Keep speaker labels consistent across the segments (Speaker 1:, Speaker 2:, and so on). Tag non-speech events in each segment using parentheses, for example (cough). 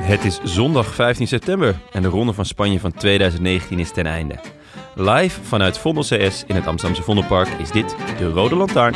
Speaker 1: Het is zondag 15 september en de Ronde van Spanje van 2019 is ten einde. Live vanuit Vondel CS in het Amsterdamse Vondelpark is dit de Rode Lantaarn.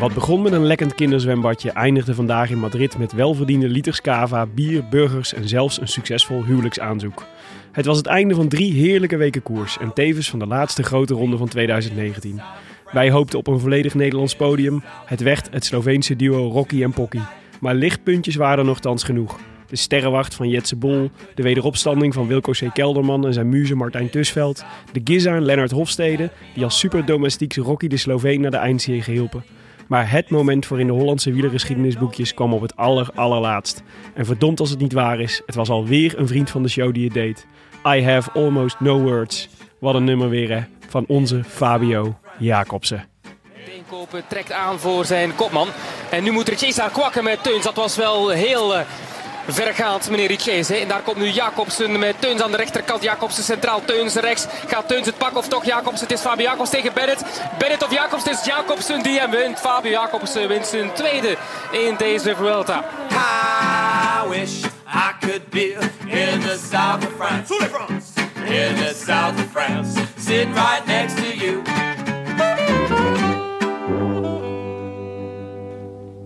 Speaker 2: Wat begon met een lekkend kinderzwembadje, eindigde vandaag in Madrid met welverdiende liters cava, bier, burgers en zelfs een succesvol huwelijksaanzoek. Het was het einde van drie heerlijke weken koers en tevens van de laatste grote ronde van 2019. Wij hoopten op een volledig Nederlands podium. Het werd het Sloveense duo Rocky en Pocky. Maar lichtpuntjes waren er nogthans genoeg. De sterrenwacht van Jetse Bol, de wederopstanding van Wilco C. Kelderman en zijn muze Martijn Tusveld, de Giza en Lennart Hofstede, die als superdomestiek Rocky de Sloveen naar de eindserie gehielpen. Maar het moment voor in de Hollandse wielergeschiedenisboekjes kwam op het aller, allerlaatst. En verdomd als het niet waar is, het was alweer een vriend van de show die het deed. I have almost no words. Wat een nummer weer hè, van onze Fabio Jacobsen.
Speaker 3: Kopen trekt aan voor zijn kopman. En nu moet Riches daar kwakken met Teuns. Dat was wel heel eh, vergaand, meneer Riches. En daar komt nu Jacobsen met Teuns aan de rechterkant. Jacobsen centraal, Teuns rechts. Gaat Teuns het pakken of toch Jacobsen? Het is Fabio Jacobsen tegen Bennett. Bennett of Jacobsen? Het is Jacobsen die hem wint. Fabio Jacobsen wint zijn tweede in deze Vuelta.
Speaker 4: I wish I could be in the south of France. In the south of France. Sitting right next to you.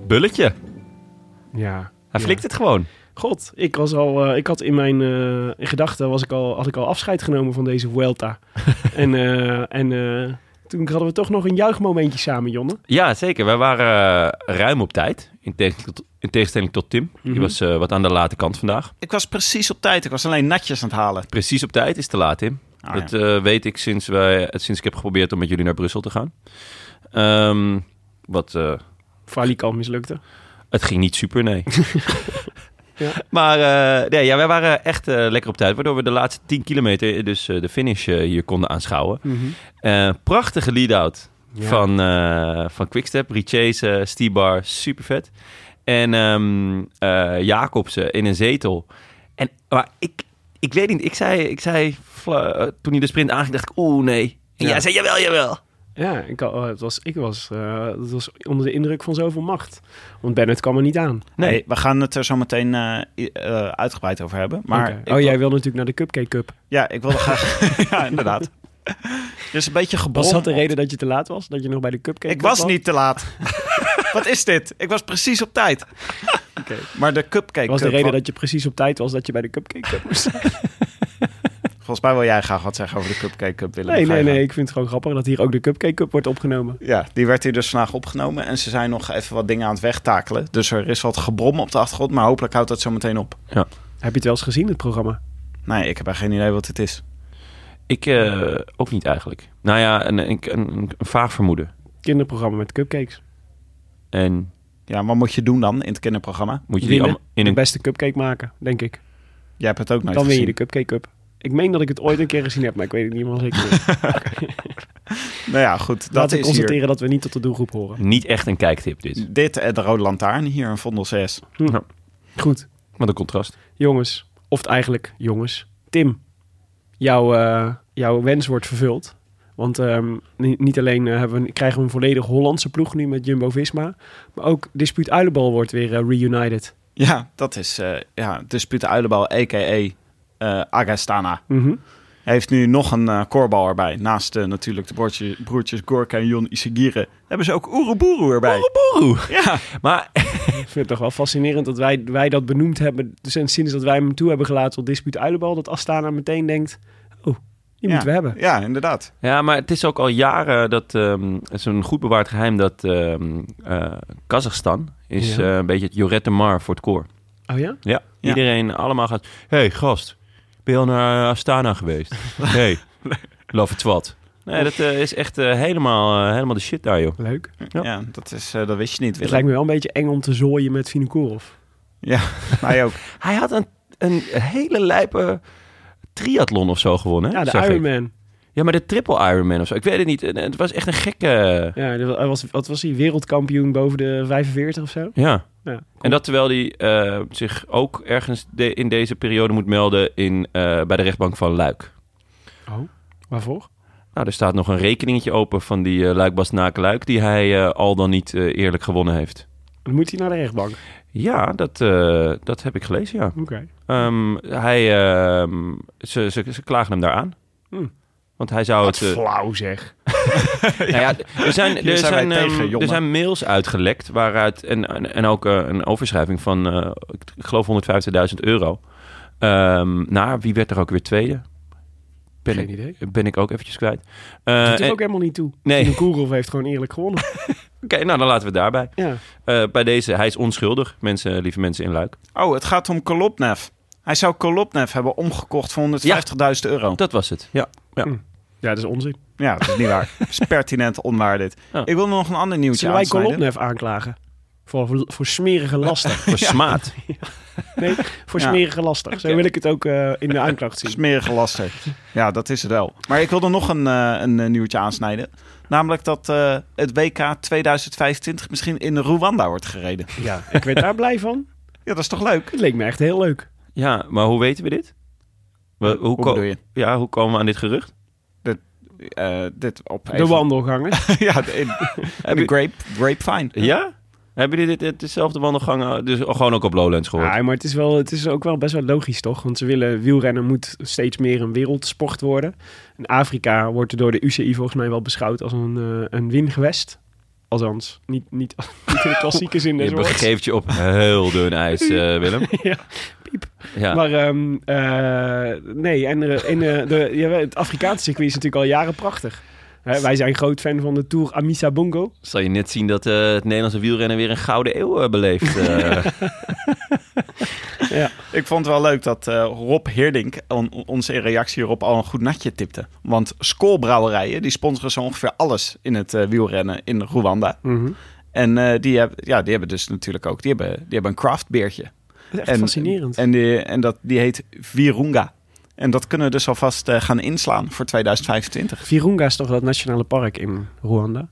Speaker 1: Bulletje,
Speaker 2: Ja.
Speaker 1: hij flikt het gewoon.
Speaker 2: God, ik was al, eh, ik had in mijn eh, in gedachten was ik al, had ik al afscheid genomen van deze Vuelta. en eh, en eh, toen hadden we toch nog een juichmomentje samen, Jonne.
Speaker 1: Ja, zeker. Wij waren eh, ruim op tijd, in tegenstelling tot, in tegenstelling tot Tim.
Speaker 2: Mhm.
Speaker 1: Die was eh, wat aan de late kant vandaag.
Speaker 5: Ik was precies op tijd. Ik was alleen natjes aan het halen.
Speaker 1: Precies op tijd is te laat, Tim.
Speaker 5: Ah,
Speaker 1: dat eh, weet ik sinds, wij, sinds ik heb geprobeerd om met jullie naar Brussel te gaan. Ehm, wat... eh,
Speaker 2: Valikal mislukte.
Speaker 1: Het ging niet super, (laughs) nee.
Speaker 2: Ja.
Speaker 1: Maar eh, nee, ja, wij waren echt eh, lekker op tijd, waardoor we de laatste 10 kilometer, eh, dus eh, de finish eh, hier konden aanschouwen. Eh, prachtige lead-out
Speaker 2: Mhm. Ja.
Speaker 1: van, eh, van Quickstep, Riches, eh Stibar, super vet. En ehm, eh, Jacobsen in een zetel. En, maar ik, ik weet niet, ik zei, ik zei fla- eh, toen hij de sprint aanging, dacht ik, oeh nee. En
Speaker 2: Ja.
Speaker 1: jij zei, jawel, jawel.
Speaker 2: Ja, ik, al- het was, ik was, eh, het was onder de indruk van zoveel macht. Want Bennett kwam er niet aan.
Speaker 1: Nee.
Speaker 5: Nee, we gaan het er zo meteen eh, i- eh, uitgebreid over hebben. Maar
Speaker 2: Oké.
Speaker 5: ik
Speaker 2: oh,
Speaker 5: wil-
Speaker 2: jij wil natuurlijk naar de Cupcake Cup.
Speaker 5: ja, ik wilde
Speaker 2: (laughs)
Speaker 5: graag. ja, inderdaad. Dus een beetje gebrom.
Speaker 2: Was dat de reden dat je te laat was? Dat je nog bij de Cupcake
Speaker 5: Ik
Speaker 2: Cup
Speaker 5: was niet te laat. (laughs) Wat is dit? Ik was precies op tijd.
Speaker 2: Oké.
Speaker 5: Maar de cupcake.
Speaker 2: Was de
Speaker 5: cup-
Speaker 2: reden dat je precies op tijd was dat je bij de Cupcake Cup moest?
Speaker 5: Volgens mij wil jij graag wat zeggen over de cupcake cup.
Speaker 2: (laughs)
Speaker 5: Willem.
Speaker 2: Nee,
Speaker 5: Ga
Speaker 2: nee,
Speaker 5: je
Speaker 2: nee. Ik vind het gewoon grappig dat hier ook de Cupcake Cup wordt opgenomen.
Speaker 5: gang. Ja, die werd hier dus vandaag opgenomen en ze zijn nog even wat dingen aan het wegtakelen. Dus er is wat gebrom op de achtergrond, maar hopelijk houdt dat zo meteen op.
Speaker 2: Heb je het wel eens gezien, het programma?
Speaker 5: Nee, ik heb er geen idee wat het is.
Speaker 1: Ik eh, ook niet eigenlijk. Nou ja, een, een, een, een vaag vermoeden.
Speaker 2: Kinderprogramma met cupcakes.
Speaker 1: En
Speaker 5: Ja, wat moet je doen dan in het kinderprogramma?
Speaker 1: Moet je die
Speaker 2: Winnen.
Speaker 1: allemaal in
Speaker 2: De
Speaker 1: een...
Speaker 2: beste cupcake maken, denk ik.
Speaker 5: Jij hebt het ook nooit
Speaker 2: Dan win je
Speaker 5: gezien.
Speaker 2: de Cupcake Cup. Ik meen dat ik het ooit een keer gezien heb, maar ik weet het niet helemaal (laughs) zeker. meer.
Speaker 5: Nou ja, goed. Dat
Speaker 2: Laten we
Speaker 5: is
Speaker 2: constateren
Speaker 5: hier.
Speaker 2: dat we niet tot de doelgroep horen.
Speaker 1: Niet echt een kijktip
Speaker 2: Mm.
Speaker 1: dit.
Speaker 5: Dit en de Rode Lantaarn hier in Vondel 6.
Speaker 2: Hm. Goed,
Speaker 1: Wat een contrast.
Speaker 2: jongens. Of het eigenlijk, jongens. Tim, jouw, eh, jouw wens wordt vervuld. Want ehm, ni- niet alleen eh, hebben we, krijgen we een volledig Hollandse ploeg nu met Jumbo-Visma. Maar ook Dispuut Uilenbal wordt weer eh, reunited.
Speaker 5: Ja, dat is eh ja, Dispute Uilenbal, a.k.a. eh, Agastana.
Speaker 2: Mhm.
Speaker 5: Hij heeft nu nog een eh korbal erbij. Naast eh, natuurlijk de broertjes, broertjes Gorka en Jon Isagire hebben ze ook Oeroboeroe erbij.
Speaker 1: Oeroboeroe.
Speaker 5: Ja,
Speaker 1: (laughs) Maar
Speaker 2: Ik vind het toch wel fascinerend dat wij, wij dat benoemd hebben. Dus en sinds dat wij hem toe hebben gelaten tot Dispuut Uilenbal, dat Astana meteen denkt... Oh, die
Speaker 5: ja.
Speaker 2: moeten we hebben.
Speaker 5: Ja, inderdaad.
Speaker 1: Ja, maar het is ook al jaren dat ehm, het is een goed bewaard geheim dat ehm, eh, Kazachstan is
Speaker 2: Ja.
Speaker 1: eh, een beetje het Jorette Mar voor het koor.
Speaker 2: Oh ja?
Speaker 1: Ja,
Speaker 5: Ja.
Speaker 1: iedereen allemaal gaat. hey, gast, ben je al naar Astana
Speaker 2: (laughs)
Speaker 1: geweest? hey, love it wat. Nee, dat eh, is echt eh, helemaal, eh, helemaal de shit daar, joh.
Speaker 2: Leuk.
Speaker 5: Ja, dat, is, eh, dat wist je niet,
Speaker 2: Het
Speaker 5: Willem.
Speaker 2: lijkt me wel een beetje eng om te zooien met Vinokourov.
Speaker 5: Ja, (laughs) mij ook.
Speaker 1: Hij had een, een hele lijpe triathlon of zo gewonnen. hè?
Speaker 2: Ja, de
Speaker 1: zag ik.
Speaker 2: Ironman.
Speaker 1: Ja, maar de triple Ironman of zo. Ik weet het niet. Eh, Het was echt een gekke. eh,
Speaker 2: Ja, dat was, wat was hij? Wereldkampioen boven de 45 of zo?
Speaker 1: Ja.
Speaker 2: Ja, cool.
Speaker 1: En dat terwijl hij eh, zich ook ergens de- in deze periode moet melden in, eh, bij de rechtbank van Luik.
Speaker 2: Waarvoor?
Speaker 1: Nou, er staat nog een rekeningetje open van die eh Luik Bastenaken Luik, die hij eh, al dan niet eh, eerlijk gewonnen heeft.
Speaker 2: Dan moet hij naar de rechtbank. Oké.
Speaker 1: Ja, dat, eh, dat heb ik gelezen, ja. Ehm, hij, ehm, ze, ze, ze klagen hem daar aan.
Speaker 2: Hm.
Speaker 1: Want hij zou het... eh,
Speaker 2: flauw zeg.
Speaker 1: Nou ja, er zijn,
Speaker 5: Hier
Speaker 1: er
Speaker 5: zijn
Speaker 1: zijn,
Speaker 5: wij
Speaker 1: ehm,
Speaker 5: tegen, jongen.
Speaker 1: er zijn mails uitgelekt waaruit en, en, en ook eh, een overschrijving van eh, ik geloof 150.000 euro. Ehm, naar wie werd er ook weer tweede? Ben
Speaker 2: Geen
Speaker 1: ik,
Speaker 2: idee.
Speaker 1: Ben ik ook eventjes kwijt. Eh,
Speaker 2: Doet er
Speaker 1: en-
Speaker 2: ook helemaal niet toe.
Speaker 1: Nee. (laughs)
Speaker 2: Vinokourov heeft gewoon eerlijk gewonnen.
Speaker 1: Oké, nou dan laten we het daarbij.
Speaker 2: Ja.
Speaker 1: Eh, bij deze, hij is onschuldig, mensen, lieve mensen in Luik.
Speaker 5: Oh, het gaat om Kolopnev. Hij zou Kolopnev hebben omgekocht voor 150.000 euro.
Speaker 1: Dat was het. Ja.
Speaker 2: ja, dat is onzin.
Speaker 5: Ja, dat is niet waar. Dat is pertinent onwaar dit.
Speaker 1: Ja.
Speaker 5: Ik wil nog een ander nieuwtje
Speaker 2: Zullen wij
Speaker 5: aansnijden.
Speaker 2: Kolobnev aanklagen? Voor, voor, voor smerige laster.
Speaker 1: Voor smaad.
Speaker 2: Nee, voor
Speaker 5: Ja.
Speaker 2: smerige laster. Zo wil ik het ook eh, in de aanklacht zien.
Speaker 5: Smerige laster. Ja, dat is het wel. Maar ik wilde nog een, eh, een eh, nieuwtje aansnijden. Namelijk dat eh, het WK 2025 misschien in Rwanda wordt gereden.
Speaker 2: Ja, ik werd daar blij van.
Speaker 5: Ja, dat is toch leuk?
Speaker 2: Het leek me echt heel leuk.
Speaker 1: Ja, maar hoe weten we dit? We- hoe,
Speaker 5: Hoe
Speaker 1: ko-
Speaker 5: bedoel je?
Speaker 1: Ja, hoe komen we aan dit gerucht?
Speaker 5: Eh, dit op
Speaker 2: De
Speaker 5: even-
Speaker 2: wandelgangen.
Speaker 5: (laughs) ja, de- in,
Speaker 2: (laughs)
Speaker 5: in de grape, grapevine.
Speaker 1: Ja? Hebben jullie dit, dit dezelfde wandelgang eh, dus gewoon ook op Lowlands gehoord?
Speaker 2: Ja, maar het is, wel, het is ook wel best wel logisch, toch? Want ze willen wielrennen moet steeds meer een wereldsport worden. En Afrika wordt door de UCI volgens mij wel beschouwd als een, eh, een wingewest. Althans, niet, niet, (laughs) niet in de klassieke zin des
Speaker 1: Je
Speaker 2: woords.
Speaker 1: begeeft je op heel dun ijs, eh, Willem.
Speaker 2: (laughs) Ja, piep.
Speaker 1: Ja.
Speaker 2: Maar ehm, eh, nee, en er- in, eh, de, ja, het Afrikaanse circuit is natuurlijk al jaren prachtig. Hè, wij zijn groot fan van de Tour Amisa Bongo.
Speaker 1: Zal je net zien dat eh, het Nederlandse wielrennen weer een gouden eeuw eh, beleeft.
Speaker 2: (laughs)
Speaker 1: eh.
Speaker 5: Ik vond het wel leuk dat eh, Rob Heerdink on- ons in reactie hierop al een goed natje tipte. Want schoolbrouwerijen, die sponsoren zo ongeveer alles in het eh, wielrennen in Rwanda.
Speaker 2: Mhm.
Speaker 5: En eh, die, heb, ja, die hebben dus natuurlijk ook, die hebben, die hebben een craftbeertje.
Speaker 2: Dat is echt
Speaker 5: En,
Speaker 2: fascinerend.
Speaker 5: En, die, en dat, die heet Virunga. En dat kunnen we dus alvast eh, gaan inslaan voor 2025.
Speaker 2: Virunga is toch dat nationale park in Rwanda?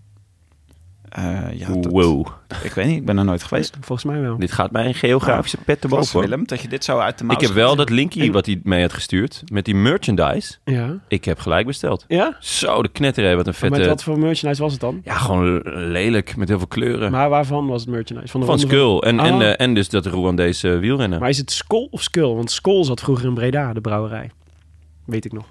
Speaker 5: Eh, ja, dat-
Speaker 1: Oh, wow.
Speaker 5: Ik weet niet, ik ben er nooit geweest.
Speaker 2: Volgens mij wel.
Speaker 1: Dit gaat mij een geografische pet te
Speaker 5: Klopt,
Speaker 1: boven. hoor.
Speaker 5: Willem, dat je dit zo uit de mouw
Speaker 1: Ik heb
Speaker 5: schiet.
Speaker 1: wel dat linkje wat hij mee had gestuurd met die merchandise.
Speaker 2: Ja?
Speaker 1: Ik heb gelijk besteld.
Speaker 2: Ja?
Speaker 1: Zo, de knetterij, wat een
Speaker 2: Maar
Speaker 1: vette...
Speaker 2: Met wat voor merchandise was het dan?
Speaker 1: Ja, gewoon lelijk, met heel veel kleuren.
Speaker 2: Maar waarvan was het merchandise? Van, de
Speaker 1: Van
Speaker 2: Ronde
Speaker 1: Skull en, en,
Speaker 2: Ah.
Speaker 1: eh, en dus dat Rwandese wielrennen.
Speaker 2: Maar is het Skol of Skull? Want Skol zat vroeger in Breda, de brouwerij. Weet ik nog.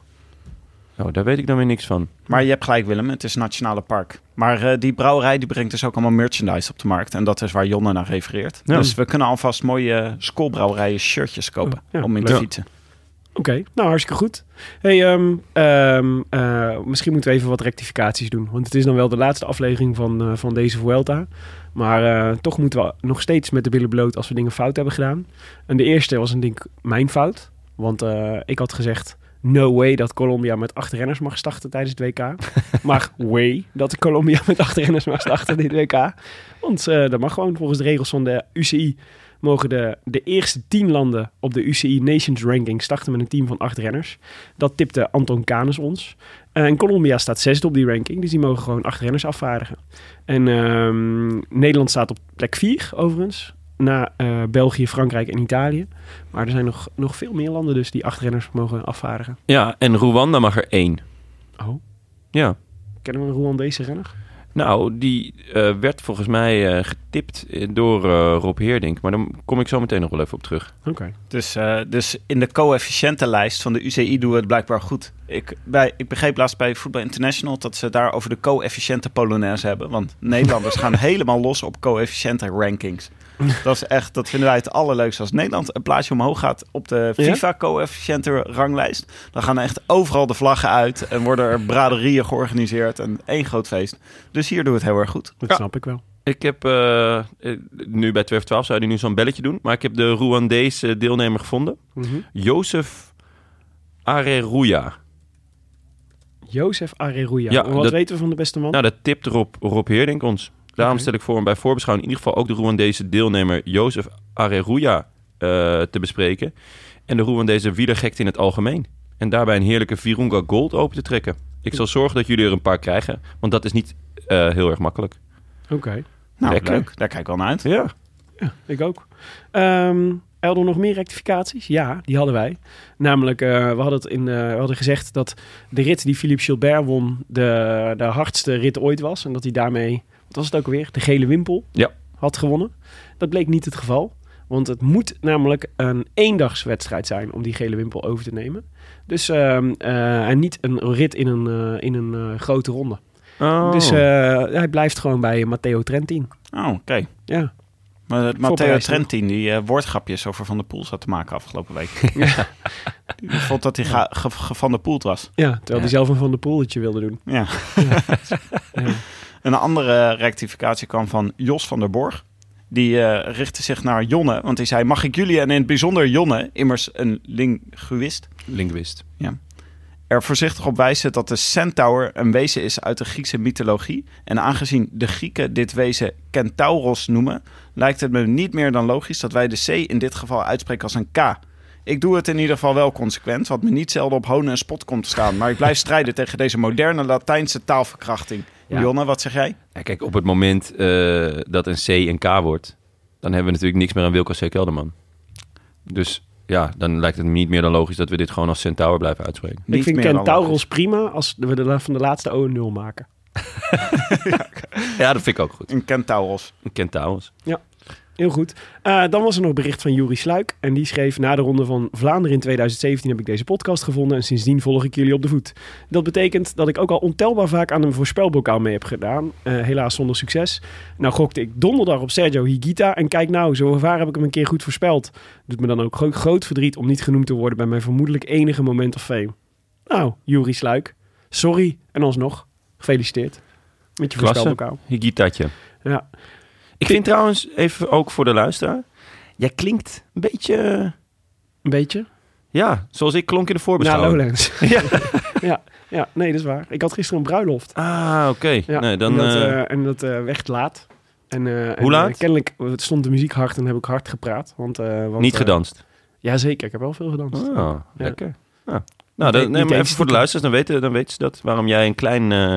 Speaker 1: Nou, daar weet ik dan weer niks van.
Speaker 5: Maar je hebt gelijk, Willem, het is Nationale Park. Maar eh, die brouwerij die brengt dus ook allemaal merchandise op de markt. En dat is waar Jonne naar refereert.
Speaker 1: Ja.
Speaker 5: Dus we kunnen alvast mooie schoolbrouwerijen shirtjes kopen
Speaker 2: Ja,
Speaker 5: om in te
Speaker 2: leuk.
Speaker 5: fietsen.
Speaker 2: Oké, nou hartstikke goed. Hey, ehm, ehm, eh, misschien moeten we even wat rectificaties doen. Want het is dan wel de laatste aflevering van, eh, van deze Vuelta. Maar eh, toch moeten we nog steeds met de billen bloot als we dingen fout hebben gedaan. En de eerste was een ding mijn fout. Want eh, ik had gezegd, no way dat Colombia met acht renners mag starten tijdens het WK. maar way dat Colombia met acht renners mag starten dit WK. Want eh, dat mag gewoon volgens de regels van de UCI. mogen de, de eerste tien landen op de UCI Nations Ranking starten met een team van acht renners. Dat tipte Anton Canes ons. Eh, en Colombia staat zesde op die ranking, dus die mogen gewoon acht renners afvaardigen. En ehm, Nederland staat op plek vier overigens, na eh, België, Frankrijk en Italië. Maar er zijn nog, nog veel meer landen dus die acht renners mogen afvaardigen.
Speaker 1: Ja, en Rwanda mag er één.
Speaker 2: Oh.
Speaker 1: Ja.
Speaker 2: Kennen we een Rwandese renner?
Speaker 1: Nou, die eh, werd volgens mij eh, getipt eh, door eh, Rob Heerdink. Maar daar kom ik zo meteen nog wel even op terug.
Speaker 2: Oké.
Speaker 5: Dus, eh, dus in de coëfficiëntenlijst van de UCI doen we het blijkbaar goed. Ik, bij, ik begreep laatst bij Voetbal International dat ze daar over de coëfficiënten Polonaise hebben. Want (laughs) Nederlanders gaan helemaal los op coëfficiënten
Speaker 1: (laughs)
Speaker 5: rankings. Dat is echt, dat vinden wij het allerleukste. Als Nederland een plaatsje omhoog gaat op de
Speaker 2: Ja?
Speaker 5: FIFA coëfficiënten ranglijst, dan gaan er echt overal de vlaggen uit en worden er braderieën georganiseerd en één groot feest. Dus hier doen we het heel erg goed.
Speaker 2: Dat snap ik wel.
Speaker 1: Ik heb eh, eh, nu bij 12 12 zou hij nu zo'n belletje doen. Maar ik heb de Rwandese eh, deelnemer gevonden. Jozef Areruya.
Speaker 2: Jozef Areruya.
Speaker 1: Ja,
Speaker 2: En Wat
Speaker 1: dat-
Speaker 2: weten we van de beste man?
Speaker 1: Nou, dat tipt Rob, Rob Heerdink ons. Daarom
Speaker 2: Oké.
Speaker 1: stel ik voor om bij voorbeschouwing in ieder geval ook de Rwandese deelnemer Jozef Areruya eh, te bespreken. En de Rwandese wielergekte in het algemeen. En daarbij een heerlijke Virunga Gold open te trekken. Ik zal zorgen dat jullie er een paar krijgen, want dat is niet eh, heel erg makkelijk.
Speaker 2: Oké.
Speaker 5: Nou,
Speaker 1: Lekker.
Speaker 5: leuk. Daar kijk ik wel naar uit.
Speaker 1: Ja.
Speaker 2: Ja, ik ook. Ehm Elder, nog meer rectificaties? Ja, die hadden wij. Namelijk, eh, we, hadden het in, eh, we hadden gezegd dat de rit die Philippe Gilbert won de, de hardste rit ooit was. En dat hij daarmee, wat was het ook alweer? De gele wimpel
Speaker 1: Ja.
Speaker 2: had gewonnen. Dat bleek niet het geval. Want het moet namelijk een eendagswedstrijd zijn om die gele wimpel over te nemen. Dus, ehm, eh, en niet een rit in een, eh, in een eh, grote ronde. Dus eh, hij blijft gewoon bij Matteo Trentin.
Speaker 5: Oh, oké.
Speaker 2: Ja,
Speaker 5: Maar het Matteo
Speaker 2: Voorbereid,
Speaker 5: Trentin, die eh, woordgrapjes over Van der Poel zat te maken afgelopen week. Die vond dat hij ga- ge- ge- Van der Poel was.
Speaker 2: ja terwijl hij zelf een Van der Poeltje wilde doen.
Speaker 5: Ja. (laughs) Een andere rectificatie kwam van Jos van der Borg. Die eh, richtte zich naar Jonne, want hij zei... Mag ik jullie en in het bijzonder Jonne, immers een linguist...
Speaker 1: Linguist.
Speaker 5: er voorzichtig op wijzen dat de centaur een wezen is uit de Griekse mythologie. En aangezien de Grieken dit wezen Kentauros noemen, lijkt het me niet meer dan logisch dat wij de C in dit geval uitspreken als een K. Ik doe het in ieder geval wel consequent, wat me niet zelden op honen en spot komt te staan. Maar ik blijf strijden (laughs) tegen deze moderne Latijnse taalverkrachting.
Speaker 2: Ja.
Speaker 5: Jonne, wat zeg jij?
Speaker 1: Ja, kijk, op het moment eh, dat een C een K wordt, dan hebben we natuurlijk niks meer aan Wilco C. Kelderman. Dus ja, dan lijkt het me niet meer dan logisch dat we dit gewoon als Centaur blijven uitspreken.
Speaker 5: Niet
Speaker 2: ik vind
Speaker 5: meer dan logisch.
Speaker 2: Kentauros prima als we de, la- van de laatste O een nul maken.
Speaker 1: Ja, dat vind ik ook goed.
Speaker 5: Een Kentauros.
Speaker 1: Een Centaurus.
Speaker 2: Heel goed. Eh, dan was er nog bericht van Juri Sluik. En die schreef... Na de ronde van Vlaanderen in 2017 heb ik deze podcast gevonden... en sindsdien volg ik jullie op de voet. Dat betekent dat ik ook al ontelbaar vaak aan een voorspelbokaal mee heb gedaan. Eh, helaas zonder succes. Nou gokte ik donderdag op Sergio Higuita. En kijk nou, zo vaar heb ik hem een keer goed voorspeld. Doet me dan ook gro- groot verdriet om niet genoemd te worden... bij mijn vermoedelijk enige moment of fame. Nou, Juri Sluik. Sorry. En alsnog, gefeliciteerd. Met je
Speaker 1: Klasse.
Speaker 2: voorspelbokaal.
Speaker 1: Higuitaatje.
Speaker 2: Ja.
Speaker 1: Ik vind trouwens, even ook voor de luisteraar, jij klinkt een beetje, eh,
Speaker 2: Een beetje?
Speaker 1: ja, zoals ik klonk in de
Speaker 2: Na
Speaker 1: voorbeschouwing. (laughs)
Speaker 2: Nou, Lowlands. ja. ja, ja, nee, dat is waar. Ik had gisteren een bruiloft.
Speaker 1: ah, oké.
Speaker 2: Ja,
Speaker 1: Nee, dan,
Speaker 2: en dat,
Speaker 1: eh,
Speaker 2: eh, en dat eh, werd laat. En, eh, en,
Speaker 1: Hoe laat?
Speaker 2: eh, kennelijk eh, stond de muziek hard en heb ik hard gepraat. Want, eh, want,
Speaker 1: niet
Speaker 2: eh, (laughs)
Speaker 1: gedanst.
Speaker 2: Jazeker, ik heb wel veel gedanst.
Speaker 1: Ah, lekker. Ja. Nou,
Speaker 2: Niet
Speaker 1: dan,
Speaker 2: eens-
Speaker 1: nee,
Speaker 2: niet
Speaker 1: maar
Speaker 2: eens
Speaker 1: even voor de luisteraars, dan weten, dan weten ze dat. Waarom jij een, klein, eh,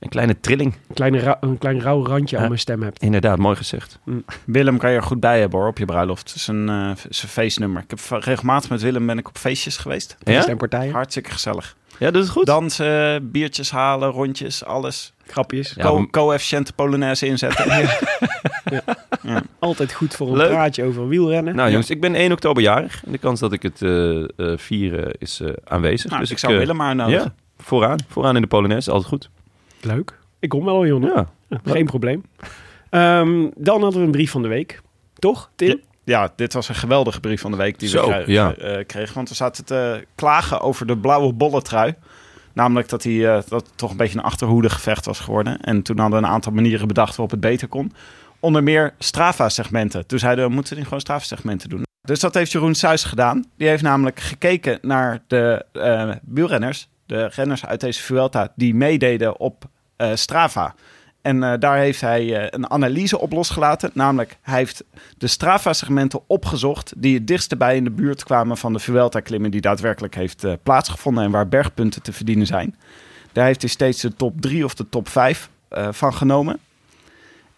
Speaker 1: een kleine trilling,
Speaker 2: Een, kleine ra- een klein rauw randje
Speaker 1: Ja.
Speaker 2: aan mijn stem hebt.
Speaker 1: inderdaad, mooi gezegd.
Speaker 5: Willem kan je er goed bij hebben hoor, op je bruiloft. Het is een, eh, het is een feestnummer. Ik heb va- regelmatig met Willem ben ik op feestjes geweest.
Speaker 1: Ja?
Speaker 2: Stempartijen.
Speaker 5: Hartstikke gezellig.
Speaker 1: ja, dat is goed.
Speaker 5: Dansen, biertjes halen, rondjes, alles.
Speaker 2: Grapjes.
Speaker 1: Ja,
Speaker 5: Co-
Speaker 1: maar-
Speaker 5: coëfficiënte Polonaise inzetten.
Speaker 2: Altijd goed voor een
Speaker 1: Leuk.
Speaker 2: praatje over wielrennen.
Speaker 1: Nou jongens, ik ben 1 oktober jarig. En de kans dat ik het eh, eh, vieren is eh, aanwezig.
Speaker 5: (laughs) nou,
Speaker 1: dus
Speaker 5: ik zou
Speaker 1: eh,
Speaker 5: Willem maar uitnodigen.
Speaker 1: Ja, vooraan. Vooraan in de Polonaise, altijd goed.
Speaker 2: Leuk. Ik kom wel, Jonne.
Speaker 1: Ja.
Speaker 2: Geen probleem. Ehm, dan hadden we een brief van de week. Toch, Tim?
Speaker 5: Ja. Ja, dit was een geweldige brief van de week die
Speaker 1: Zo,
Speaker 5: we kregen,
Speaker 1: ja.
Speaker 5: eh, kregen. Want we zaten te eh, klagen over de blauwe bollentrui. Namelijk dat hij eh, dat het toch een beetje een achterhoede gevecht was geworden. En toen hadden we een aantal manieren bedacht waarop het beter kon. Onder meer Strava-segmenten. Toen zeiden we, we moeten niet gewoon Strava-segmenten doen. Dus dat heeft Jeroen Suis gedaan. Die heeft namelijk gekeken naar de eh wielrenners. De renners uit deze Vuelta die meededen op eh, Strava. En eh, daar heeft hij eh, een analyse op losgelaten. Namelijk, hij heeft de Strava-segmenten opgezocht die het dichtst bij in de buurt kwamen van de Vuelta-klimmen die daadwerkelijk heeft eh, plaatsgevonden en waar bergpunten te verdienen zijn. Daar heeft hij steeds de top 3 of de top 5 van genomen.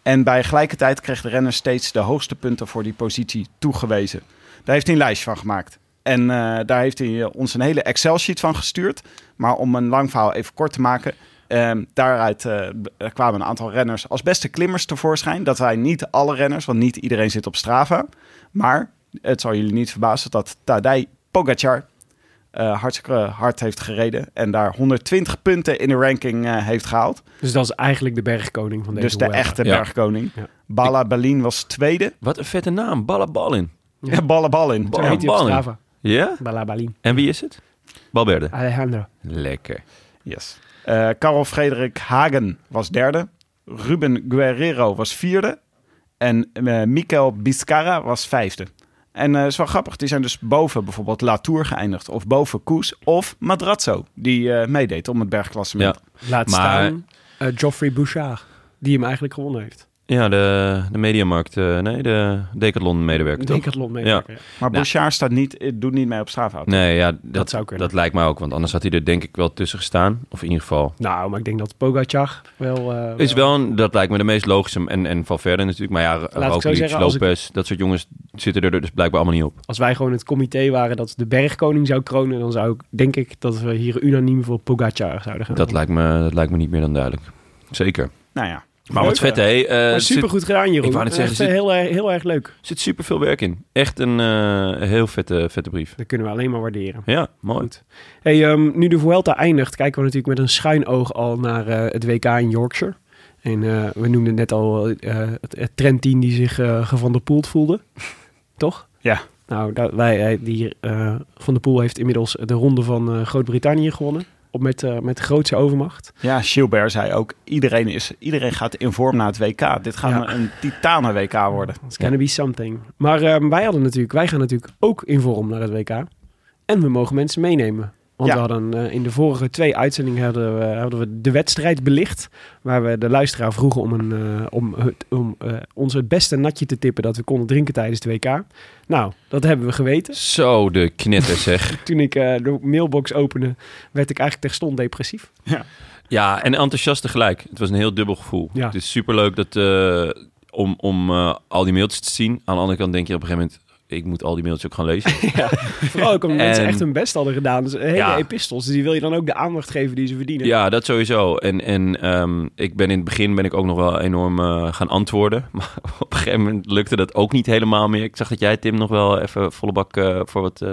Speaker 5: En bij gelijke tijd kreeg de renner steeds de hoogste punten voor die positie toegewezen. Daar heeft hij een lijstje van gemaakt. En eh, daar heeft hij eh, ons een hele Excel-sheet van gestuurd. Maar om een lang verhaal even kort te maken. ehm, daaruit eh, b- er kwamen een aantal renners als beste klimmers tevoorschijn. Dat zijn niet alle renners, want niet iedereen zit op Strava. Maar het zal jullie niet verbazen dat Tadej Pogacar eh, hartstikke hard heeft gereden. En daar 120 punten in de ranking eh, heeft gehaald.
Speaker 2: Dus dat is eigenlijk de bergkoning van deze
Speaker 5: Dus de
Speaker 2: Vuelta.
Speaker 5: echte
Speaker 1: Ja.
Speaker 5: bergkoning.
Speaker 2: eh, Ja.
Speaker 5: Bala Berlin was tweede.
Speaker 1: Wat een vette naam. Ballabalin.
Speaker 2: Ja.
Speaker 5: (laughs) Ja, Balla Ballin.
Speaker 2: Zo heet hij op
Speaker 1: Ballen.
Speaker 2: Strava.
Speaker 1: Ja?
Speaker 2: Balabalin.
Speaker 1: En wie is het? Balberde.
Speaker 2: Alejandro.
Speaker 1: Lekker.
Speaker 5: Yes. Eh, Karel Frederik Hagen was derde. Ruben Guerrero was vierde. En eh Mikel Biscara was vijfde. En eh, het is wel grappig, die zijn dus boven bijvoorbeeld Latour geëindigd. Of boven Koes. Of Madrazzo, die eh, meedeet om het bergklassement.
Speaker 1: Ja.
Speaker 2: Laat
Speaker 1: Maar-
Speaker 2: staan eh, Geoffrey Bouchard, die hem eigenlijk gewonnen heeft.
Speaker 1: Ja, de, de Mediamarkt. eh, nee, de Decathlon-medewerker. toch?
Speaker 2: Decathlon meewerker. Ja.
Speaker 5: Maar
Speaker 1: Nou.
Speaker 5: Bouchard staat niet, eh, doet niet mee op Strava.
Speaker 1: Nee, ja, dat, dat,
Speaker 2: zou kunnen.
Speaker 1: lijkt mij ook. Want anders had hij er denk ik wel tussen gestaan. Of in ieder geval...
Speaker 2: Nou, maar ik denk dat Pogacar wel... eh,
Speaker 1: Is wel een, dat lijkt me de meest logische. En, en Valverde natuurlijk. Maar ja,
Speaker 2: zo
Speaker 1: Roglic,
Speaker 2: zeggen, als ik-
Speaker 1: Lopez, dat soort jongens zitten er dus blijkbaar allemaal niet op.
Speaker 2: Als wij gewoon het comité waren dat de bergkoning zou kronen... dan zou ik, denk ik, dat we hier unaniem voor Pogacar zouden gaan.
Speaker 1: Dat lijkt me, dat lijkt me niet meer dan duidelijk. Zeker.
Speaker 5: Nou ja.
Speaker 1: Maar wat vet, hè? Eh,
Speaker 2: Maar
Speaker 1: er zit,
Speaker 2: super goed gedaan, Jeroen.
Speaker 1: Ik wou net
Speaker 2: Echt,
Speaker 1: zeggen,
Speaker 2: eh, heel, erg- heel erg leuk.
Speaker 1: zit super veel werk in. Echt een eh, heel vette, vette brief.
Speaker 2: Dat kunnen we alleen maar waarderen.
Speaker 1: Ja, mooi.
Speaker 2: Goed. Hey, ehm, nu de Vuelta eindigt, kijken we natuurlijk met een schuin oog al naar eh, het WK in Yorkshire. En eh, we noemden net al eh, het, het trendteam die zich eh van der Poel voelde. (laughs) Toch?
Speaker 5: Ja.
Speaker 2: Nou, dat, wij, eh, die, eh, van der Poel heeft inmiddels de ronde van eh, Groot-Brittannië gewonnen. Op met, eh met grootse overmacht.
Speaker 5: ja, Gilbert zei ook, iedereen, is, iedereen gaat in vorm naar het WK. Dit gaat
Speaker 2: Ja.
Speaker 5: een titanen WK worden.
Speaker 2: It's gonna be something. Maar ehm, wij, hadden natuurlijk, wij gaan natuurlijk ook in vorm naar het WK. En we mogen mensen meenemen. Want
Speaker 5: Ja.
Speaker 2: we hadden eh, in de vorige twee uitzendingen hadden we, hadden we de wedstrijd belicht. Waar we de luisteraar vroegen om, een, eh, om, het, om eh, ons het beste natje te tippen dat we konden drinken tijdens het WK. Nou, dat hebben we geweten.
Speaker 1: Zo, de knetter zeg.
Speaker 2: Toen ik eh, de mailbox opende, werd ik eigenlijk terstond depressief.
Speaker 1: (laughs) ja, en enthousiast tegelijk. Het was een heel dubbel gevoel.
Speaker 2: Ja.
Speaker 1: Het is superleuk dat, eh, om, om eh, al die mailtjes te zien. Aan de andere kant denk je op een gegeven moment... Ik moet al die mailtjes ook gaan
Speaker 5: (laughs)
Speaker 1: lezen.
Speaker 2: Vooral ook omdat
Speaker 1: (laughs) En-
Speaker 2: mensen echt hun best hadden gedaan. Dus hele
Speaker 1: Ja.
Speaker 2: epistels. Dus die wil je dan ook de aandacht geven die ze verdienen.
Speaker 1: ja, dat sowieso. En, en ehm, ik ben in het begin ben ik ook nog wel enorm eh, gaan antwoorden. (laughs) Maar op een gegeven moment lukte dat ook niet helemaal meer. Ik zag dat jij, Tim, nog wel even volle bak eh, voor wat eh,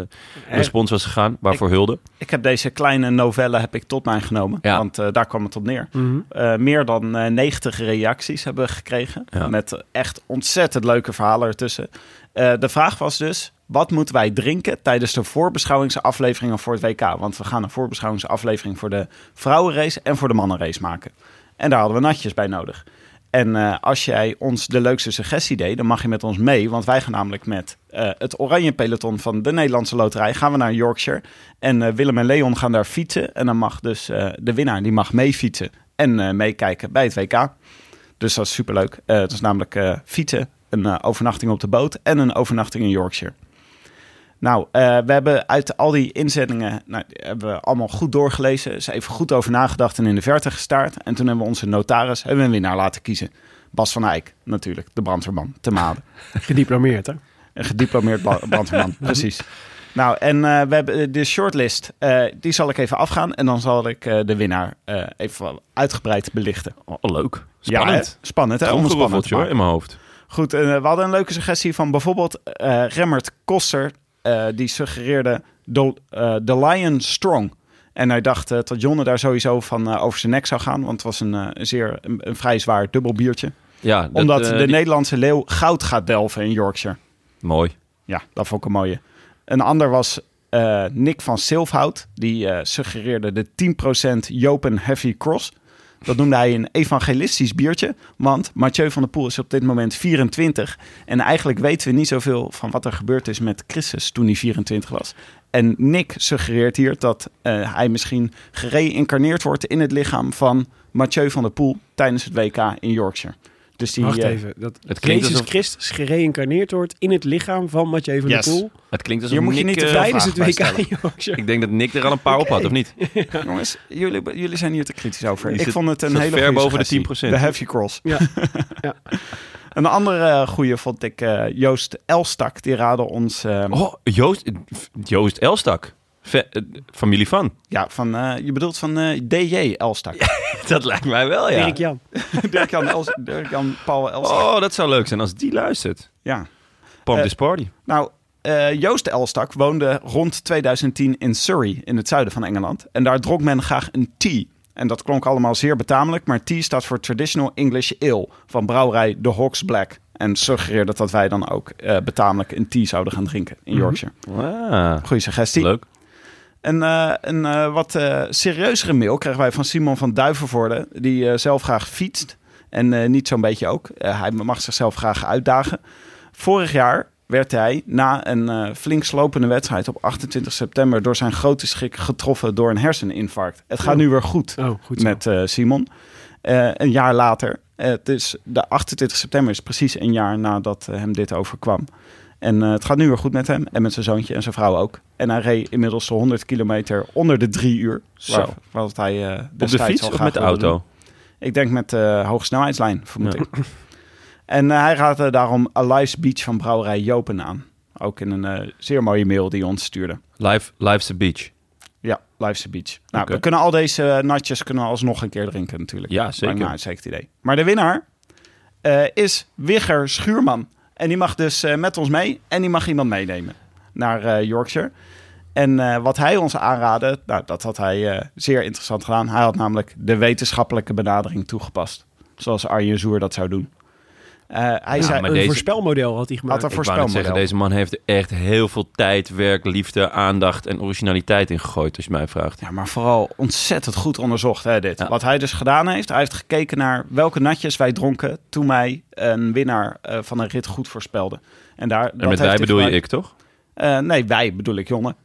Speaker 1: respons was gegaan. Waarvoor hulde.
Speaker 5: Ik heb deze kleine novelle heb ik tot mij genomen,
Speaker 1: Ja.
Speaker 5: want eh, daar kwam het op neer.
Speaker 2: Mhm.
Speaker 5: Eh, meer dan eh, 90 reacties hebben we gekregen,
Speaker 1: Ja.
Speaker 5: met echt ontzettend leuke verhalen ertussen. Eh, de vraag was dus, wat moeten wij drinken tijdens de voorbeschouwingsafleveringen voor het WK? Want we gaan een voorbeschouwingsaflevering voor de vrouwenrace en voor de mannenrace maken. En daar hadden we natjes bij nodig. En eh, als jij ons de leukste suggestie deed, dan mag je met ons mee. Want wij gaan namelijk met eh, het Oranje Peloton van de Nederlandse Loterij gaan we naar Yorkshire. En eh, Willem en Leon gaan daar fietsen. En dan mag dus eh, de winnaar, die mag meefietsen en eh, meekijken bij het WK. Dus dat is superleuk. Eh het is namelijk eh, fietsen, een eh, overnachting op de boot en een overnachting in Yorkshire. Nou, eh, we hebben uit al die inzendingen, nou, die hebben we allemaal goed doorgelezen. Ze even goed over nagedacht en in de verte gestaard. En toen hebben we onze notaris, hebben we een winnaar laten kiezen. Bas van Eyck, natuurlijk, de brandweerman, te maden.
Speaker 2: Gediplomeerd, hè?
Speaker 5: Een gediplomeerd
Speaker 1: (laughs)
Speaker 5: bla- brandweerman, precies. Nou, en eh, we hebben eh, de shortlist, eh, die zal ik even afgaan. En dan zal ik eh, de winnaar eh, even wel uitgebreid belichten.
Speaker 1: Oh, leuk. Spannend.
Speaker 5: Ja, hè? spannend, hè? Om het spannend
Speaker 1: Tromgeroffeltje
Speaker 5: te
Speaker 1: hoor,
Speaker 5: maken.
Speaker 1: in mijn hoofd.
Speaker 5: Goed, en, eh, we hadden een leuke suggestie van bijvoorbeeld eh, Remmert Koster. eh, die suggereerde The, eh, The Lion Strong. En hij dacht eh, dat Jonne daar sowieso van eh, over zijn nek zou gaan. Want het was een, eh, een zeer, een, een vrij zwaar dubbel biertje.
Speaker 1: Ja, dat,
Speaker 5: Omdat
Speaker 1: eh,
Speaker 5: de
Speaker 1: die-
Speaker 5: Nederlandse leeuw goud gaat delven in Yorkshire.
Speaker 1: Mooi.
Speaker 5: Ja, dat vond ik een mooie. Een ander was eh, Nick van Silfhout. Die eh, suggereerde de 10% Jopen Heavy Cross. Dat noemde hij een evangelistisch biertje. Want Mathieu van der Poel is op dit moment 24. En eigenlijk weten we niet zoveel van wat er gebeurd is met Christus toen hij 24 was. En Nick suggereert hier dat eh, hij misschien gereïncarneerd wordt in het lichaam van Mathieu van der Poel tijdens het WK in Yorkshire. Dus die,
Speaker 2: Wacht
Speaker 5: eh,
Speaker 2: even. Dat
Speaker 1: Het klinkt,
Speaker 2: Jezus
Speaker 1: alsof,
Speaker 2: Christus gereïncarneerd wordt in het lichaam van Mathieu van
Speaker 5: Yes.
Speaker 2: der Poel.
Speaker 1: het klinkt alsof
Speaker 5: hier moet je
Speaker 1: Nick,
Speaker 5: niet te
Speaker 1: eh,
Speaker 5: veel
Speaker 2: Tijdens het
Speaker 5: vragen bij stellen.
Speaker 2: WK. Yorkshire.
Speaker 1: Ik denk dat Nick er al een paar op had, of
Speaker 5: (laughs)
Speaker 1: niet?
Speaker 5: Jongens, jullie, jullie zijn hier te kritisch over.
Speaker 1: Je
Speaker 5: Ik
Speaker 1: zit-
Speaker 5: vond het een
Speaker 1: zit
Speaker 5: hele
Speaker 1: ver
Speaker 5: goede
Speaker 1: boven de
Speaker 5: suggestie.
Speaker 1: 10%.
Speaker 5: De heavy cross. (laughs)
Speaker 2: Ja. Ja.
Speaker 5: een andere eh, goede vond ik eh, Joost Elstak. Die raadde ons eh,
Speaker 1: Oh, Joost, Joost Elstak. Ve- eh, familie van.
Speaker 5: ja, van, eh, je bedoelt van eh, DJ Elstak.
Speaker 1: (laughs) Dat lijkt mij wel, ja.
Speaker 2: Erik Jan.
Speaker 5: (laughs) Dirk-Jan Els- Dirk-Jan Paul Elstak.
Speaker 1: Oh, dat zou leuk zijn als die luistert.
Speaker 5: Ja.
Speaker 1: Pump
Speaker 5: Eh,
Speaker 1: this party.
Speaker 5: Nou, eh, Joost Elstak woonde rond 2010 in Surrey, in het zuiden van Engeland. En daar dronk men graag een tea. En dat klonk allemaal zeer betamelijk, maar tea staat voor Traditional English Ale van brouwerij The Hawks Black. En suggereerde dat wij dan ook eh, betamelijk een tea zouden gaan drinken in Yorkshire.
Speaker 1: Ah,
Speaker 5: Goeie suggestie.
Speaker 1: leuk.
Speaker 5: En eh, een eh, wat eh, serieuzere mail kregen wij van Simon van Duivenvoorde, die eh, zelf graag fietst. En eh, niet zo'n beetje ook. Eh, hij mag zichzelf graag uitdagen. Vorig jaar werd hij na een eh, flink slopende wedstrijd op 28 september door zijn grote schrik getroffen door een herseninfarct. Het gaat nu weer goed
Speaker 2: Oh, goed zo.
Speaker 5: met eh, Simon. Eh, een jaar later. Eh, het is de 28 september is precies een jaar nadat eh, hem dit overkwam. En eh, het gaat nu weer goed met hem en met zijn zoontje en zijn vrouw ook. En hij reed inmiddels de 100 kilometer onder de drie uur.
Speaker 1: Zo.
Speaker 5: Waar, wat hij,
Speaker 1: Op
Speaker 5: eh, destijds
Speaker 1: de
Speaker 5: al
Speaker 1: fiets of
Speaker 5: graag
Speaker 1: met de
Speaker 5: wilde doen.
Speaker 1: auto?
Speaker 5: Ik denk met de hoge snelheidslijn, vermoed
Speaker 1: Ja.
Speaker 5: ik. (laughs) En eh, hij raadde daarom Alive's Beach van brouwerij Jopen aan. Ook in een eh, zeer mooie mail die hij ons stuurde.
Speaker 1: Live, Life's the beach.
Speaker 5: Ja, Life's a Beach. Nou,
Speaker 1: Oké.
Speaker 5: we kunnen al deze eh, natjes kunnen we alsnog een keer drinken natuurlijk.
Speaker 1: Ja, zeker.
Speaker 5: Lijkt me een uitstekend idee. Maar de winnaar eh, is Wigger Schuurman. En die mag dus eh, met ons mee en die mag iemand meenemen naar eh, Yorkshire. En eh, wat hij ons aanraadde, nou, dat had hij eh, zeer interessant gedaan. Hij had namelijk de wetenschappelijke benadering toegepast. Zoals Arjen Zoer dat zou doen. Eh, hij
Speaker 1: Ja,
Speaker 5: zei,
Speaker 1: maar
Speaker 2: een
Speaker 1: deze-
Speaker 2: voorspelmodel had hij gemaakt.
Speaker 5: Had er-
Speaker 1: Ik wou net zeggen,
Speaker 5: voorspelmodel.
Speaker 1: deze man heeft er echt heel veel tijd, werk, liefde, aandacht en originaliteit in gegooid, als je mij vraagt.
Speaker 5: Ja, maar vooral ontzettend goed onderzocht, hè, dit.
Speaker 1: Ja.
Speaker 5: Wat hij dus gedaan heeft, hij heeft gekeken naar welke natjes wij dronken toen wij een winnaar eh, van een rit goed voorspelden. En, daar, dat
Speaker 1: En met
Speaker 5: heeft
Speaker 1: wij
Speaker 5: hij
Speaker 1: bedoel je
Speaker 5: gedaan.
Speaker 1: ik, toch?
Speaker 5: Eh, nee, wij bedoel ik, jongen.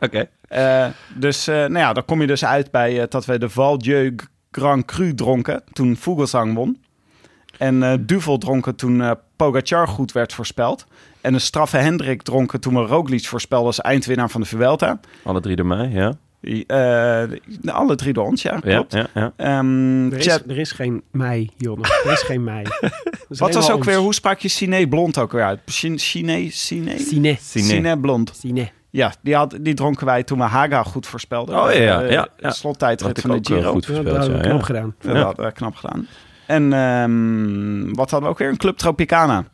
Speaker 1: Oké.
Speaker 5: Eh, dus eh, nou ja, dan kom je dus uit bij eh, dat wij de Val Dieu Grand Cru dronken toen Vogelsang won. En eh Duvel dronken toen eh Pogacar goed werd voorspeld. En een straffe Hendrik dronken toen we Roglic voorspelden als eindwinnaar van de Vuelta.
Speaker 1: Alle drie door mij, ja.
Speaker 5: Die, eh, alle drie door ons, ja,
Speaker 1: Ja,
Speaker 5: klopt.
Speaker 1: ja, ja.
Speaker 5: Ehm,
Speaker 2: Er is,
Speaker 5: Chad,
Speaker 2: er is geen mei, Jonne. Er is geen mei. Dat is
Speaker 5: wat was
Speaker 2: helemaal
Speaker 5: ook weer,
Speaker 2: ons.
Speaker 5: hoe sprak je Cine blond ook weer uit? Cine, Cine, Cine?
Speaker 2: Cine.
Speaker 1: Cine.
Speaker 5: Cine blond.
Speaker 2: Cine.
Speaker 5: Ja, die, had, die dronken wij toen we Haga goed voorspelden.
Speaker 1: Oh,
Speaker 5: Bij
Speaker 1: ja,
Speaker 5: de
Speaker 1: ja, ja. Dat
Speaker 5: Slottijdrit
Speaker 1: ik
Speaker 5: van de
Speaker 1: ook eh,
Speaker 5: Giro.
Speaker 1: goed
Speaker 2: Ja, dat
Speaker 1: verspeeld,
Speaker 2: hebben
Speaker 1: ja.
Speaker 2: we knap
Speaker 1: ja.
Speaker 2: gedaan.
Speaker 5: Dat
Speaker 1: Ja.
Speaker 5: hadden we knap gedaan. En ehm, wat hadden we ook weer? Een Club Tropicana.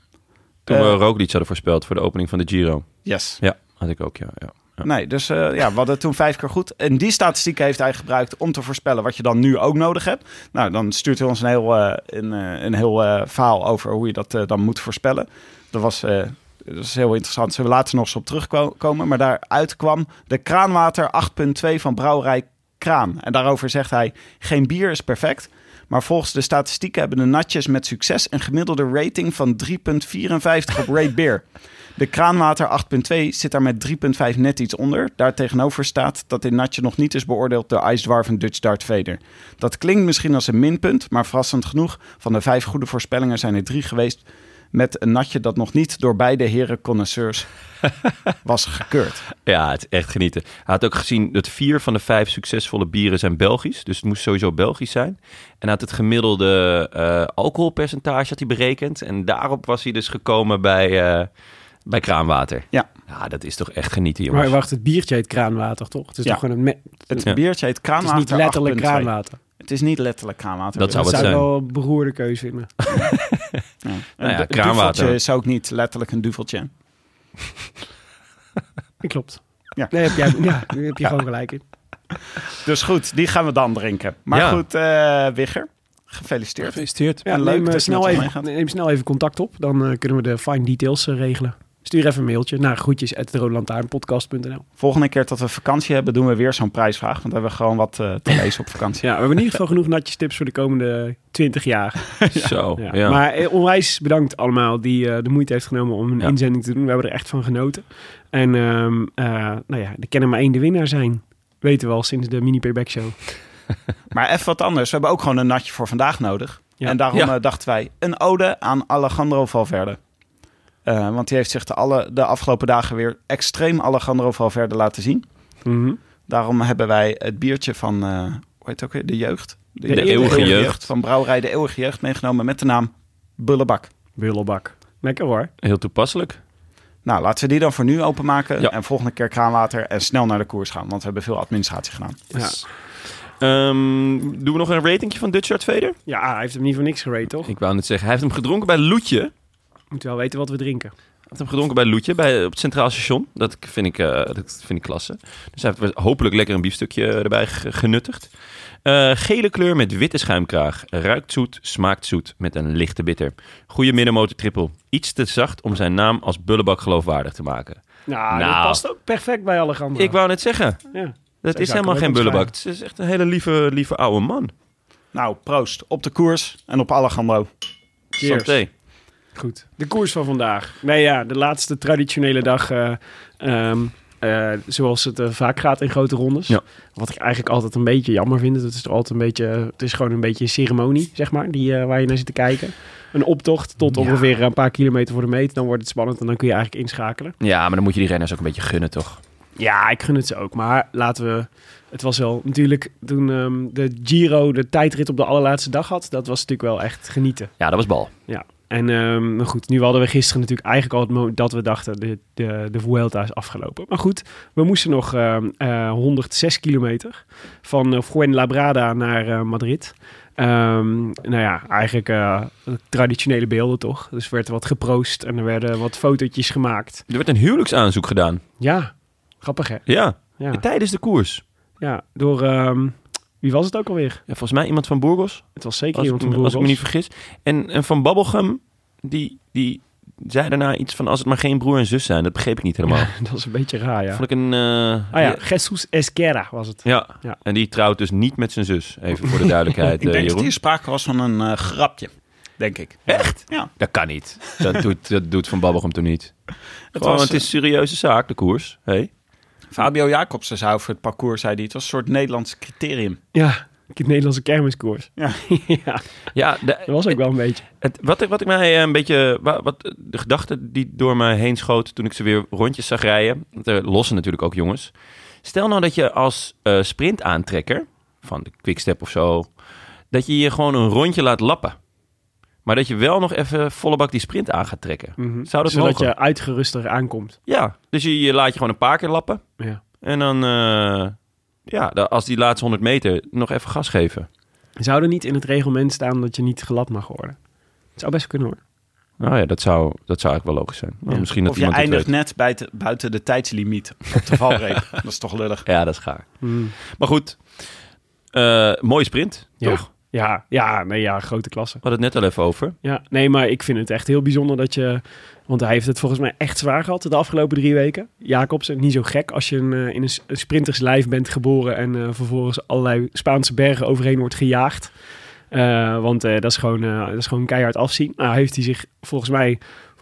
Speaker 1: Toen
Speaker 5: Eh,
Speaker 1: we Roglic hadden voorspeld voor de opening van de Giro.
Speaker 5: Yes.
Speaker 1: Ja, had ik ook, ja. ja.
Speaker 5: Nee, dus eh, ja, we hadden toen vijf keer goed. En die statistiek heeft hij gebruikt om te voorspellen wat je dan nu ook nodig hebt. Nou, dan stuurt hij ons een heel, eh, een, eh, een heel eh, verhaal over hoe je dat eh, dan moet voorspellen. Dat was, eh, dat is heel interessant. Zullen we later nog eens op terugkomen. Maar daaruit kwam de kraanwater 8.2 van brouwerij Kraan. En daarover zegt hij, geen bier is perfect. Maar volgens de statistieken hebben de natjes met succes een gemiddelde rating van 3.54 op Rate Beer. De kraanwater 8.2 zit daar met 3.5 net iets onder. Daartegenover staat dat dit natje nog niet is beoordeeld door Ice Dwarf en Dutch Dart Vader. Dat klinkt misschien als een minpunt, maar verrassend genoeg, van de vijf goede voorspellingen zijn er drie geweest met een natje dat nog niet door beide heren connoisseurs was gekeurd.
Speaker 1: Ja, het is echt genieten. Hij had ook gezien dat vier van de vijf succesvolle bieren zijn Belgisch. Dus het moest sowieso Belgisch zijn. En hij had het gemiddelde eh, alcoholpercentage had hij berekend. En daarop was hij dus gekomen bij, eh, bij kraanwater.
Speaker 5: Ja.
Speaker 1: Ja, dat is toch echt genieten, jongens.
Speaker 2: Maar wacht, het biertje heet kraanwater, toch? Het is
Speaker 5: Ja.
Speaker 2: toch gewoon een... me-
Speaker 5: Het
Speaker 1: Ja.
Speaker 5: biertje heet
Speaker 2: Het is
Speaker 5: kraanwater
Speaker 2: niet letterlijk
Speaker 5: 8.2.
Speaker 2: kraanwater.
Speaker 5: Het is niet letterlijk kraanwater.
Speaker 1: Dat zou
Speaker 2: Dat
Speaker 1: het
Speaker 2: zou ik
Speaker 1: zijn.
Speaker 2: wel een beroerde keuze vinden.
Speaker 5: Ja.
Speaker 1: Nou ja,
Speaker 5: Een du-
Speaker 1: kraanwater.
Speaker 5: duveltje is ook niet letterlijk een duveltje.
Speaker 2: Dat klopt.
Speaker 5: Ja.
Speaker 2: Nee, heb jij, ja, daar heb je gewoon gelijk in.
Speaker 5: Dus goed, die gaan we dan drinken. Maar
Speaker 1: Ja.
Speaker 5: goed, eh Wigger, gefeliciteerd.
Speaker 2: Ja,
Speaker 5: En leuk
Speaker 2: neem, eh,
Speaker 5: dat je met
Speaker 2: snel
Speaker 5: ons
Speaker 2: even,
Speaker 5: meegaat.
Speaker 2: neem snel even contact op. Dan eh, kunnen we de fine details eh, regelen. Stuur even een mailtje naar groetjes
Speaker 5: Volgende keer dat we vakantie hebben, doen we weer zo'n prijsvraag. Want dan hebben we gewoon wat eh, te lezen op vakantie.
Speaker 2: Ja, we hebben in ieder geval genoeg natjes tips voor de komende 20 jaar.
Speaker 1: (laughs) Zo,
Speaker 2: Ja.
Speaker 1: Oh, ja.
Speaker 2: Maar eh, onwijs bedankt allemaal die eh, de moeite heeft genomen om een
Speaker 1: Ja.
Speaker 2: inzending te doen. We hebben er echt van genoten. En ehm, eh, nou ja, er kan er maar één de winnaar zijn. Weten we al sinds de mini payback show.
Speaker 5: Maar even wat anders. We hebben ook gewoon een natje voor vandaag nodig.
Speaker 2: Ja.
Speaker 5: En daarom
Speaker 1: Ja.
Speaker 5: eh, dachten wij een ode aan Alejandro Valverde. Eh, want die heeft zich de, alle, de afgelopen dagen weer extreem Alejandro Valverde laten zien.
Speaker 2: Mhm.
Speaker 5: Daarom hebben wij het biertje van, eh, hoe heet het ook weer? De jeugd.
Speaker 2: De
Speaker 1: Eeuwige Jeugd.
Speaker 5: Van Brouwerij De Eeuwige Jeugd meegenomen met de naam Bullebak.
Speaker 2: Bullebak. Lekker hoor.
Speaker 1: heel toepasselijk.
Speaker 5: Nou, laten we die dan voor nu openmaken.
Speaker 1: Ja.
Speaker 5: En volgende keer kraanwater en snel naar de koers gaan. Want we hebben veel administratie gedaan.
Speaker 2: Ja.
Speaker 1: Ehm, doen we nog een ratingje van Dutch Art Vader?
Speaker 2: ja, hij heeft hem niet voor niks gerate, toch?
Speaker 1: Ik wou net zeggen, hij heeft hem gedronken bij Loetje. Hij
Speaker 2: Moet wel weten wat we drinken.
Speaker 1: heeft hem gedronken bij Loetje, bij, op het Centraal Station. Dat vind ik, eh, dat vind ik klasse. Dus hij heeft hopelijk lekker een biefstukje erbij ge- genuttigd. Eh, gele kleur met witte schuimkraag. Ruikt zoet, smaakt zoet met een lichte bitter. Goede middenmotor triple. Iets te zacht om zijn naam als bullebak geloofwaardig te maken.
Speaker 2: Nou, dat
Speaker 1: Nou.
Speaker 2: past ook perfect bij alle gangen.
Speaker 1: Ik wou net zeggen,
Speaker 2: Ja.
Speaker 1: dat is
Speaker 2: Zij zou
Speaker 1: helemaal
Speaker 2: ik
Speaker 1: geen
Speaker 2: hem ook
Speaker 1: bullebak. Het is echt een hele lieve, lieve oude man.
Speaker 5: Nou, proost op de koers en op Alejandro.
Speaker 2: Cheers.
Speaker 1: Santé.
Speaker 2: Goed. De koers van vandaag. Nee, ja, de laatste traditionele dag. eh, ehm, eh, zoals het eh, vaak gaat in grote rondes.
Speaker 1: Ja.
Speaker 2: Wat ik eigenlijk altijd een beetje jammer vind. Dat is toch altijd een beetje. Het is gewoon een beetje een ceremonie, zeg maar. Die, eh, waar je naar zit te kijken. Een optocht tot ongeveer een paar kilometer voor de meet. Dan wordt het spannend en dan kun je eigenlijk inschakelen.
Speaker 1: Ja, maar dan moet je die renners ook een beetje gunnen, toch?
Speaker 2: Ja, ik gun het ze ook. Maar laten we. Het was wel natuurlijk toen ehm, de Giro de tijdrit op de allerlaatste dag had. Dat was natuurlijk wel echt genieten.
Speaker 1: Ja, dat was bal.
Speaker 2: Ja. En ehm, maar goed, nu hadden we gisteren natuurlijk eigenlijk al het moment dat we dachten: de, de, de Vuelta is afgelopen. Maar goed, we moesten nog ehm, eh, 106 kilometer van eh, Fuenlabrada naar eh, Madrid. Ehm, nou ja, eigenlijk eh, traditionele beelden toch? Dus werd er wat geproost en er werden wat fotootjes gemaakt.
Speaker 1: Er werd een huwelijksaanzoek gedaan.
Speaker 2: Ja, grappig hè?
Speaker 1: Ja,
Speaker 2: Ja.
Speaker 1: tijdens de koers.
Speaker 2: Ja, door... ehm, wie was het ook alweer?
Speaker 1: Ja, volgens mij iemand van Burgos,
Speaker 2: Het was zeker
Speaker 1: als,
Speaker 2: iemand van
Speaker 1: ik- als ik me
Speaker 2: Burgos.
Speaker 1: niet vergis. En, en van Babbelgum, die, die zei daarna iets van als het maar geen broer en zus zijn. Dat begreep ik niet helemaal.
Speaker 2: (laughs) Dat is een beetje raar, ja.
Speaker 1: Vond ik een... eh,
Speaker 2: Ah ja, Jesus Esquerra was het.
Speaker 1: ja.
Speaker 2: Ja.
Speaker 1: en die trouwt dus niet met zijn zus. Even voor de duidelijkheid,
Speaker 5: Ik
Speaker 1: eh,
Speaker 5: denk dat
Speaker 1: Jeroen.
Speaker 5: hier sprake was van een eh, grapje, denk ik.
Speaker 1: Echt?
Speaker 5: Ja.
Speaker 1: Dat kan niet. Dat doet, dat doet Van Babbelgum toen niet. Gewoon,
Speaker 5: was, eh,
Speaker 1: het is een serieuze zaak, de koers. Hey.
Speaker 5: Fabio Jacobsen zou voor het parcours, zei hij, het was een soort Nederlands criterium.
Speaker 2: Ja, ik het Nederlandse kermiskoers.
Speaker 5: Ja.
Speaker 2: ja,
Speaker 1: Ja,
Speaker 2: dat was ook wel een beetje.
Speaker 1: Het, wat, ik- wat ik mij eh, een beetje. wa- Wat, de gedachte die door me heen schoot toen ik ze weer rondjes zag rijden. want Er lossen natuurlijk ook jongens. Stel nou dat je als eh sprintaantrekker van de Quickstep of zo. dat je je gewoon een rondje laat lappen. Maar dat je wel nog even volle bak die sprint aan gaat trekken. Zou dat
Speaker 2: Mhm. Zodat
Speaker 1: mogen?
Speaker 2: je uitgeruster aankomt.
Speaker 1: Ja, dus je, je laat je gewoon een paar keer lappen.
Speaker 2: Ja.
Speaker 1: En dan, eh, ja, da- als die laatste 100 meter nog even gas geven.
Speaker 2: Zou er niet in het reglement staan dat je niet gelapt mag worden? Het zou best kunnen hoor.
Speaker 1: Nou ja, dat zou, dat zou eigenlijk wel logisch zijn. Nou,
Speaker 2: Ja.
Speaker 1: Misschien dat
Speaker 5: of je
Speaker 1: iemand het
Speaker 5: eindigt
Speaker 1: weet.
Speaker 5: net bij te- buiten de tijdslimiet op de
Speaker 1: (laughs)
Speaker 5: valreep. dat is toch lullig.
Speaker 1: Ja, dat is gaar. Maar goed, eh, mooie sprint,
Speaker 2: Ja.
Speaker 1: toch?
Speaker 2: Ja, ja, nee, ja, grote klasse.
Speaker 1: We hadden het net al even over.
Speaker 2: Ja, nee, maar ik vind het echt heel bijzonder dat je... Want hij heeft het volgens mij echt zwaar gehad de afgelopen drie weken. Jacobsen, niet zo gek als je een, eh, in een, s- een sprinterslijf bent geboren... en eh, vervolgens allerlei Spaanse bergen overheen wordt gejaagd. Eh, want eh, dat, is gewoon, eh, dat is gewoon keihard afzien. Nou, heeft hij zich volgens mij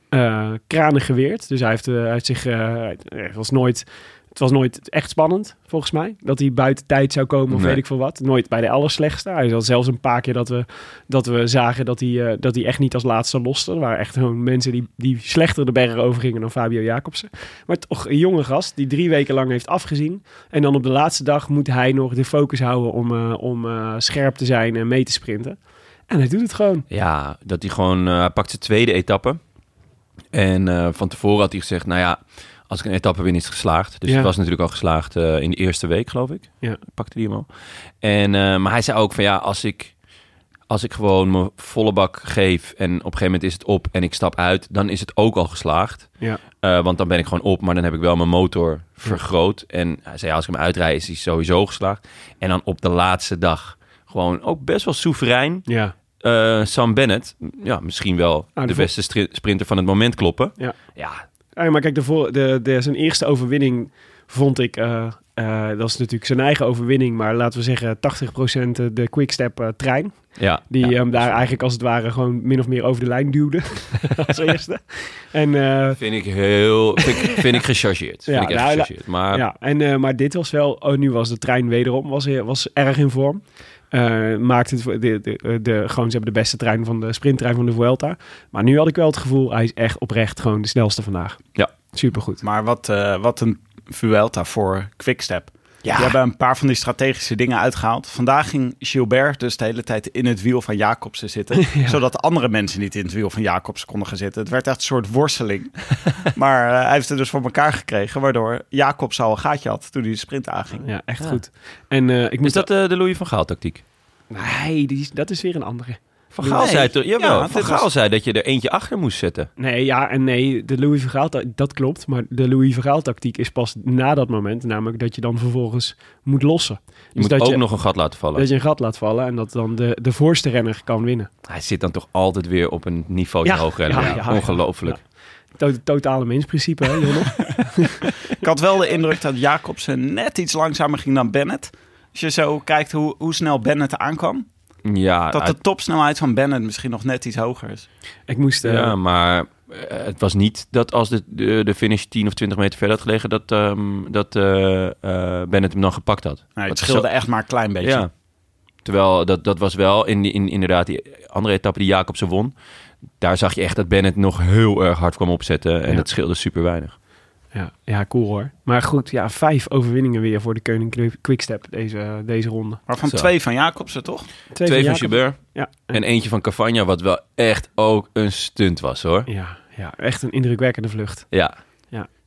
Speaker 2: eh kranen geweerd. Dus hij heeft, eh, hij heeft zich... eh, het, was nooit, het was nooit echt spannend, volgens mij. Dat hij buiten tijd zou komen of
Speaker 1: Nee.
Speaker 2: weet ik veel wat. Nooit bij de allerslechtste. Hij had zelfs een paar keer dat we dat we zagen dat hij, eh, dat hij echt niet als laatste loste. Er waren echt gewoon mensen die, die slechter de bergen overgingen dan Fabio Jacobsen. Maar toch een jonge gast die drie weken lang heeft afgezien. En dan op de laatste dag moet hij nog de focus houden om, eh, om eh, scherp te zijn en mee te sprinten. En hij doet het gewoon.
Speaker 1: Ja, dat hij gewoon... eh, hij pakt zijn tweede etappe. En eh, van tevoren had hij gezegd, nou ja, als ik een etappe win is het geslaagd. Dus
Speaker 2: Ja.
Speaker 1: het was natuurlijk al geslaagd eh, in de eerste week, geloof ik.
Speaker 2: Ja.
Speaker 1: Pakte hij hem al. En, eh, maar hij zei ook van ja, als ik... Als ik gewoon mijn volle bak geef en op een gegeven moment is het op en ik stap uit, dan is het ook al geslaagd.
Speaker 2: Ja.
Speaker 1: Eh, want dan ben ik gewoon op, maar dan heb ik wel mijn motor vergroot. En hij zei, als ik hem uitrijd, is hij sowieso geslaagd. En dan op de laatste dag gewoon ook best wel soeverein.
Speaker 2: Ja.
Speaker 1: eh, Sam Bennett, ja, misschien wel
Speaker 2: Ah, de
Speaker 1: de
Speaker 2: vo-
Speaker 1: beste stri- sprinter van het moment kloppen.
Speaker 2: Ja.
Speaker 1: ja
Speaker 2: Ah, ja, maar kijk, de, voor- de, de, zijn eerste overwinning vond ik... eh, eh, dat is natuurlijk zijn eigen overwinning, maar laten we zeggen 80% de quickstep eh, trein.
Speaker 1: Ja,
Speaker 2: Die
Speaker 1: ja.
Speaker 2: hem daar eigenlijk als het ware gewoon min of meer over de lijn duwde. (laughs) als eerste. En eh,
Speaker 1: vind ik heel... Vind ik, vind ik gechargeerd. Vind
Speaker 2: Ja,
Speaker 1: ik echt
Speaker 2: nou, la-
Speaker 1: gechargeerd. Maar
Speaker 2: Ja, en, eh, maar dit was wel... Oh, nu was de trein wederom was, eh, was erg in vorm. Eh maakte het, voor- de, de, de, gewoon, ze hebben de beste trein van de sprinttrein van de Vuelta. Maar nu had ik wel het gevoel, hij is echt oprecht gewoon de snelste vandaag.
Speaker 1: Ja.
Speaker 2: Supergoed.
Speaker 5: Maar wat, eh, wat een Vuelta voor Quickstep.
Speaker 2: Ja.
Speaker 5: Die hebben een paar van die strategische dingen uitgehaald. Vandaag ging Gilbert dus de hele tijd in het wiel van Jacobsen
Speaker 1: (laughs)
Speaker 5: zitten. Zodat andere mensen niet in het wiel van Jacobsen konden gaan zitten. Het werd echt een soort worsteling. (laughs) maar eh, hij heeft het dus voor elkaar gekregen. Waardoor Jacobsen al een gaatje had toen hij de sprint aanging.
Speaker 2: Ja, echt
Speaker 1: Ja.
Speaker 2: goed. En eh, ik
Speaker 1: is
Speaker 2: moet...
Speaker 1: dat eh, de Louis van Gaal tactiek?
Speaker 2: Nee, die, is- dat is weer een andere.
Speaker 1: Van Gaal
Speaker 5: Nee.
Speaker 1: zei toch... Jawel,
Speaker 5: Ja,
Speaker 1: Van
Speaker 5: dit
Speaker 1: Gaal
Speaker 5: was-
Speaker 1: zei dat je er eentje achter moest zetten.
Speaker 2: Nee, ja en nee. De Louis Vergaal, dat klopt. Maar de Louis Vergaal tactiek is pas na dat moment. Namelijk dat je dan vervolgens moet lossen.
Speaker 1: Je moet
Speaker 2: Dus dat
Speaker 1: ook
Speaker 2: je,
Speaker 1: nog een gat laten vallen.
Speaker 2: dat je een gat laat vallen en dat dan de, de voorste renner kan winnen.
Speaker 1: Hij zit dan toch altijd weer op een niveau
Speaker 2: Ja,
Speaker 1: hoger.
Speaker 2: ja, ja, ja.
Speaker 1: Ongelooflijk.
Speaker 2: To- totale mensprincipe, hè,
Speaker 1: (laughs)
Speaker 2: Jonne?
Speaker 5: Ik had wel de indruk dat Jacobsen net iets langzamer ging dan Bennett. Als je zo kijkt hoe, hoe snel Bennett aankwam.
Speaker 1: Ja,
Speaker 5: Dat
Speaker 1: uit-
Speaker 5: de topsnelheid van Bennett misschien nog net iets hoger is.
Speaker 2: Ik moest... eh,
Speaker 1: ja, maar eh, het was niet dat als de, de, de finish 10 of 20 meter verder had gelegen, dat, ehm, dat eh, eh, Bennett hem dan gepakt had.
Speaker 5: Nee,
Speaker 1: Dat
Speaker 5: het
Speaker 1: is
Speaker 5: scheelde
Speaker 1: zo-
Speaker 5: echt maar een klein beetje.
Speaker 1: Ja. Terwijl dat, dat was wel in, die- in inderdaad die andere etappe die Jacobsen won. Daar zag je echt dat Bennett nog heel erg hard kwam opzetten. En
Speaker 2: Ja.
Speaker 1: dat scheelde super weinig.
Speaker 2: ja, ja, cool hoor. Maar goed, ja, vijf overwinningen weer voor de Koning Quickstep deze, deze ronde.
Speaker 5: Waarvan
Speaker 1: Zo.
Speaker 5: twee van Jacobsen, toch?
Speaker 1: Twee van
Speaker 2: Jacob-
Speaker 1: Gilbert
Speaker 2: Ja, en-
Speaker 1: en eentje van Cavagna, wat wel echt ook een stunt was hoor.
Speaker 2: ja, ja, echt een indrukwekkende
Speaker 1: (laughs)
Speaker 2: vlucht.
Speaker 1: Ja,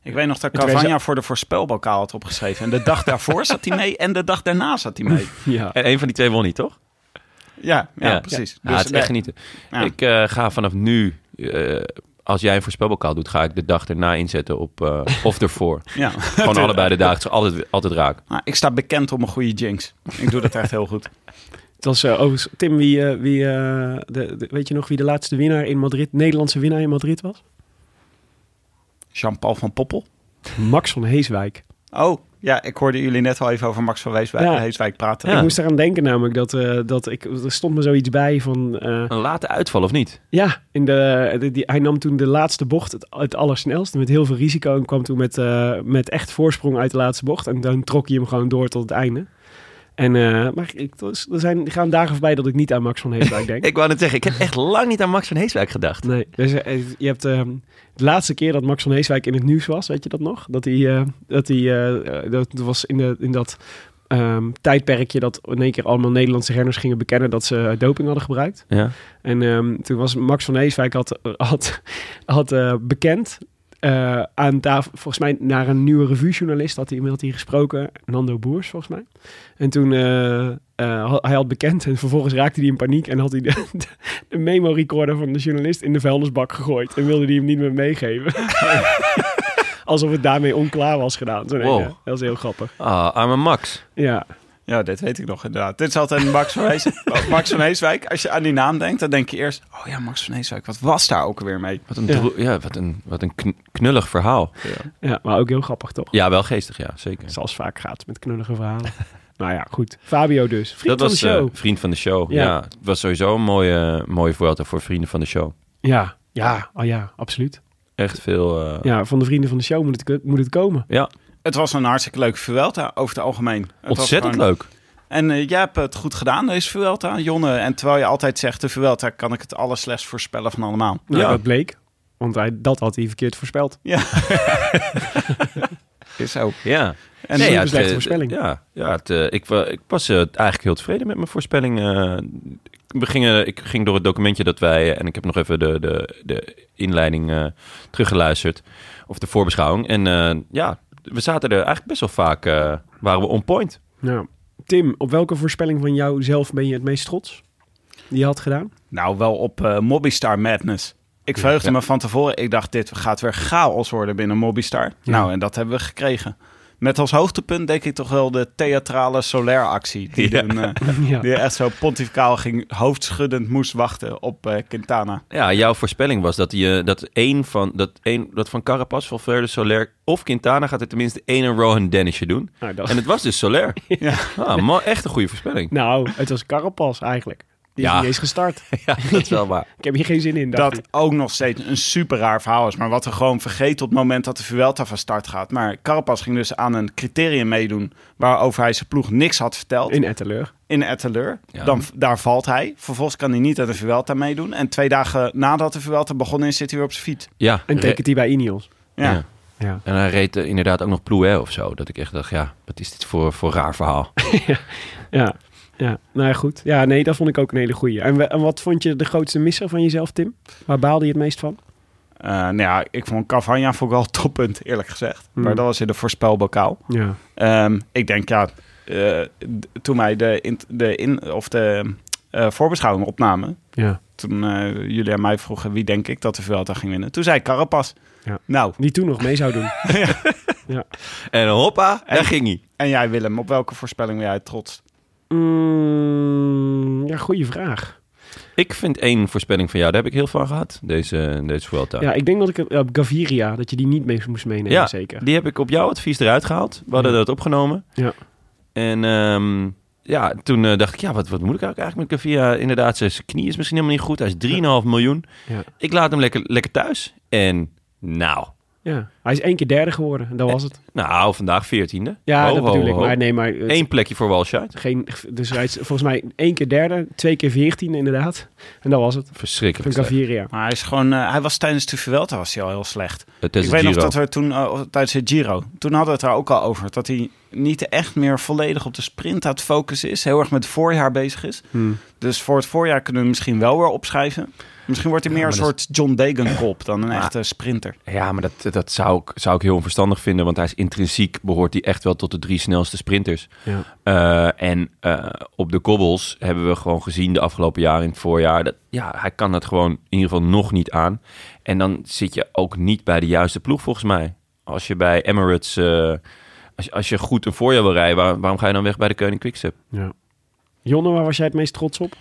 Speaker 5: Ik weet nog dat
Speaker 2: En toen
Speaker 5: Cavagna
Speaker 2: wij
Speaker 5: voor de voorspelbokaal had opgeschreven. En de dag daarvoor zat hij mee en de dag daarna zat hij mee.
Speaker 2: Ja,
Speaker 1: en een van die twee won niet toch?
Speaker 5: Ja, ja,
Speaker 1: Ja. Dus,
Speaker 5: precies.
Speaker 1: Ja, het is
Speaker 5: nee,
Speaker 1: echt genieten.
Speaker 5: ja.
Speaker 1: Ik eh, ga vanaf nu, eh, als jij een voorspelbokaal doet, ga ik de dag erna inzetten op eh, of (laughs) ervoor.
Speaker 5: ja.
Speaker 1: Gewoon allebei de dagen, het is altijd, altijd raak.
Speaker 5: Nou, ik sta bekend om een goede jinx. Ik doe dat echt heel goed.
Speaker 2: het was eh, overigens... Tim, wie, eh, wie, eh, de, de- weet je nog wie de laatste winnaar in Madrid, Nederlandse winnaar in Madrid was?
Speaker 5: Jean-Paul van Poppel.
Speaker 2: Max van Heeswijk.
Speaker 5: Oh, ja, ik hoorde jullie net al even over Max van Weeswijk,
Speaker 2: Ja.
Speaker 5: Heeswijk praten.
Speaker 1: Ja.
Speaker 2: Ik moest eraan denken namelijk dat, eh, dat ik, er stond me zoiets bij van... eh,
Speaker 1: Een late uitval of niet?
Speaker 2: Ja, in de, de- die, hij nam toen de laatste bocht het, het allersnelste met heel veel risico. En kwam toen met, eh, met echt voorsprong uit de laatste bocht. En dan trok hij hem gewoon door tot het einde. En, eh, maar ik, dus, er zijn, er gaan dagen voorbij dat ik niet aan Max van
Speaker 1: (laughs)
Speaker 2: Heeswijk denk.
Speaker 1: Ik wou net zeggen, ik heb echt lang niet aan Max van Heeswijk gedacht.
Speaker 2: Nee, dus, eh, je hebt eh, de laatste keer dat Max van Heeswijk in het nieuws was, weet je dat nog? Dat hij, eh, dat hij, eh, eh, dat was in, de, in dat ehm, tijdperkje dat in één keer allemaal Nederlandse renners gingen bekennen dat ze doping hadden gebruikt.
Speaker 1: Ja.
Speaker 2: En ehm, toen was Max van Heeswijk had, had, had eh, bekend eh, aan tafel, volgens mij naar een nieuwe revuejournalist had hij inmiddels hier gesproken, Nando Boers volgens mij. En toen eh, eh, had- hij had bekend en vervolgens raakte hij in paniek en had hij de, de, de memo recorder van de journalist in de vuilnisbak gegooid en wilde hij hem niet meer meegeven. (laughs) Alsof het daarmee onklaar was gedaan. Zo'n
Speaker 1: Wow.
Speaker 2: ene. Dat is heel grappig.
Speaker 1: Ah, arme Max.
Speaker 2: Ja,
Speaker 5: Ja, dit weet ik nog inderdaad. Dit is altijd een Max van,
Speaker 1: (laughs)
Speaker 5: Hees, Max van Heeswijk. Als je aan die naam denkt, dan denk je eerst... Oh ja, Max van Heeswijk, wat was daar ook alweer mee?
Speaker 1: Wat een,
Speaker 2: Ja.
Speaker 1: droe- ja. wat een, wat een kn- knullig verhaal.
Speaker 2: ja, maar ook heel grappig toch?
Speaker 1: Ja, wel geestig, ja, zeker.
Speaker 2: Zoals vaak gaat met knullige verhalen. (laughs) nou ja, goed. Fabio dus.
Speaker 1: dat
Speaker 2: Vriend van
Speaker 1: was
Speaker 2: de show.
Speaker 1: eh, vriend van de show.
Speaker 2: Ja.
Speaker 1: Ja. het was sowieso een mooie, mooie Vuelta voor vrienden van de show.
Speaker 2: Ja, ja, oh ja, absoluut.
Speaker 1: Echt veel. eh,
Speaker 2: Ja, van de vrienden van de show moet het, moet het komen.
Speaker 1: ja,
Speaker 5: Het was een hartstikke leuke Vuelta, over het algemeen. Het was
Speaker 1: ontzettend
Speaker 5: gewoon-
Speaker 1: leuk.
Speaker 5: En eh, jij hebt het goed gedaan, deze Vuelta, Jonne. En terwijl je altijd zegt, de Vuelta kan ik het allerslechtst voorspellen van allemaal.
Speaker 2: Nou,
Speaker 1: Ja.
Speaker 2: Dat bleek. Want hij, dat had hij verkeerd voorspeld.
Speaker 5: Is zo.
Speaker 1: Ja.
Speaker 5: En
Speaker 2: Nee,
Speaker 5: ja,
Speaker 2: ja. een slechte
Speaker 1: eh,
Speaker 2: voorspelling.
Speaker 1: Ja, ja het, eh, ik, wa- ik was eh, eigenlijk heel tevreden met mijn voorspelling. eh. we gingen, ik ging door het documentje dat wij, eh, en ik heb nog even de, de, de inleiding eh, teruggeluisterd, of de voorbeschouwing. En eh, ja, we zaten er eigenlijk best wel vaak, eh, waren we on point.
Speaker 2: Nou, Tim, op welke voorspelling van jou zelf ben je het meest trots? Die je had gedaan?
Speaker 5: nou wel op eh, Mobistar Madness. Ik verheugde me van tevoren. Ik dacht, dit gaat weer chaos worden binnen Mobistar. Nou, en dat hebben we gekregen. Met als hoogtepunt denk ik toch wel de theatrale Solaire-actie. Die,
Speaker 1: Ja.
Speaker 5: een, eh, (laughs)
Speaker 2: Ja.
Speaker 5: die echt zo pontificaal ging, hoofdschuddend moest wachten op eh, Quintana.
Speaker 1: Ja, jouw voorspelling was dat, je, dat, één van, dat, één, dat van Carapaz, Valverde, Soler of Quintana gaat er tenminste één een Rohan Dennisje doen.
Speaker 2: Nou, dat-
Speaker 1: En het was dus
Speaker 2: (laughs)
Speaker 1: Soler. ja. ah, man, echt een goede voorspelling.
Speaker 2: nou, het was Carapas eigenlijk. Die
Speaker 1: Ja.
Speaker 2: is niet eens gestart.
Speaker 1: Ja, (laughs) dat is wel waar.
Speaker 2: Ik heb hier geen zin in. dacht
Speaker 5: Dat
Speaker 2: ik.
Speaker 5: ook nog steeds een super raar verhaal is. Maar wat we gewoon vergeten op het moment dat de Vuelta van start gaat. Maar Carapaz ging dus aan een criterium meedoen waarover hij zijn ploeg niks had verteld.
Speaker 2: In Etteleur.
Speaker 5: in Etteleur.
Speaker 1: Ja.
Speaker 5: Dan, daar valt hij. Vervolgens kan hij niet aan de Vuelta meedoen. En twee dagen nadat de Vuelta begonnen is, zit hij weer op zijn fiets.
Speaker 1: Ja,
Speaker 2: En
Speaker 1: re-
Speaker 2: tekent hij bij Ineos.
Speaker 5: Ja.
Speaker 1: Ja.
Speaker 2: Ja.
Speaker 1: En hij reed eh, inderdaad ook nog Plouet of zo. Dat ik echt dacht, ja, wat is dit voor, voor raar verhaal?
Speaker 2: Ja. Ja, nou ja, goed. Ja, nee, dat vond ik ook een hele goeie. En, we- en wat vond je de grootste misser van jezelf, Tim? Waar baalde je het meest van?
Speaker 5: Eh, nou ja, ik vond Cavagna vond ik wel het toppunt, eerlijk gezegd.
Speaker 2: Hmm.
Speaker 5: Maar dat was in de voorspelbokaal.
Speaker 2: Ja.
Speaker 5: Ehm, ik denk, ja, eh, d- toen wij de, in, de, in, of de eh, voorbeschouwing opnamen...
Speaker 2: ja.
Speaker 5: toen eh, jullie aan mij vroegen wie denk ik dat de Vuelta ging winnen. Toen zei ik Carapaz.
Speaker 2: Ja.
Speaker 5: Nou,
Speaker 2: Die toen nog mee zou doen.
Speaker 1: (laughs) En hoppa, daar ging hij.
Speaker 5: en jij Willem, op welke voorspelling ben jij trots?
Speaker 2: (laughs) Mm, ja, goede vraag.
Speaker 1: Ik vind één voorspelling van jou, daar heb ik heel van gehad, deze, deze Vuelta.
Speaker 2: Ja, ik denk dat ik het- op Gaviria, dat je die niet mee moest meenemen,
Speaker 1: Ja,
Speaker 2: zeker.
Speaker 1: Die heb ik op jouw advies eruit gehaald. We hadden
Speaker 2: Ja.
Speaker 1: dat opgenomen.
Speaker 2: Ja.
Speaker 1: En ehm, ja, toen eh, dacht ik, ja, wat, wat moet ik eigenlijk eigenlijk met Cavia? Inderdaad, zijn zijn knie is misschien helemaal niet goed. Hij is 3,5 miljoen.
Speaker 2: Ja.
Speaker 1: Ik laat hem lekker, lekker thuis. En nou,
Speaker 2: Ja. Hij is één keer derde geworden en dat was het.
Speaker 1: nou vandaag 14e.
Speaker 2: Ja,
Speaker 1: Ho,
Speaker 2: dat
Speaker 1: ho,
Speaker 2: bedoel ik.
Speaker 1: ho.
Speaker 2: Maar nee, maar... het-
Speaker 1: Eén plekje voor Walshite.
Speaker 2: geen, dus hij is volgens mij één keer derde, twee keer veertien inderdaad. En dat was het. Van
Speaker 1: Verschrikkelijk. slecht.
Speaker 2: Gaviria.
Speaker 5: Maar hij is gewoon, eh, hij was tijdens de Vuelta was hij al heel slecht.
Speaker 1: Het is
Speaker 5: ik
Speaker 1: een
Speaker 5: weet nog
Speaker 1: Giro.
Speaker 5: dat we toen, eh, tijdens het Giro, toen hadden we het daar ook al over. Dat hij niet echt meer volledig op de sprint aan het focussen is. Heel erg met het voorjaar bezig is.
Speaker 1: Hmm.
Speaker 5: Dus voor het voorjaar kunnen we hem misschien wel weer opschrijven. Misschien wordt hij meer een
Speaker 1: maar
Speaker 5: soort John Degenkop dan een echte sprinter.
Speaker 1: Ja, maar dat, dat zou, ik, zou ik heel onverstandig vinden. Want hij is intrinsiek, behoort hij echt wel tot de drie snelste sprinters.
Speaker 2: Ja.
Speaker 1: Eh, en eh, op de kobbels hebben we gewoon gezien de afgelopen jaren in het voorjaar. Dat, ja, hij kan dat gewoon in ieder geval nog niet aan. En dan zit je ook niet bij de juiste ploeg volgens mij. Als je bij Emirates, eh, als, je- als je goed een voorjaar wil rijden, waar- waarom ga je dan weg bij de Koning Quickstep?
Speaker 2: Ja. Jonne, waar was jij het meest trots op?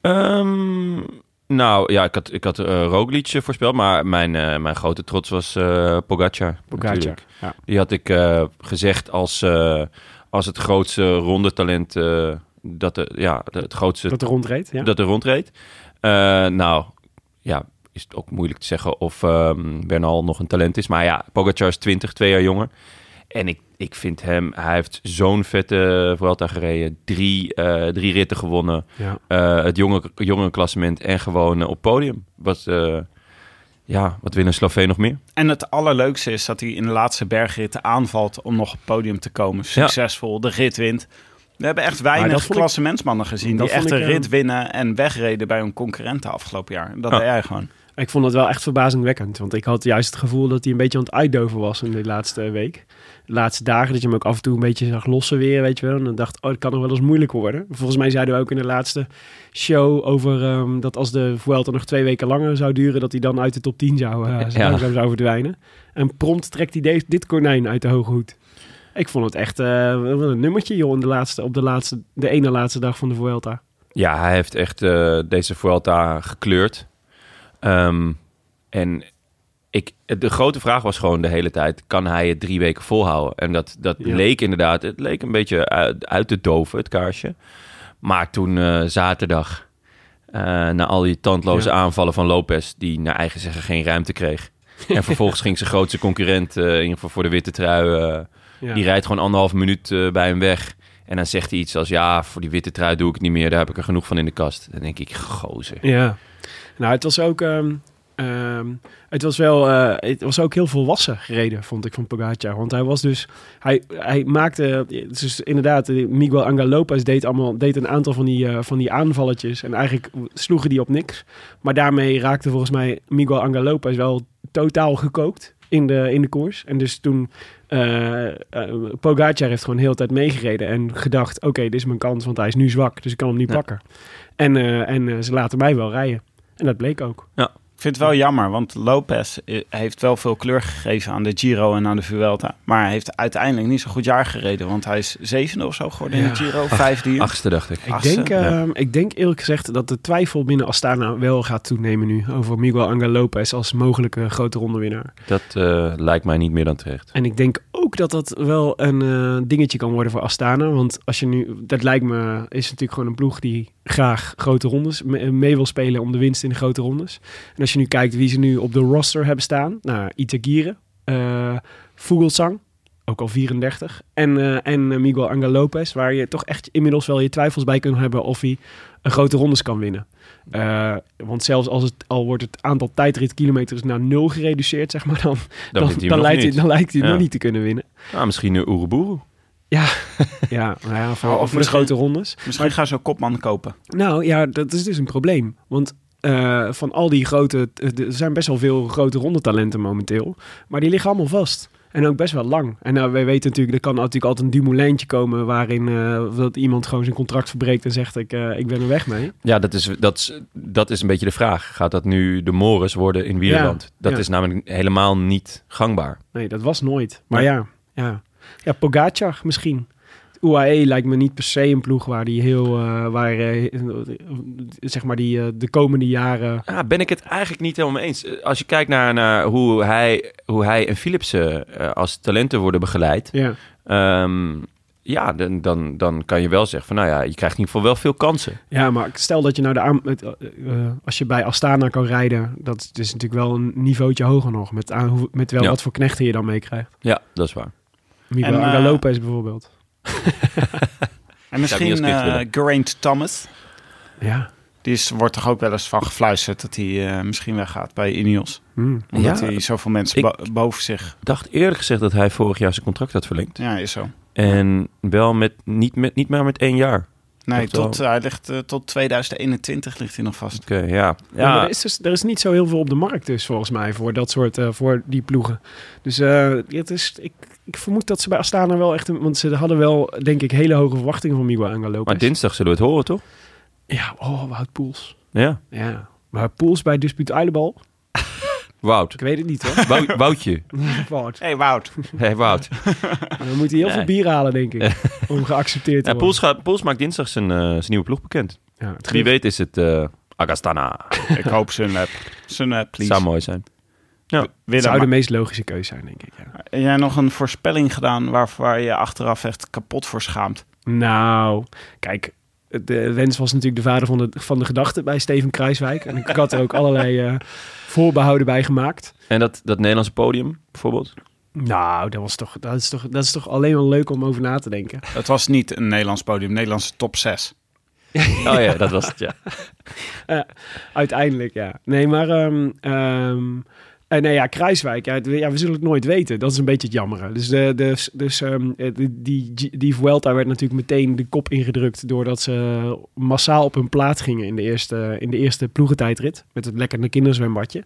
Speaker 1: Ehm, nou ja, ik had, ik had eh, Roglic eh, voorspeld, maar mijn, eh, mijn grote trots was eh Pogacar.
Speaker 2: Pogacar.
Speaker 1: natuurlijk.
Speaker 2: Ja.
Speaker 1: Die had ik eh, gezegd als, eh, als het grootste rondetalent. eh dat de, ja, de- het grootste
Speaker 2: Dat er rondreed. Ja.
Speaker 1: dat er rondreed. Eh, nou, ja, is het ook moeilijk te zeggen of ehm, Bernal nog een talent is. Maar ja, Pogacar is 20, twee jaar jonger. En ik, ik vind hem, hij heeft zo'n vette Vuelta gereden. Drie, eh, drie ritten gewonnen.
Speaker 2: Ja.
Speaker 1: Eh, het jonge, jonge klassement en gewoon eh, op podium. Wat, eh, ja, wat wil een Sloveen nog meer?
Speaker 5: En het allerleukste is dat hij in de laatste bergritten aanvalt om nog op het podium te komen. Succesvol, de rit wint. We hebben echt
Speaker 2: dat
Speaker 5: weinig
Speaker 2: vond ik-
Speaker 5: klassementsmannen gezien
Speaker 2: dat
Speaker 5: die echt
Speaker 2: vond
Speaker 5: een
Speaker 2: ik, eh,
Speaker 5: rit winnen en wegreden bij hun concurrenten afgelopen jaar. Dat
Speaker 1: ehm, Ja.
Speaker 5: deed hij gewoon.
Speaker 2: Ik vond het wel echt verbazingwekkend. Want ik had juist het gevoel dat hij een beetje aan het uitdoven was in de laatste week. De laatste dagen, dat je hem ook af en toe een beetje zag lossen weer, weet je wel. En dan dacht, oh, dat kan nog wel eens moeilijk worden. Volgens mij zeiden we ook in de laatste show over ehm, dat als de Vuelta nog twee weken langer zou duren, dat hij dan uit de top 10 zou, eh,
Speaker 1: Ja.
Speaker 2: langzaam zou verdwijnen. En prompt trekt hij de- dit konijn uit de hoge hoed. Ik vond het echt eh, wat een nummertje, joh, in de laatste, op de, laatste, de ene laatste dag van de Vuelta.
Speaker 1: Ja, hij heeft echt eh, deze Vuelta gekleurd. Ehm, en ik, de grote vraag was gewoon de hele tijd... kan hij het drie weken volhouden? En dat, dat
Speaker 2: Ja.
Speaker 1: leek inderdaad... het leek een beetje uit, uit te doven, het kaarsje. Maar toen eh, zaterdag... eh, na al die tandloze
Speaker 2: Ja.
Speaker 1: aanvallen van Lopez... die naar eigen zeggen geen ruimte
Speaker 2: (laughs)
Speaker 1: kreeg. En vervolgens ging zijn grootste concurrent... eh, in ieder geval voor de witte trui... eh,
Speaker 2: Ja.
Speaker 1: die rijdt gewoon anderhalf minuut eh, bij hem weg. En dan zegt hij iets als: Ja, voor die witte trui doe ik het niet meer. Daar heb ik er genoeg van in de kast. Dan denk ik: Gozer.
Speaker 2: Ja. Nou, het was ook, ehm, ehm, het was wel, eh, het was ook heel volwassen gereden, vond ik, van Pogacar. Want hij was dus, hij, hij maakte, dus inderdaad, eh, Miguel Angel Lopez deed, allemaal, deed een aantal van die, eh, van die aanvalletjes. En eigenlijk sloegen die op niks. Maar daarmee raakte volgens mij Miguel Angel Lopez wel totaal gekookt in de, in de koers. En dus toen, eh eh, Pogacar heeft gewoon heel de tijd meegereden en gedacht, oké, dit is mijn kans, want hij is nu zwak, dus ik kan hem niet pakken. En, eh, en eh, ze laten mij wel rijden. En dat bleek ook.
Speaker 5: vind het wel jammer, want Lopez eh, heeft wel veel kleur gegeven aan de Giro en aan de Vuelta. Maar hij heeft uiteindelijk niet zo'n goed jaar gereden, want hij is zevende of zo geworden in de Giro. Vijfde hier. eh,
Speaker 1: Achtste dacht ik. eh,
Speaker 2: Ik
Speaker 5: Assen,
Speaker 2: denk, ehm, ik denk eerlijk gezegd dat de twijfel binnen Astana wel gaat toenemen nu over Miguel Angel Lopez als mogelijke grote rondewinnaar.
Speaker 1: Dat eh, lijkt mij niet meer dan terecht.
Speaker 2: En ik denk ook dat dat wel een eh, dingetje kan worden voor Astana. Want als je nu, dat lijkt me, is natuurlijk gewoon een ploeg die graag grote rondes me- eh, mee wil spelen om de winst in de grote rondes. En als je nu kijkt wie ze nu op de roster hebben staan. Nou, Itagire, eh Vogelsang, ook al 34. En, eh, en eh, Miguel Angel Lopez, waar je toch echt inmiddels wel je twijfels bij kunt hebben of hij een grote rondes kan winnen. Eh, want zelfs als het al wordt het aantal tijdritkilometers naar nul gereduceerd, zeg maar, dan,
Speaker 1: Dan, wint hij hem nog
Speaker 2: lijkt,
Speaker 1: niet.
Speaker 2: Hij, dan (laughs) lijkt hij
Speaker 1: Ja.
Speaker 2: nog niet te kunnen winnen.
Speaker 1: Nou, misschien een Oeruboeru.
Speaker 2: Ja, nou ja voor,
Speaker 5: Nou,
Speaker 2: voor
Speaker 5: of
Speaker 2: de
Speaker 5: misschien-
Speaker 2: grote rondes.
Speaker 5: Misschien gaan ze een kopman kopen.
Speaker 2: Nou ja, dat is dus een probleem. Want eh, van al die grote... eh, Er zijn best wel veel grote rondetalenten momenteel. Maar die liggen allemaal vast. En ook best wel lang. En nou, wij weten natuurlijk... Er kan natuurlijk altijd een Dumoulijntje komen... waarin eh, dat iemand gewoon zijn contract verbreekt... en zegt ik, eh, ik ben er weg mee.
Speaker 1: Ja, dat is, dat, is, dat is een beetje de vraag. Gaat dat nu de Morris worden in Wielerland?
Speaker 2: Ja,
Speaker 1: dat
Speaker 2: ja.
Speaker 1: is namelijk helemaal niet gangbaar.
Speaker 2: Nee, dat was nooit. Maar ja, ja. Ja, Pogacar misschien. UAE lijkt me niet per se een ploeg waar die heel... eh, waar, eh, zeg maar die eh, de komende jaren...
Speaker 1: Ja, Ah, ben ik het eigenlijk niet helemaal mee eens. Eh, Als je kijkt naar, naar hoe, hij, hoe hij en Philipsen eh, als talenten worden begeleid...
Speaker 2: Ja.
Speaker 1: ehm, ja, dan, dan, dan kan je wel zeggen van... nou ja, je krijgt in ieder geval wel veel kansen.
Speaker 2: Ja, maar stel dat je nou de aan, het, eh, eh, als je bij Astana kan rijden, dat is, dus natuurlijk wel een niveautje hoger nog. Met, aan, hoe- met wel
Speaker 1: Ja.
Speaker 2: wat voor knechten je dan meekrijgt.
Speaker 1: Ja, dat is waar.
Speaker 2: Miguel
Speaker 5: En,
Speaker 2: Angel
Speaker 5: eh,
Speaker 2: Lopez bijvoorbeeld.
Speaker 5: En
Speaker 1: Zou ik niet
Speaker 5: misschien
Speaker 1: als kind
Speaker 5: eh
Speaker 1: willen.
Speaker 5: Geraint Thomas.
Speaker 2: Ja.
Speaker 5: Die is, wordt toch ook wel eens van gefluisterd dat hij eh, misschien weggaat bij Ineos.
Speaker 2: Hm.
Speaker 5: Omdat
Speaker 1: Ja,
Speaker 5: hij zoveel mensen
Speaker 1: ik-
Speaker 5: bo- boven zich...
Speaker 1: Ik dacht eerlijk gezegd dat hij vorig jaar zijn contract had verlengd.
Speaker 5: Ja, is zo.
Speaker 1: En wel met niet, met, niet maar met één jaar.
Speaker 5: Nee,
Speaker 1: Echt wel.
Speaker 5: tot, hij ligt, eh, tot 2021 ligt hij nog
Speaker 1: (laughs)
Speaker 5: vast.
Speaker 1: Oké, ja.
Speaker 2: Ja. maar
Speaker 1: Ja,
Speaker 2: er, is dus, er is niet zo heel veel op de markt dus, volgens mij, voor dat soort, eh, voor die ploegen. Dus eh, het is, ik, ik vermoed dat ze bij Astana wel echt, een- want ze hadden wel, denk ik, hele hoge verwachtingen van Miguel Angel Lopez.
Speaker 1: maar dinsdag zullen we het horen, toch?
Speaker 2: Ja, oh, Wout Poels.
Speaker 1: Ja.
Speaker 2: Ja. Maar Poels bij Dispute Uilenbal?
Speaker 1: Wout.
Speaker 2: Ik weet het niet, (laughs) hoor.
Speaker 1: (laughs) Wou- Woutje.
Speaker 2: Wout.
Speaker 5: hey, Wout.
Speaker 1: Hey,
Speaker 2: (laughs)
Speaker 1: Wout.
Speaker 2: Dan moet hij heel veel
Speaker 1: Nee.
Speaker 2: bier halen, denk ik,
Speaker 1: (laughs)
Speaker 2: om geaccepteerd te
Speaker 1: Ja,
Speaker 2: worden.
Speaker 1: Pools, gaat, Pools maakt dinsdag zijn, eh, zijn nieuwe ploeg bekend.
Speaker 2: Ja, het
Speaker 1: Wie
Speaker 2: geeft-
Speaker 1: weet is het eh, Agastana.
Speaker 5: Ik hoop Sunweb. Sunweb, please.
Speaker 1: Zou mooi zijn.
Speaker 5: Willem,
Speaker 2: zou de meest logische keuze zijn, denk ik. Ja.
Speaker 5: heb jij nog een voorspelling gedaan waar, waar je achteraf echt kapot voor schaamt?
Speaker 2: Nou, kijk, de wens was natuurlijk de vader van de, van de gedachte bij Steven Kruiswijk. En ik had er ook allerlei eh, voorbehouden bij gemaakt.
Speaker 1: En dat, dat Nederlandse podium bijvoorbeeld.
Speaker 2: Nou, dat, was toch, dat, is toch, dat is toch alleen maar leuk om over na te denken.
Speaker 5: Het was niet een Nederlands podium, Nederlandse top 6.
Speaker 1: Oh ja, dat was het, ja.
Speaker 2: Uiteindelijk, ja. Nee, maar... ehm ehm, eh, nee, ja, Kruiswijk. Ja, het- ja, we zullen het nooit weten. Dat is een beetje het jammeren. Dus, de, dus, dus ehm, eh, die, die, die Vuelta werd natuurlijk meteen de kop ingedrukt... doordat ze massaal op hun plaat gingen in de eerste, in de eerste ploegentijdrit. Met het lekkende kinderzwembadje.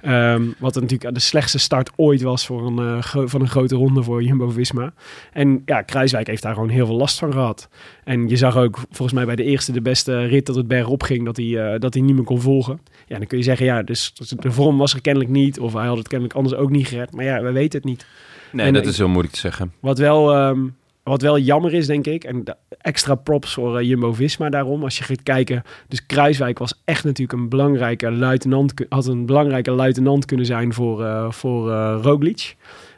Speaker 2: Ehm, wat natuurlijk de slechtste start ooit was voor een, eh, gro- van een grote ronde voor Jumbo-Visma. En ja, Kruiswijk heeft daar gewoon heel veel last van gehad. En je zag ook volgens mij bij de eerste de beste rit dat het bergop ging... dat hij, eh, dat hij niet meer kon volgen. Ja, dan kun je zeggen, ja, dus de vorm was er kennelijk niet. Of hij had het kennelijk anders ook niet gered. Maar ja, we weten het niet.
Speaker 1: (laughs) Nee,
Speaker 2: En
Speaker 1: dat
Speaker 2: ik-
Speaker 1: is heel moeilijk te zeggen.
Speaker 2: Wat wel, ehm, wat wel jammer is, denk ik. En da- extra props voor eh, Jumbo-Visma daarom. Als je gaat kijken. Dus Kruiswijk was echt natuurlijk een belangrijke luitenant. ku- Had een belangrijke luitenant kunnen zijn voor, eh, voor eh, Roglic.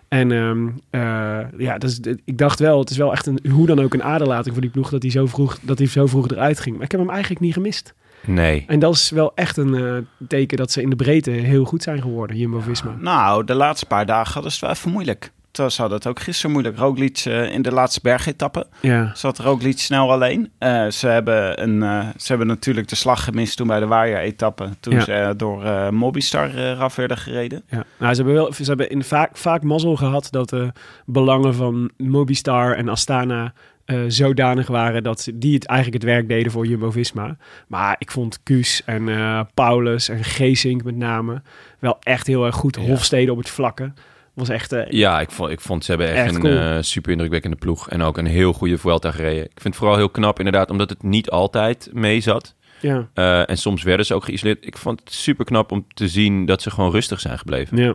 Speaker 2: En ehm, eh, ja, dus, dit- ik dacht wel, het is wel echt een, hoe dan ook een aderlating voor die ploeg dat hij, zo vroeg, dat hij zo vroeg eruit ging. Maar ik heb hem eigenlijk niet gemist.
Speaker 1: Nee.
Speaker 2: En dat is wel echt een eh, teken dat ze in de breedte heel goed zijn geworden, Jumbo-Visma.
Speaker 5: Nou, de laatste paar dagen hadden ze het wel even moeilijk. Terwijl Ze hadden het ook gisteren moeilijk. Roglic eh, in de laatste bergetappe
Speaker 2: Ja.
Speaker 5: zat Roglic snel alleen. Eh, ze, hebben een, eh, ze hebben natuurlijk de slag gemist toen bij de waaieretappe. Toen
Speaker 2: Ja.
Speaker 5: ze eh, door eh, Mobistar eh, eraf werden gereden.
Speaker 2: Ja, nou, ze hebben, wel, ze hebben in vaak, vaak mazzel gehad dat de belangen van Mobistar en Astana eh, zodanig waren dat ze- die het eigenlijk het werk deden voor Jumbo-Visma. Maar ik vond Kuus en eh, Paulus en Geesink met name wel echt heel erg goed. Hofstede op het vlakke was echt... eh,
Speaker 1: Ja, ik vond, ik vond ze hebben echt,
Speaker 2: Echt
Speaker 1: een
Speaker 2: cool.
Speaker 1: eh, super indrukwekkende ploeg. En ook een heel goede Vuelta gereden. Ik vind het vooral heel knap inderdaad, omdat het niet altijd mee zat.
Speaker 2: Ja.
Speaker 1: Eh, en soms werden ze ook geïsoleerd. Ik vond het super knap om te zien dat ze gewoon rustig zijn gebleven.
Speaker 2: ja.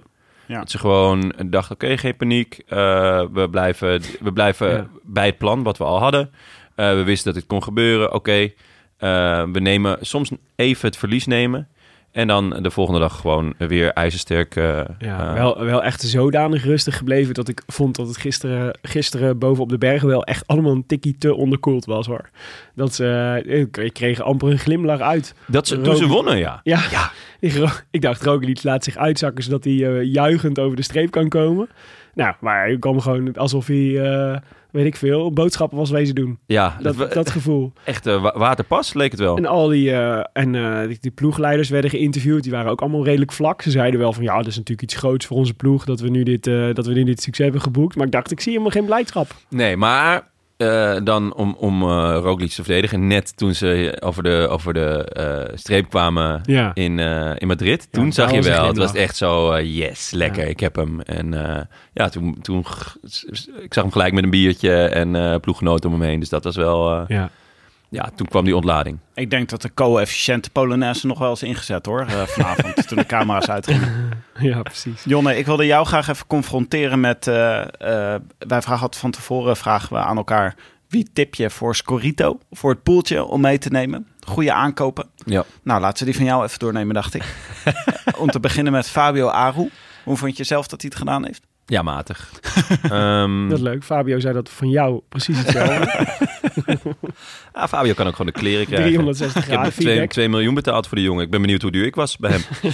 Speaker 1: Dat ze gewoon dachten, oké, geen paniek. Eh, we blijven, we blijven
Speaker 2: Ja.
Speaker 1: bij het plan wat we al hadden. Eh, we wisten dat dit kon gebeuren. Oké, eh, we nemen soms even het verlies nemen. En dan de volgende dag gewoon weer ijzersterk. eh,
Speaker 2: Ja,
Speaker 1: eh,
Speaker 2: wel, wel echt zodanig rustig gebleven dat ik vond dat het gisteren, gisteren boven op de bergen wel echt allemaal een tikkie te onderkoeld was hoor. Dat ze, eh, ik- ik kreeg amper een glimlach uit.
Speaker 1: dat ze, toen ze wonnen, ja.
Speaker 2: Ja, Ik, ro- ik dacht Roglic laat zich uitzakken zodat hij eh, juichend over de streep kan komen. Nou, maar hij kwam gewoon alsof hij, eh, weet ik veel, boodschappen was wezen doen.
Speaker 1: Ja, dat,
Speaker 2: Dat, dat gevoel.
Speaker 1: echt eh, wa- waterpas leek het wel.
Speaker 2: En al die, eh, en, eh, die, die ploegleiders werden geïnterviewd. Die waren ook allemaal redelijk vlak. Ze zeiden wel van ja, dat is natuurlijk iets groots voor onze ploeg. Dat we nu dit, eh, dat we nu dit succes hebben geboekt. Maar ik dacht, ik zie helemaal geen blijdschap.
Speaker 1: Nee, maar eh, dan om, om eh Roglic te verdedigen. Net toen ze over de, over de eh, streep kwamen
Speaker 2: Ja.
Speaker 1: in, eh, in Madrid. toen
Speaker 2: daar
Speaker 1: zag je
Speaker 2: was een
Speaker 1: wel, het was
Speaker 2: glimlach.
Speaker 1: echt zo, eh, yes, lekker,
Speaker 2: Ja.
Speaker 1: ik heb hem. En eh, ja, toen, toen, g- s- s- ik zag hem gelijk met een biertje en eh ploeggenoten om hem heen. Dus dat was wel, eh,
Speaker 2: Ja.
Speaker 1: ja, toen kwam die ontlading.
Speaker 5: Ik denk dat de co-efficiënte Polonaise nog wel eens ingezet hoor, eh, vanavond toen de camera's uitgingen.
Speaker 2: ja, precies.
Speaker 5: Jonne, ik wilde jou graag even confronteren met, eh, eh, wij vragen altijd van tevoren, vragen we aan elkaar, wie tip je voor Scorito, voor het poeltje om mee te nemen? Goede aankopen.
Speaker 1: Ja.
Speaker 5: Nou, laten we die van jou even doornemen, dacht ik. Om te beginnen met Fabio Aru. Hoe vond je zelf dat hij het gedaan heeft?
Speaker 1: Ja, matig. (laughs) Ehm,
Speaker 2: Dat is leuk. Fabio zei dat van jou precies hetzelfde.
Speaker 1: ah, Fabio kan ook gewoon de
Speaker 2: (laughs)
Speaker 1: kleren krijgen.
Speaker 2: 360
Speaker 1: Ik
Speaker 2: graden
Speaker 1: heb 2,
Speaker 2: feedback.
Speaker 1: 2 miljoen betaald voor de jongen. Ik ben benieuwd hoe duur ik was bij hem.
Speaker 2: (laughs)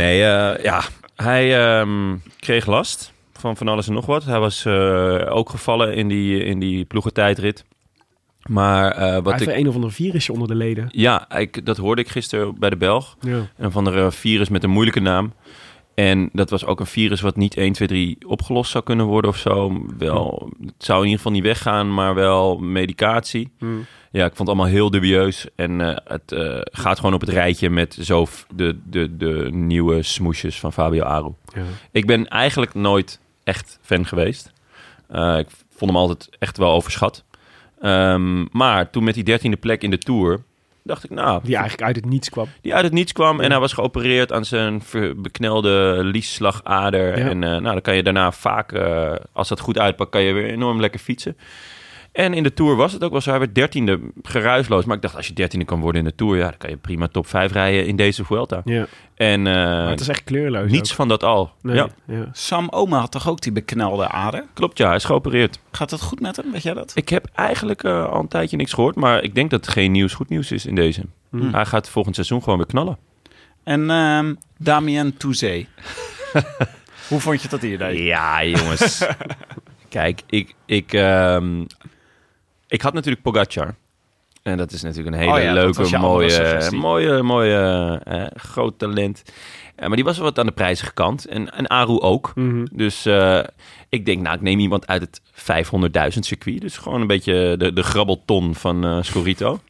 Speaker 1: nee, eh, ja. Hij ehm, kreeg last van van alles en nog wat. Hij was eh, ook gevallen in die, in die ploegentijdrit. Maar eh,
Speaker 2: Hij
Speaker 1: wat
Speaker 2: heeft
Speaker 1: ik...
Speaker 2: er een of ander virusje onder de leden.
Speaker 1: Ja, ik, dat hoorde ik gisteren bij de Belg.
Speaker 2: Ja.
Speaker 1: Een of andere virus met een moeilijke naam. En dat was ook een virus wat niet 1, 2, 3 opgelost zou kunnen worden of zo. Wel, het zou in ieder geval niet weggaan, maar wel medicatie. Ja, ik vond het allemaal heel dubieus. En eh, het eh, gaat gewoon op het rijtje met zo f- de, de, de nieuwe smoesjes van Fabio Aru.
Speaker 2: Ja.
Speaker 1: Ik ben eigenlijk nooit echt fan geweest. Eh, ik vond hem altijd echt wel overschat. Ehm, maar toen met die dertiende plek in de Tour, dacht ik, nou...
Speaker 2: Die eigenlijk uit het niets kwam.
Speaker 1: die uit het niets kwam en hij was geopereerd aan zijn ver- beknelde liesslagader.
Speaker 2: Ja.
Speaker 1: En eh, nou, dan kan je daarna vaak, eh, als dat goed uitpakt, kan je weer enorm lekker fietsen. En in de Tour was het ook wel zo. Hij werd dertiende, geruisloos. Maar ik dacht, als je dertiende kan worden in de Tour... ja, dan kan je prima top 5 rijden in deze Vuelta.
Speaker 2: Ja.
Speaker 1: En eh,
Speaker 2: Maar het is echt kleurloos.
Speaker 1: niets
Speaker 2: ook.
Speaker 1: van dat al.
Speaker 2: Nee,
Speaker 1: Ja,
Speaker 2: ja.
Speaker 5: Sam Oma had toch ook die beknelde ader?
Speaker 1: klopt, ja. Hij is geopereerd.
Speaker 5: Gaat het goed met hem? Weet jij dat?
Speaker 1: Ik heb eigenlijk eh, al een tijdje niks gehoord... maar ik denk dat geen nieuws goed nieuws is in deze.
Speaker 5: Hmm.
Speaker 1: Hij gaat volgend seizoen gewoon weer knallen.
Speaker 5: En ehm, Damien Touzé. Hoe vond je dat hier? deed?
Speaker 1: Ja,
Speaker 5: (laughs)
Speaker 1: jongens. Kijk, ik, ik, ehm, ik had natuurlijk Pogacar. En dat is natuurlijk een hele
Speaker 5: Oh ja, dat was je
Speaker 1: leuke,
Speaker 5: andere
Speaker 1: mooie,
Speaker 5: suggestie.
Speaker 1: mooie, mooie, eh, groot talent. Eh, maar die was wel wat aan de prijzige kant. En, en Aru ook.
Speaker 2: Mhm.
Speaker 1: Dus eh, ik denk, nou, ik neem iemand uit het 500.000 circuit. Dus gewoon een beetje de, de grabbelton van eh Scorito.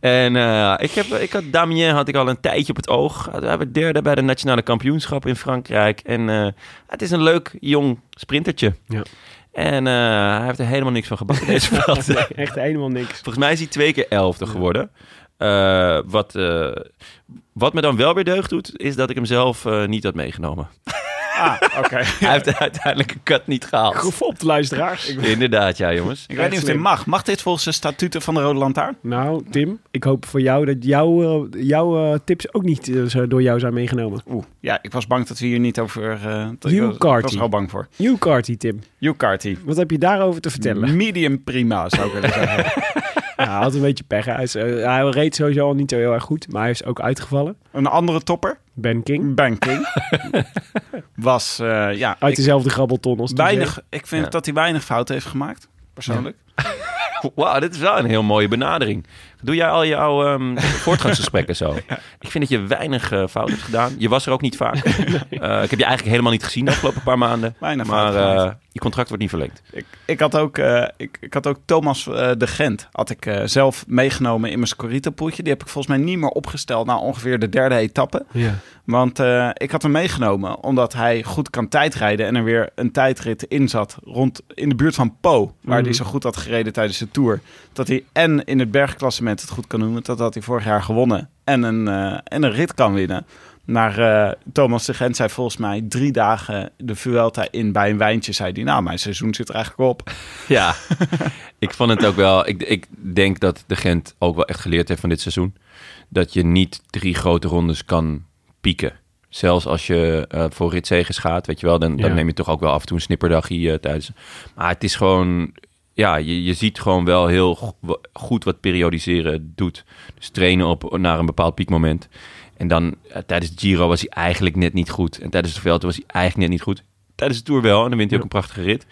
Speaker 1: en eh, ik heb, ik had, Damien had ik al een tijdje op het oog. Hij werd derde bij de nationale kampioenschap in Frankrijk. En eh, het is een leuk, jong sprintertje.
Speaker 2: Ja.
Speaker 1: En eh, hij heeft er helemaal niks van gebakken deze veld.
Speaker 2: Echt helemaal (laughs) niks.
Speaker 1: Volgens mij is hij twee keer elfde geworden. Eh, wat, eh, wat me dan wel weer deugd doet, is dat ik hem zelf eh, niet had meegenomen.
Speaker 5: Oké.
Speaker 2: (laughs)
Speaker 1: Hij heeft uiteindelijk een kat niet gehaald.
Speaker 2: Gefopt, luisteraars.
Speaker 1: Inderdaad, ja, jongens.
Speaker 5: Ik weet niet of dit
Speaker 2: slim.
Speaker 5: mag. Mag dit volgens de statuten van de Rode Lantaarn?
Speaker 2: Nou, Tim, ik hoop voor jou dat jouw, eh, jouw eh, tips ook niet eh, zo door jou zijn meegenomen.
Speaker 5: Oeh, ja, ik was bang dat we hier niet over... eh dat ik,
Speaker 2: Hugh
Speaker 5: was, ik
Speaker 2: Carty.
Speaker 5: was er al bang voor.
Speaker 2: Uw carty, Tim.
Speaker 5: Hugh Carty.
Speaker 2: Wat heb je daarover te
Speaker 5: Mm.
Speaker 2: vertellen?
Speaker 5: Medium prima, zou ik willen zeggen.
Speaker 2: Ja, hij had een beetje pech. Hij, is, eh, hij reed sowieso al niet zo heel erg goed, maar hij is ook uitgevallen.
Speaker 5: Een andere topper,
Speaker 2: Ben
Speaker 5: Mm.
Speaker 2: King.
Speaker 5: Banking, was eh, ja,
Speaker 2: Uit
Speaker 5: ik-
Speaker 2: dezelfde grabbelton als Toezé.
Speaker 5: weinig, ik vind
Speaker 1: Ja.
Speaker 5: dat hij weinig fouten heeft gemaakt, persoonlijk.
Speaker 1: (laughs) Wauw, dit is wel een heel mooie benadering. Doe jij al jouw ehm, voortgangsgesprekken
Speaker 5: (laughs)
Speaker 1: zo? Ik vind dat je weinig eh, fout hebt gedaan. Je was er ook niet
Speaker 5: (laughs)
Speaker 1: vaak. Eh, ik heb je eigenlijk helemaal niet gezien de afgelopen paar maanden.
Speaker 5: Weinig
Speaker 1: Maar
Speaker 5: fouten gemaakt.
Speaker 1: eh, je contract wordt niet verlengd.
Speaker 5: Ik, ik, had ook, eh, ik, ik had ook Thomas eh, de Gent had ik, eh, zelf meegenomen in mijn Scorita-poeltje. Die heb ik volgens mij niet meer opgesteld na ongeveer de derde etappe.
Speaker 2: Ja.
Speaker 5: Want eh, ik had hem meegenomen omdat hij goed kan tijdrijden. En er weer een tijdrit in zat rond, in de buurt van Po. Waar
Speaker 2: Mhm.
Speaker 5: hij zo goed had gereden tijdens de Tour. dat hij en in het bergklassement het goed kan doen. want Dat had hij vorig jaar gewonnen. En een, eh, en een rit kan winnen. Maar eh, Thomas de Gent zei volgens mij drie dagen de Vuelta in bij een wijntje. Zei hij, nou mijn seizoen zit er eigenlijk op.
Speaker 1: (laughs) Ja, ik vond het ook wel. Ik, ik denk dat de Gent ook wel echt geleerd heeft van dit seizoen. Dat je niet drie grote rondes kan pieken. Zelfs als je eh, voor ritzegers gaat, weet je wel, dan, dan
Speaker 2: Ja.
Speaker 1: neem je toch ook wel af en toe een snipperdagje eh, tijdens. Maar het is gewoon, ja, je, je ziet gewoon wel heel go- wa- goed wat periodiseren doet. Dus trainen op, naar een bepaald piekmoment. En dan eh, tijdens de Giro was hij eigenlijk net niet goed. En tijdens de Vuelta was hij eigenlijk net niet goed. Tijdens de Tour wel, en dan wint hij ook een prachtige rit.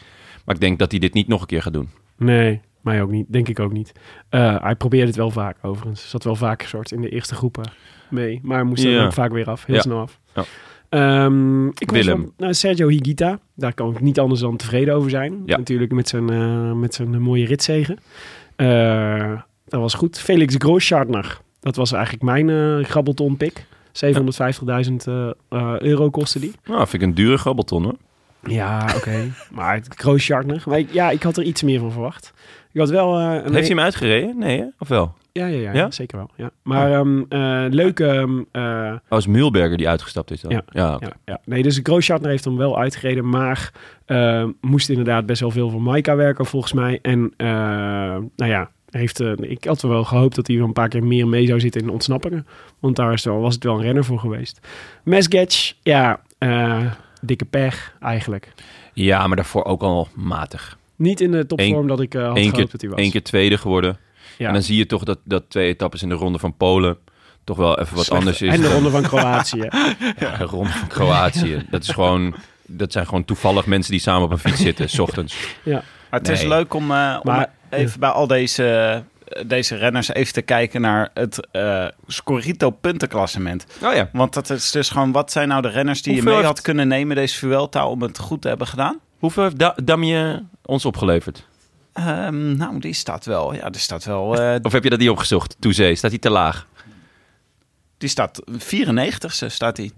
Speaker 1: Maar ik denk dat hij dit niet nog een keer gaat doen.
Speaker 2: Nee, mij ook niet. Denk ik ook niet. Eh, hij probeerde het wel vaak overigens. Zat wel vaak soort in de eerste groepen mee. Maar moest er
Speaker 1: Ja.
Speaker 2: dan ook vaak weer af. Heel
Speaker 1: Ja.
Speaker 2: snel af.
Speaker 1: Ja.
Speaker 2: Ehm, ik was
Speaker 1: Willem.
Speaker 2: Van, nou, Sergio Higuita. Daar kan ik niet anders dan tevreden over zijn.
Speaker 1: Ja.
Speaker 2: Natuurlijk met zijn, eh, met zijn mooie ritzegen. Eh, dat was goed. Felix Grooschartner. Dat was eigenlijk mijn eh grabbelton pick. 750.000 eh, eh, euro kostte die.
Speaker 1: Nou, vind ik een dure grabbelton hoor.
Speaker 2: Ja, oké. (laughs) maar het Grooschartner. Maar ik- ja, ik had er iets meer van verwacht. Ik had wel... eh, een
Speaker 1: Heeft hij hem uitgereden? Nee, hè? of wel?
Speaker 2: ja, ja, ja,
Speaker 1: Ja?
Speaker 2: zeker wel. Ja. Maar ehm eh, leuk. ehm, eh,
Speaker 1: Oh, is Mühlberger die uitgestapt is dan?
Speaker 2: Ja.
Speaker 1: oké.
Speaker 2: ja, ja. Nee, dus Grooschartner heeft hem wel uitgereden. Maar ehm, moest inderdaad best wel veel voor Maika werken, volgens mij. En eh, nou ja, heeft, eh, ik had wel gehoopt dat hij wel een paar keer meer mee zou zitten in de ontsnappingen. Want daar is wel, was het wel een renner voor geweest. Mesgetch, ja, eh, dikke pech eigenlijk.
Speaker 1: ja, maar daarvoor ook al matig.
Speaker 2: Niet in de topvorm
Speaker 1: Eén-
Speaker 2: dat ik eh, had
Speaker 1: Eén
Speaker 2: gehoopt
Speaker 1: keer,
Speaker 2: dat hij was.
Speaker 1: één keer tweede geworden.
Speaker 2: Ja.
Speaker 1: En dan zie je toch dat, dat twee etappes in de ronde van Polen toch wel even wat anders is.
Speaker 2: en de
Speaker 1: dan-
Speaker 2: ronde van Kroatië.
Speaker 1: (laughs) Ja, de ronde van Kroatië. Dat is gewoon... Dat zijn gewoon toevallig mensen die samen op een fiets zitten, s ochtends.
Speaker 5: Maar het is
Speaker 1: Nee.
Speaker 5: leuk om, eh, om
Speaker 2: Maar-
Speaker 5: even bij al deze, eh, deze renners even te kijken naar het eh Scorito puntenklassement.
Speaker 1: Oh ja.
Speaker 5: Want dat is dus gewoon, wat zijn nou de renners die
Speaker 1: Hoeveel
Speaker 5: je mee
Speaker 1: heeft-
Speaker 5: had kunnen nemen deze Vuelta om het goed te hebben gedaan?
Speaker 1: Hoeveel heeft da Damien ons opgeleverd?
Speaker 5: Ehm, nou, die staat wel, ja, die staat wel, eh,
Speaker 1: Of heb je dat niet opgezocht? Toezee, staat hij te laag?
Speaker 5: die staat 94ste staat die.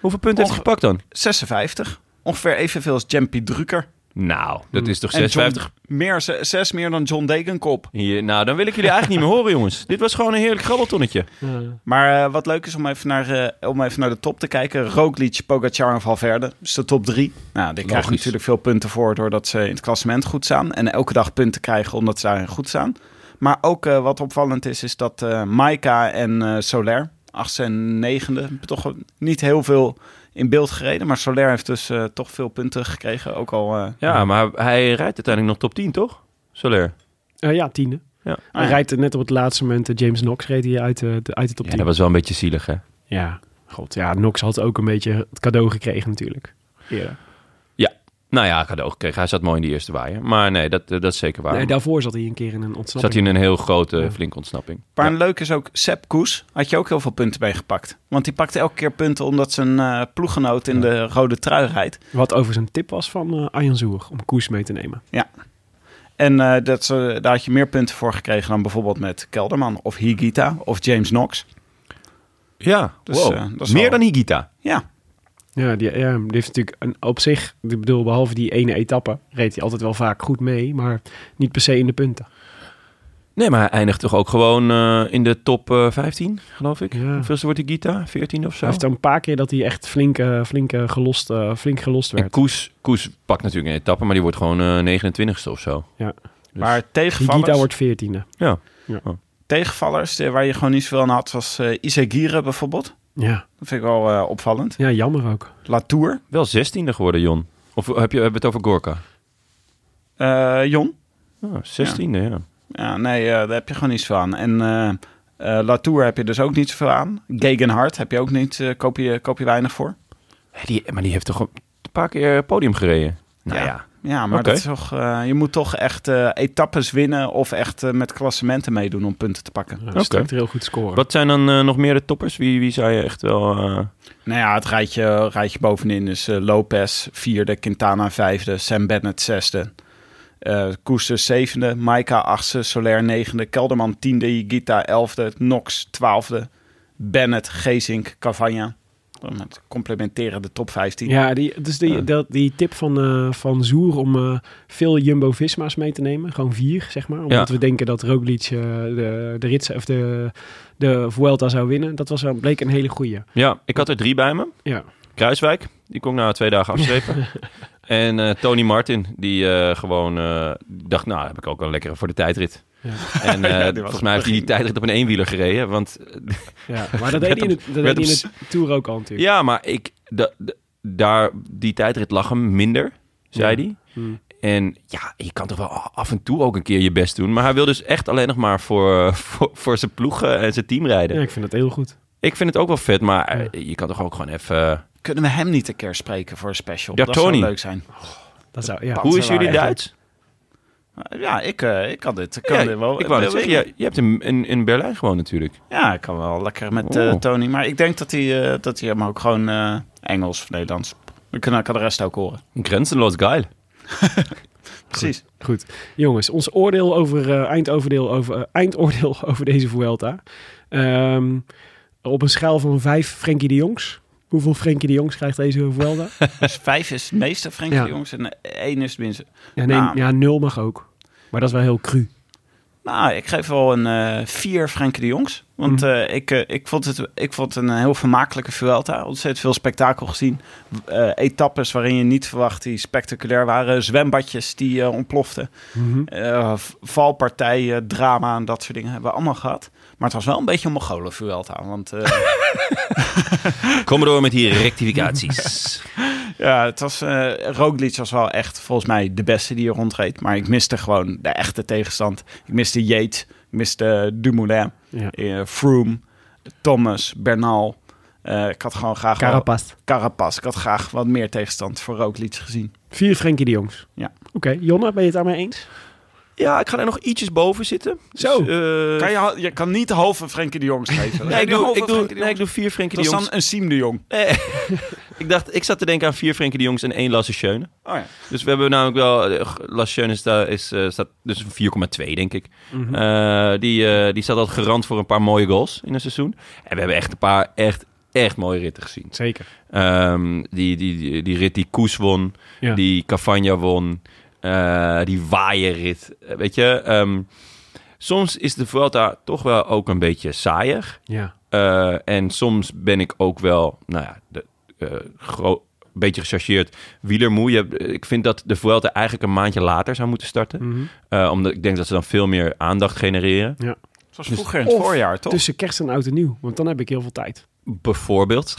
Speaker 1: Hoeveel punten heeft hij gepakt dan?
Speaker 5: 56. Ongeveer evenveel als Jampie Drucker.
Speaker 1: Nou, dat is toch
Speaker 5: En John-
Speaker 1: 56
Speaker 5: Meer, ze- zes meer dan John Degenkop.
Speaker 1: Hier, nou, dan wil ik jullie eigenlijk niet meer horen, jongens. Dit was gewoon een heerlijk grabbeltonnetje.
Speaker 2: Ja.
Speaker 5: Maar eh, wat leuk is om even, naar, eh, om even naar de top te kijken. Roglic, Pogacar en Valverde. Dus de top drie. Nou, die krijgen
Speaker 1: Logisch.
Speaker 5: natuurlijk veel punten voor doordat ze in het klassement goed staan. En elke dag punten krijgen omdat ze daarin goed staan. Maar ook eh, wat opvallend is, is dat eh Maika en eh Soler, achtste en negende, toch niet heel veel in beeld gereden. Maar Soler heeft dus eh, toch veel punten gekregen. Ook al... eh,
Speaker 1: Ja, maar hij rijdt uiteindelijk nog top 10, toch? Soler.
Speaker 2: Eh, ja, tiende.
Speaker 1: Ja.
Speaker 2: Hij rijdt net op het laatste moment. eh, James Knox reed hier uit, eh, de, uit de top
Speaker 1: Ja,
Speaker 2: 10.
Speaker 1: dat was wel een beetje zielig, hè?
Speaker 2: Ja, god. Ja, Knox had ook een beetje het cadeau gekregen natuurlijk. Eerder.
Speaker 1: Nou ja, ik had het ook gekregen. Hij zat mooi in de eerste waaier. Maar nee, dat, eh, dat is zeker waar.
Speaker 2: Nee, daarvoor zat hij een keer in een ontsnapping.
Speaker 1: Zat hij in een heel grote,
Speaker 2: Ja.
Speaker 1: flinke ontsnapping.
Speaker 5: Maar
Speaker 1: Ja.
Speaker 5: leuk is ook, Sepp Koes had je ook heel veel punten mee gepakt. Want die pakte elke keer punten omdat zijn eh, ploeggenoot in de rode trui rijdt.
Speaker 2: Wat overigens een tip was van eh Arjan Zoer om Koers mee te nemen.
Speaker 5: En eh, dat, ze- daar had je meer punten voor gekregen dan bijvoorbeeld met Kelderman of Higita of James Knox.
Speaker 1: Ja,
Speaker 5: Dus,
Speaker 1: wow.
Speaker 5: eh, dat is
Speaker 1: Meer
Speaker 5: wel-
Speaker 1: dan Higita.
Speaker 5: Ja,
Speaker 2: Ja, die, ja, die heeft natuurlijk een, op zich, ik bedoel, behalve die ene etappe, reed hij altijd wel vaak goed mee, maar niet per se in de punten.
Speaker 1: Nee, maar hij eindigt toch ook gewoon eh, in de top eh, 15, geloof ik?
Speaker 2: Ja.
Speaker 1: Hoeveelste wordt Higita? 14 of zo?
Speaker 2: Hij heeft een paar keer dat hij echt flink, eh, flink, eh, gelost, eh, flink gelost
Speaker 1: En
Speaker 2: werd.
Speaker 1: Koes, Koes pakt natuurlijk een etappe, maar die wordt gewoon eh 29ste of zo.
Speaker 5: maar tegenvallers,
Speaker 2: Dus Higita wordt veertiende.
Speaker 1: Ja.
Speaker 5: tegenvallers eh, waar je gewoon niet zoveel aan had was eh Isegire bijvoorbeeld.
Speaker 2: Ja.
Speaker 5: Dat vind ik wel eh, opvallend.
Speaker 2: ja, jammer ook. Nou,
Speaker 5: Latour,
Speaker 1: Wel 16e geworden, Jon. Of heb je, hebben we het over Gorka?
Speaker 5: eh, Jon.
Speaker 1: Ah, 16e, ja.
Speaker 5: Ja, nee, eh, daar heb je gewoon niet zoveel aan. En eh, eh, Latour heb je dus ook niet zoveel aan. Gegenhard heb je ook niet, eh, koop, je, koop je weinig voor.
Speaker 1: Hé, die, maar die heeft toch een paar keer podium gereden? Nou ja.
Speaker 5: Ja, maar
Speaker 1: Oké.
Speaker 5: dat is toch, eh, je moet toch echt eh, etappes winnen of echt eh, met klassementen meedoen om punten te pakken.
Speaker 2: Ja,
Speaker 1: Oké.
Speaker 2: Structureel goed scoren.
Speaker 1: Wat zijn dan eh, nog meer de toppers? Wie, wie zou je echt wel... eh,
Speaker 5: Nou ja, het rijtje, rijtje bovenin is eh, Lopez vierde, Quintana vijfde, Sam Bennett zesde. eh Koester zevende, Maika achtste, Soler negende, Kelderman tiende, Gita elfde, Knox twaalfde, Bennett, Gezink, Cavagna. met complementeren de top 15.
Speaker 2: Ja, die, dus die,
Speaker 5: Ja.
Speaker 1: Ah.
Speaker 2: dat, die tip van, eh, van Zoer om eh, veel Jumbo-Visma's mee te nemen. Gewoon vier, zeg maar. Omdat
Speaker 1: Ja.
Speaker 2: we denken dat Roglic eh, de, de, rit, of de, de Vuelta zou winnen. Dat was, wel- bleek een hele goeie.
Speaker 1: Ja, ik had er drie bij me.
Speaker 2: Ja.
Speaker 1: Kruiswijk, die kon ik na twee dagen (laughs) afstrepen. en eh, Tony Martin, die eh, gewoon eh, dacht, nou heb ik ook wel een lekkere voor de tijdrit.
Speaker 2: Ja.
Speaker 5: (laughs)
Speaker 1: En eh,
Speaker 5: Ja, die was
Speaker 1: volgens mij heeft hij die tijdrit op een eenwieler gereden. Want (laughs)
Speaker 2: Ja, maar dat deed hij in het, dat deed
Speaker 1: werd
Speaker 2: hij in het Tour ook al natuurlijk.
Speaker 1: ja, maar ik, da- da- daar, die tijdrit lag hem minder, zei
Speaker 2: Ja.
Speaker 1: hij.
Speaker 5: Hm.
Speaker 2: Hmm.
Speaker 1: En ja, je kan toch wel af en toe ook een keer je best doen. Maar hij wil dus echt alleen nog maar voor, (laughs) voor, voor zijn ploeg eh, en zijn team rijden.
Speaker 2: Ja, ik vind dat heel goed.
Speaker 1: Ik vind het ook wel vet, maar eh, je kan toch ook gewoon even...
Speaker 5: Kunnen we hem niet een keer spreken voor een special?
Speaker 1: Ja,
Speaker 5: dat
Speaker 1: Tony.
Speaker 5: zou leuk zijn.
Speaker 2: Dat zou, ja.
Speaker 1: eh, Hoe is
Speaker 5: wel
Speaker 1: jullie
Speaker 5: echt-
Speaker 1: Duits?
Speaker 5: Ja, ik, eh, ik kan dit. Ik kan
Speaker 1: Ja,
Speaker 5: dit wel,
Speaker 1: ik wou net
Speaker 5: wel-
Speaker 1: zeggen, je, je hebt hem in, in Berlijn gewoon natuurlijk.
Speaker 5: Ja, ik kan wel lekker met eh,
Speaker 1: Oh.
Speaker 5: Tony. Maar ik denk dat hij, eh, dat hij hem ook gewoon eh, Engels of Nederlands... Ik kan, ik kan de rest ook horen.
Speaker 1: Grenzenloos geil.
Speaker 5: Precies.
Speaker 2: Goed. Jongens, ons oordeel over, eh, eindoordeel, over, eh, eindoordeel (laughs) over deze Vuelta. Ehm, op een schaal van vijf Frenkie de Jongs. Hoeveel Frenkie de Jongs krijgt deze Vuelta?
Speaker 5: Dus vijf is het meeste, Frenkie
Speaker 2: Ja.
Speaker 5: de Jongs. En eh, één is het minste.
Speaker 2: Ja, nee,
Speaker 5: Nou.
Speaker 2: ja, nul mag ook. Maar dat is wel heel cru.
Speaker 5: Nou, ik geef wel een eh vier Frenkie de Jongs. Want
Speaker 2: Mhm.
Speaker 5: eh, ik, eh, ik, vond het, ik vond het een heel vermakelijke Vuelta. Ontzettend veel spektakel gezien. Eh, etappes waarin je niet verwacht die spectaculair waren. Zwembadjes die eh, ontploften.
Speaker 2: Mhm.
Speaker 5: Eh, v- valpartijen, drama en dat soort dingen hebben we allemaal gehad. Maar het was wel een beetje een Mongolen Vuelta. Want eh,
Speaker 1: Kom maar door met die rectificaties.
Speaker 5: ja, het was, eh Roglic was wel echt volgens mij de beste die er rondreed. Maar ik miste gewoon de echte tegenstand. Ik miste Yates, ik miste Dumoulin.
Speaker 2: Ja.
Speaker 5: eh, Froome, Thomas, Bernal. Eh, ik had gewoon graag... wel-
Speaker 2: Carapast.
Speaker 5: Carapaz. Ik had graag wat meer tegenstand voor Roglic gezien.
Speaker 2: Vier Frenkie de Jongs.
Speaker 5: Ja.
Speaker 2: Oké, Jonna, ben je het daarmee eens?
Speaker 1: (laughs) ja, ik ga er nog ietsjes boven zitten.
Speaker 2: Zo.
Speaker 1: Dus, eh,
Speaker 5: Kan je, ha- je kan niet halve Frenkie de Jong schrijven.
Speaker 1: Nee, ik doe,
Speaker 5: halve
Speaker 1: ik, doe,
Speaker 5: Frenkie de
Speaker 1: nee, ik
Speaker 5: Jong.
Speaker 1: doe vier Frenkie
Speaker 5: Dat
Speaker 1: de
Speaker 5: is
Speaker 1: Jongs.
Speaker 5: dan een Siem de Jong.
Speaker 1: Nee. (laughs) ik, dacht, ik zat te denken aan vier Frenkie de Jongs en één Lasse Schöne.
Speaker 5: Oh ja.
Speaker 1: Dus we hebben namelijk wel... eh, Lasse Schöne staat, is, eh, staat dus 4,2 denk ik.
Speaker 2: Mhm.
Speaker 1: Eh, die, eh, die staat altijd garant voor een paar mooie goals in een seizoen. En we hebben echt een paar echt, echt mooie ritten gezien.
Speaker 2: Zeker.
Speaker 1: Ehm, die, die, die, die rit die Koes won,
Speaker 2: Ja.
Speaker 1: die Cavagna won, eh, die waaierrit. Eh, Weet je, ehm, soms is de Vuelta toch wel ook een beetje saaier.
Speaker 2: Ja.
Speaker 1: Eh, en soms ben ik ook wel, nou ja, de, eh, gro- een beetje gechargeerd wielermoe. Je hebt- eh, Ik vind dat de Vuelta eigenlijk een maandje later zou moeten starten.
Speaker 2: Mhm.
Speaker 1: Eh, omdat ik denk dat ze dan veel meer aandacht genereren.
Speaker 5: Het
Speaker 1: Dus
Speaker 5: was vroeger in het
Speaker 2: Of
Speaker 5: voorjaar, toch?
Speaker 2: Tussen kerst en oud en nieuw, want dan heb ik heel veel tijd.
Speaker 1: Bijvoorbeeld.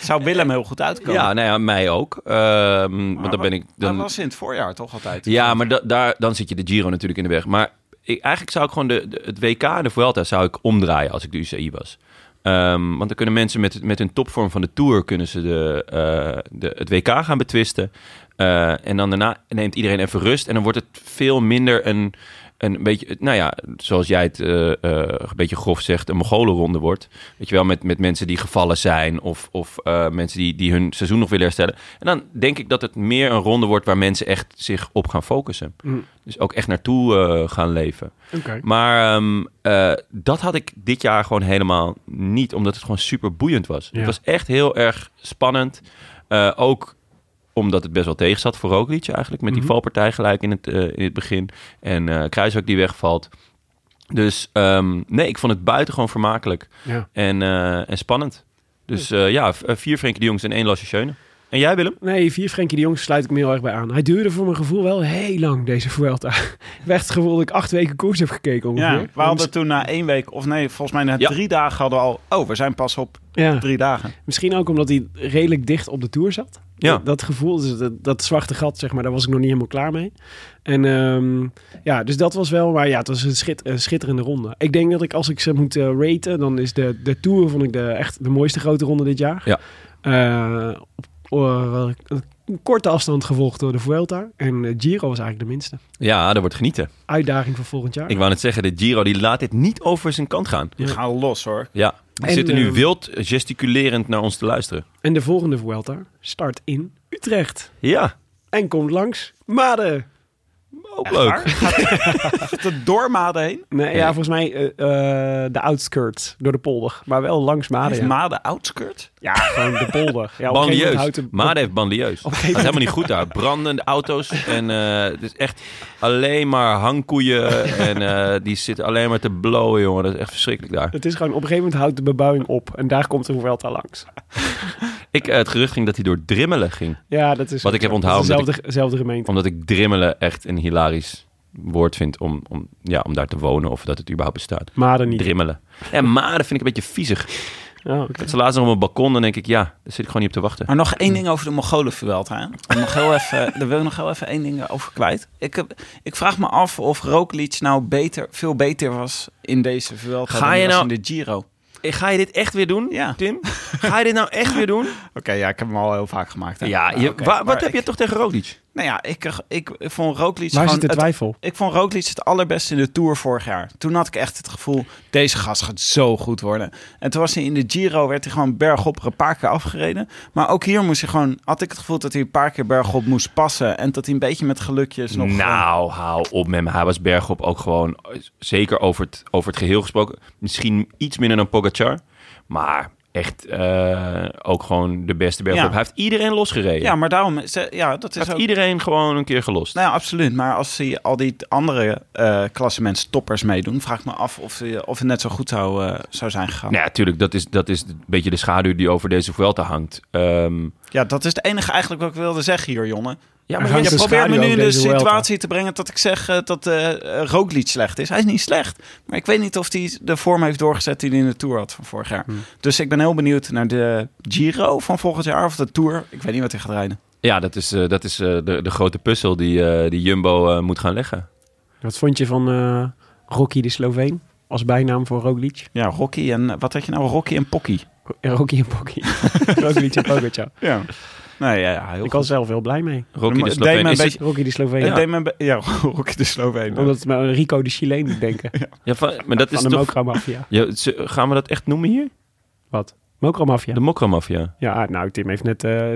Speaker 5: Zou Willem heel goed uitkomen?
Speaker 1: Ja, nou ja, mij ook. Ehm, want dan
Speaker 5: wa-
Speaker 1: ben ik...
Speaker 5: Dat
Speaker 1: Dan,
Speaker 5: was in het voorjaar toch altijd?
Speaker 1: Ja, maar da- daar, dan zit je de Giro natuurlijk in de weg. Maar ik, eigenlijk zou ik gewoon de, de- het WK en de Vuelta zou ik omdraaien als ik de UCI was. Ehm, want dan kunnen mensen met, met hun topvorm van de Tour... kunnen ze de, eh, de, het WK gaan betwisten. Eh, en dan daarna neemt iedereen even rust. En dan wordt het veel minder een, een beetje... Nou ja, zoals jij het eh, eh, een beetje grof zegt... een Mongolenronde wordt. Weet je wel, met, met mensen die gevallen zijn... of, of eh, mensen die, die hun seizoen nog willen herstellen. En dan denk ik dat het meer een ronde wordt... waar mensen echt zich op gaan focussen.
Speaker 2: Mm.
Speaker 1: Dus ook echt naartoe eh, gaan leven.
Speaker 2: Oké.
Speaker 1: Maar ehm, eh, dat had ik dit jaar gewoon helemaal niet, omdat het gewoon super boeiend was.
Speaker 2: Ja.
Speaker 1: Het was echt heel erg spannend. Eh, ook omdat het best wel tegen zat voor Roglic eigenlijk. Met
Speaker 2: Mhm.
Speaker 1: die valpartij gelijk in het, eh, in het begin. En eh Kruiswijk die wegvalt. Dus ehm, nee, ik vond het buitengewoon vermakelijk.
Speaker 2: Ja.
Speaker 1: En, eh, en spannend. Dus eh, ja, v- eh, vier Frenkie de Jongs en één Lasse Schöne. En jij Willem?
Speaker 2: Nee, vier Frenkie de Jong sluit ik me heel erg bij aan. Hij duurde voor mijn gevoel wel heel lang, deze Vuelta. (laughs) Ik heb echt het gevoel dat ik acht weken koers heb gekeken ongeveer.
Speaker 5: Ja, we hadden toen na één week, of nee, volgens mij na
Speaker 1: Ja.
Speaker 5: drie dagen hadden we al... Oh, we zijn pas op
Speaker 2: Ja,
Speaker 5: drie dagen.
Speaker 2: misschien ook omdat hij redelijk dicht op de Tour zat.
Speaker 1: Ja.
Speaker 2: Dat, dat gevoel, dus dat, dat zwarte gat, zeg maar, daar was ik nog niet helemaal klaar mee. En ehm, ja, dus dat was wel, maar ja, het was een, schit, een schitterende ronde. Ik denk dat ik, als ik ze moet eh, raten, dan is de, de Tour, vond ik de, echt de mooiste grote ronde dit jaar.
Speaker 1: Ja.
Speaker 2: Eh, op, eh, een korte afstand gevolgd door de Vuelta. En eh, Giro was eigenlijk de minste.
Speaker 1: Ja, dat wordt genieten.
Speaker 2: uitdaging voor volgend jaar.
Speaker 1: Ik wou net zeggen, de Giro die laat dit niet over zijn kant gaan.
Speaker 5: We gaan los, hoor.
Speaker 1: Ja, die
Speaker 2: En,
Speaker 1: zitten nu
Speaker 2: ehm,
Speaker 1: wild gesticulerend naar ons te luisteren.
Speaker 2: En de volgende Vuelta start in Utrecht.
Speaker 1: Ja.
Speaker 2: En komt langs Maden.
Speaker 1: Oké. Ook leuk.
Speaker 5: Te door Maden heen.
Speaker 2: Nee, ja, volgens mij eh, eh, de outskirts door de polder. Maar wel langs Maden.
Speaker 1: Ah,
Speaker 5: Heeft
Speaker 2: Ja,
Speaker 5: Maden outskirt?
Speaker 2: Ja, gewoon de polder. Ja, op een gegeven moment
Speaker 1: Bandieus.
Speaker 2: houdt de-
Speaker 1: Maarden heeft bandieus. Het gaat helemaal niet goed daar. Brandende auto's. En eh, het is echt alleen maar
Speaker 2: (laughs)
Speaker 1: hangkoeien. En eh, die zitten alleen maar te blowen, jongen. Dat is echt verschrikkelijk daar.
Speaker 2: Het is gewoon, op een gegeven moment houdt de bebouwing op. En daar komt de Vuelta langs.
Speaker 1: Ik, eh, het gerucht ging dat hij door Drimmelen ging.
Speaker 2: Ja, dat is...
Speaker 1: Wat ik heb
Speaker 2: dat is
Speaker 1: onthouden,
Speaker 2: Dezelfde, dezelfde gemeente.
Speaker 1: Omdat ik Drimmelen echt een hilarisch woord vind om, om, ja, om daar te wonen. Of dat het überhaupt bestaat.
Speaker 2: Maden niet.
Speaker 1: Drimmelen. En Maarden vind ik een beetje viezig.
Speaker 2: Oh, oké.
Speaker 1: Het is laatst nog op mijn balkon. Dan denk ik, ja, daar zit ik gewoon niet op te wachten.
Speaker 5: Maar nog één ding over de Mongolenverwelta. hè? Om nog heel (laughs) even, daar wil ik nog heel even één ding over kwijt. Ik, heb, ik vraag me af of Roglic nou beter, veel beter was in deze Vuelta
Speaker 1: Ga
Speaker 5: dan
Speaker 1: je
Speaker 5: hij was
Speaker 1: nou-
Speaker 5: in de Giro. Oké,
Speaker 1: Eh, Ga je dit echt weer doen,
Speaker 5: Ja.
Speaker 1: Tim? Ga je dit nou
Speaker 5: (laughs)
Speaker 1: echt weer doen?
Speaker 5: ja, ik heb hem al heel vaak gemaakt. hè?
Speaker 1: Ja, je-
Speaker 5: oké,
Speaker 1: wa-
Speaker 5: maar
Speaker 1: wat heb
Speaker 5: ik-
Speaker 1: je toch tegen Roglic?
Speaker 5: Nou ja, ik, ik, ik vond Roglic
Speaker 2: Waar
Speaker 5: gewoon
Speaker 2: zit de
Speaker 5: het
Speaker 2: twijfel?
Speaker 5: Ik vond Roglic het allerbeste in de Tour vorig jaar. Toen had ik echt het gevoel, deze gast gaat zo goed worden. En toen was hij in de Giro, werd hij gewoon bergop er een paar keer afgereden. Maar ook hier moest hij gewoon, had ik het gevoel dat hij een paar keer bergop moest passen. En dat hij een beetje met gelukjes nog...
Speaker 1: Nou, hou op met me. Hij was bergop ook gewoon, eh, zeker over het, over het geheel gesproken, misschien iets minder dan Pogacar. Maar echt eh, ook gewoon de beste bergop.
Speaker 5: Ja.
Speaker 1: Hij heeft iedereen losgereden.
Speaker 5: eh, Ja, maar daarom, is- ja, dat
Speaker 1: hij
Speaker 5: is
Speaker 1: heeft
Speaker 5: ook...
Speaker 1: iedereen gewoon een keer gelost.
Speaker 5: Nou ja, absoluut. Maar als hij al die andere eh klassements toppers meedoen, vraag ik me af of, hij- of het net zo goed zou, eh, zou zijn gegaan.
Speaker 1: Nou ja, tuurlijk, dat is, dat is een beetje de schaduw die over deze Vuelta hangt. Ehm,
Speaker 5: Ja, dat is het enige eigenlijk wat ik wilde zeggen hier, jongen.
Speaker 1: ja,
Speaker 2: Er hangt
Speaker 5: Je
Speaker 2: een
Speaker 5: probeert me
Speaker 2: schaduw
Speaker 5: nu in
Speaker 2: over
Speaker 5: de
Speaker 2: deze Vuelta.
Speaker 5: situatie te brengen dat ik zeg eh, dat eh eh, Roglic slecht is. Hij is niet slecht. Maar ik weet niet of hij de vorm heeft doorgezet die hij in de Tour had van vorig jaar. Dus ik ben heel benieuwd naar de Giro van volgend jaar of de Tour. Ik weet niet wat hij gaat rijden.
Speaker 1: ja, dat is, eh, dat is eh, de, de grote puzzel die, eh, die Jumbo eh, moet gaan leggen.
Speaker 2: Wat vond je van eh, Rocky de Sloveen? Als bijnaam voor Roglic?
Speaker 5: Ja, Rocky en... eh, Wat had je nou? Rocky en Pocky.
Speaker 2: Rocky en
Speaker 1: (laughs)
Speaker 2: Pocky. Roglic en Pogacar.
Speaker 5: Ja. Nee, Nou ja, ja, heel
Speaker 2: Ik
Speaker 5: goed.
Speaker 2: was zelf heel blij mee.
Speaker 1: Rocky
Speaker 5: Maar
Speaker 1: de
Speaker 5: het deed
Speaker 1: Sloveen.
Speaker 5: me een
Speaker 1: Is het-
Speaker 5: beetje-
Speaker 2: Rocky de Sloveen.
Speaker 5: Ja, deed me een be- ja (laughs) Rocky de Sloveen.
Speaker 2: Omdat het me aan Rico de Chileen moet denken.
Speaker 1: ja, van- maar dat
Speaker 2: van
Speaker 1: is
Speaker 2: de
Speaker 1: toch...
Speaker 2: Mokra-mafia.
Speaker 1: Ja, ze- gaan we dat echt noemen hier?
Speaker 2: Wat? Mokra-mafia?
Speaker 1: De Mokramafia.
Speaker 2: Ja, nou, Tim heeft net, eh,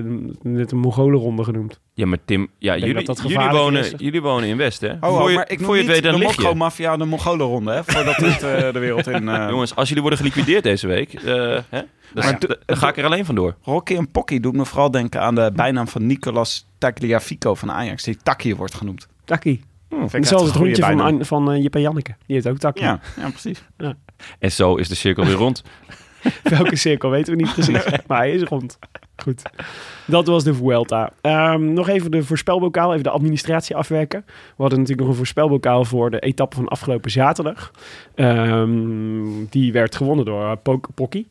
Speaker 2: net een Mongolenronde genoemd.
Speaker 1: Ja, maar Tim, ja,
Speaker 2: denk
Speaker 1: jullie,
Speaker 2: dat dat
Speaker 1: jullie,
Speaker 2: gevaarlijk
Speaker 1: wonen,
Speaker 2: is.
Speaker 1: jullie wonen in West, hè?
Speaker 5: Oh,
Speaker 1: voor je,
Speaker 5: maar ik noem
Speaker 1: voor je het
Speaker 5: niet
Speaker 1: weet, dan
Speaker 5: de
Speaker 1: lig je.
Speaker 5: Mokro-mafia de Mongolenronde, hè? Voordat dit eh, de wereld (laughs) in... eh,
Speaker 1: Jongens, als jullie worden geliquideerd deze week, eh, hè? Dan,
Speaker 5: Maar
Speaker 1: dan- dan ga ik er alleen vandoor.
Speaker 5: Rocky en Pocky doet me vooral denken aan
Speaker 1: Hm.
Speaker 5: de bijnaam van Nicolas Tagliafico van Ajax, die Takkie wordt genoemd.
Speaker 2: Takkie.
Speaker 5: Hmm, Vind ik echt
Speaker 2: Zoals
Speaker 5: een
Speaker 2: het
Speaker 5: goede
Speaker 2: hondje van,
Speaker 5: bijnaam.
Speaker 2: An- van eh, Jip en Janneke. Die heeft ook takkie.
Speaker 5: Ja, ja, precies.
Speaker 1: En zo is de cirkel weer
Speaker 5: (laughs)
Speaker 1: rond.
Speaker 2: Welke cirkel weten we niet precies. Maar hij is rond. Goed. Dat was de Vuelta. Ehm, nog even de voorspelbokaal, even de administratie afwerken. We hadden natuurlijk nog een voorspelbokaal voor de etappe van afgelopen zaterdag. Ehm, die werd gewonnen door eh, Pok Pocky.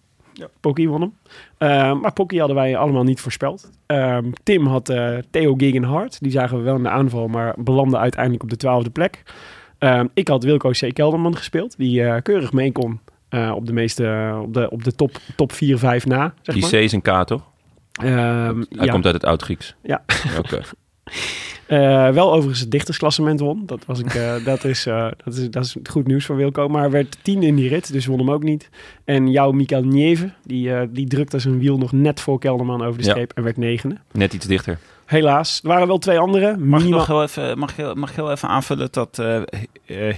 Speaker 2: Pocky won hem. Ehm, maar Pocky hadden wij allemaal niet voorspeld. Ehm, Tim had eh, Theo Gegenhardt. Die zagen we wel in de aanval, maar belandde uiteindelijk op de twaalfde plek. Ehm, ik had Wilco C. Kelderman gespeeld, die eh, keurig mee kon eh, op de meeste, op de, op de top, top 4, 5 na. Zeg
Speaker 1: Die C
Speaker 2: maar.
Speaker 1: is een K, toch?
Speaker 2: Ehm,
Speaker 1: Hij
Speaker 2: ja.
Speaker 1: komt uit het Oud-Grieks.
Speaker 2: Ja.
Speaker 1: (laughs) Oké.
Speaker 2: Eh, wel overigens het dichtersklassement won. Dat, was ik, eh, dat, is, eh, dat, is, dat is goed nieuws voor Wilco. Maar werd tien in die rit, dus won hem ook niet. En jouw Mikael Nieve, die, eh, die drukte zijn wiel nog net voor Kelderman over de
Speaker 1: Ja.
Speaker 2: streep en werd negende.
Speaker 1: Net iets dichter.
Speaker 2: Helaas. Er waren wel twee anderen.
Speaker 5: Mag ik,
Speaker 2: Minimaal-
Speaker 5: nog heel even, mag, ik heel, mag ik heel even aanvullen dat eh, eh,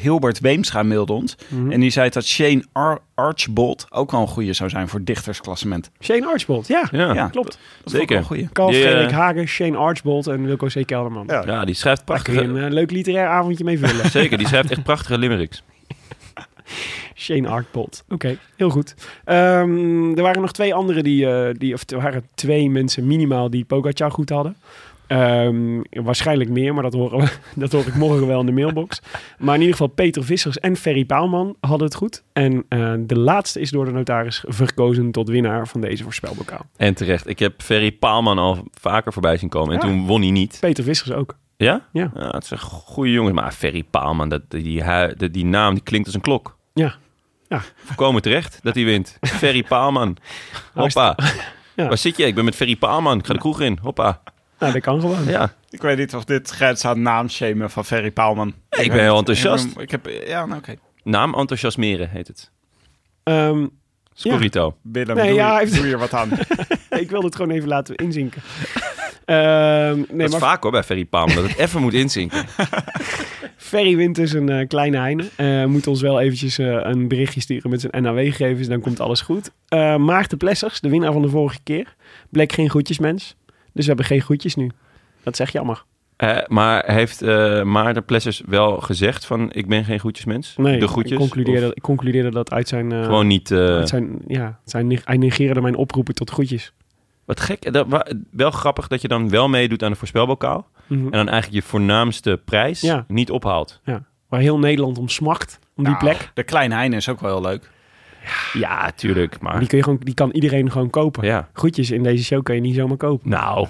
Speaker 5: Hilbert Weemstra mailde ons.
Speaker 2: Mhm.
Speaker 5: En die zei dat Shane Ar- Archbold ook wel een goede zou zijn voor dichtersklassement.
Speaker 2: Shane Archbold, ja.
Speaker 1: Ja,
Speaker 5: Ja.
Speaker 2: Klopt.
Speaker 5: Dat vond ik wel
Speaker 1: Zeker.
Speaker 5: een goeie.
Speaker 2: Carl
Speaker 1: Die, eh,
Speaker 2: Frederik Hagen, Shane Archbold en Wilco C. Kelderman.
Speaker 5: Ja.
Speaker 1: ja die schrijft
Speaker 2: Daar kun je een
Speaker 1: prachtige...
Speaker 2: eh, leuk literair avondje mee vullen.
Speaker 1: (laughs) Zeker, die schrijft echt prachtige limericks.
Speaker 2: Shane Archbold. Oké, heel goed. Ehm, er waren nog twee andere die, eh, die, of er waren twee mensen minimaal die Pogacar goed hadden. Ehm, waarschijnlijk meer, maar dat, horen we, (laughs) dat hoor ik morgen wel in de mailbox. Maar in ieder geval Peter Vissers en Ferry Paalman hadden het goed. En eh, de laatste is door de notaris verkozen tot winnaar van deze voorspelbokaal.
Speaker 1: En terecht. Ik heb Ferry Paalman al vaker voorbij zien komen. En
Speaker 2: Ja.
Speaker 1: toen won hij niet.
Speaker 2: Peter Vissers ook.
Speaker 1: Ja?
Speaker 2: Ja.
Speaker 1: het is een goede jongen. Maar Ferry Paalman, dat, die, hui- dat- die naam die klinkt als een klok.
Speaker 2: Ja. Ja.
Speaker 1: Voorkomen terecht dat hij wint. Ferry Paalman. Hoppa.
Speaker 2: (laughs) Ja.
Speaker 1: Waar zit je? Ik ben met Ferry Paalman. Ik ga de kroeg in. Hoppa.
Speaker 2: Nou, dat kan gewoon.
Speaker 1: Ja.
Speaker 5: Ik weet niet of dit grenst aan naamshamen van Ferry Paalman.
Speaker 1: Ik ben heel enthousiast.
Speaker 5: Ik, ben- ik heb, ja, nou, oké.
Speaker 1: Naam enthousiasmeren heet het.
Speaker 2: Ehm,
Speaker 1: Scorito.
Speaker 5: Willem,
Speaker 2: Nee,
Speaker 5: doe,
Speaker 2: ja,
Speaker 5: hier-
Speaker 2: hij heeft-
Speaker 5: doe hier wat aan.
Speaker 2: ik wilde het gewoon even laten inzinken. Ehm, nee,
Speaker 1: dat is
Speaker 2: maar (laughs)
Speaker 1: vaak hoor bij Ferry Paalman. Dat het even moet inzinken.
Speaker 2: Ferry Winters en eh, Kleine Heine eh, moet ons wel eventjes eh, een berichtje sturen met zijn NAW-gegevens. Dan komt alles goed. Eh, Maarten Plessers, de winnaar van de vorige keer, bleek geen groetjesmens. Dus we hebben geen groetjes nu. Dat zeg jammer.
Speaker 1: Eh, maar heeft eh Maarten Plessers wel gezegd van ik ben geen goedjesmens?
Speaker 2: Nee,
Speaker 1: de groetjes?
Speaker 2: ik, concludeerde,
Speaker 1: Of
Speaker 2: ik concludeerde dat uit zijn... eh,
Speaker 1: Gewoon niet... eh,
Speaker 2: uit zijn ja, zijn, neg- hij negeerde mijn oproepen tot groetjes.
Speaker 1: Wat gek. Dat, wa- wel grappig dat je dan wel meedoet aan de voorspelbokaal.
Speaker 2: Mhm.
Speaker 1: En dan eigenlijk je voornaamste prijs
Speaker 2: Ja.
Speaker 1: niet ophaalt.
Speaker 2: Waar heel Nederland om smakt, om die
Speaker 5: Nou,
Speaker 2: plek.
Speaker 5: De Kleine Heine is ook wel heel leuk.
Speaker 1: Ja, tuurlijk. Maar
Speaker 2: Die, kun je gewoon, die kan iedereen gewoon kopen.
Speaker 1: ja.
Speaker 2: Groetjes in deze show kan je niet zomaar kopen.
Speaker 1: Nou,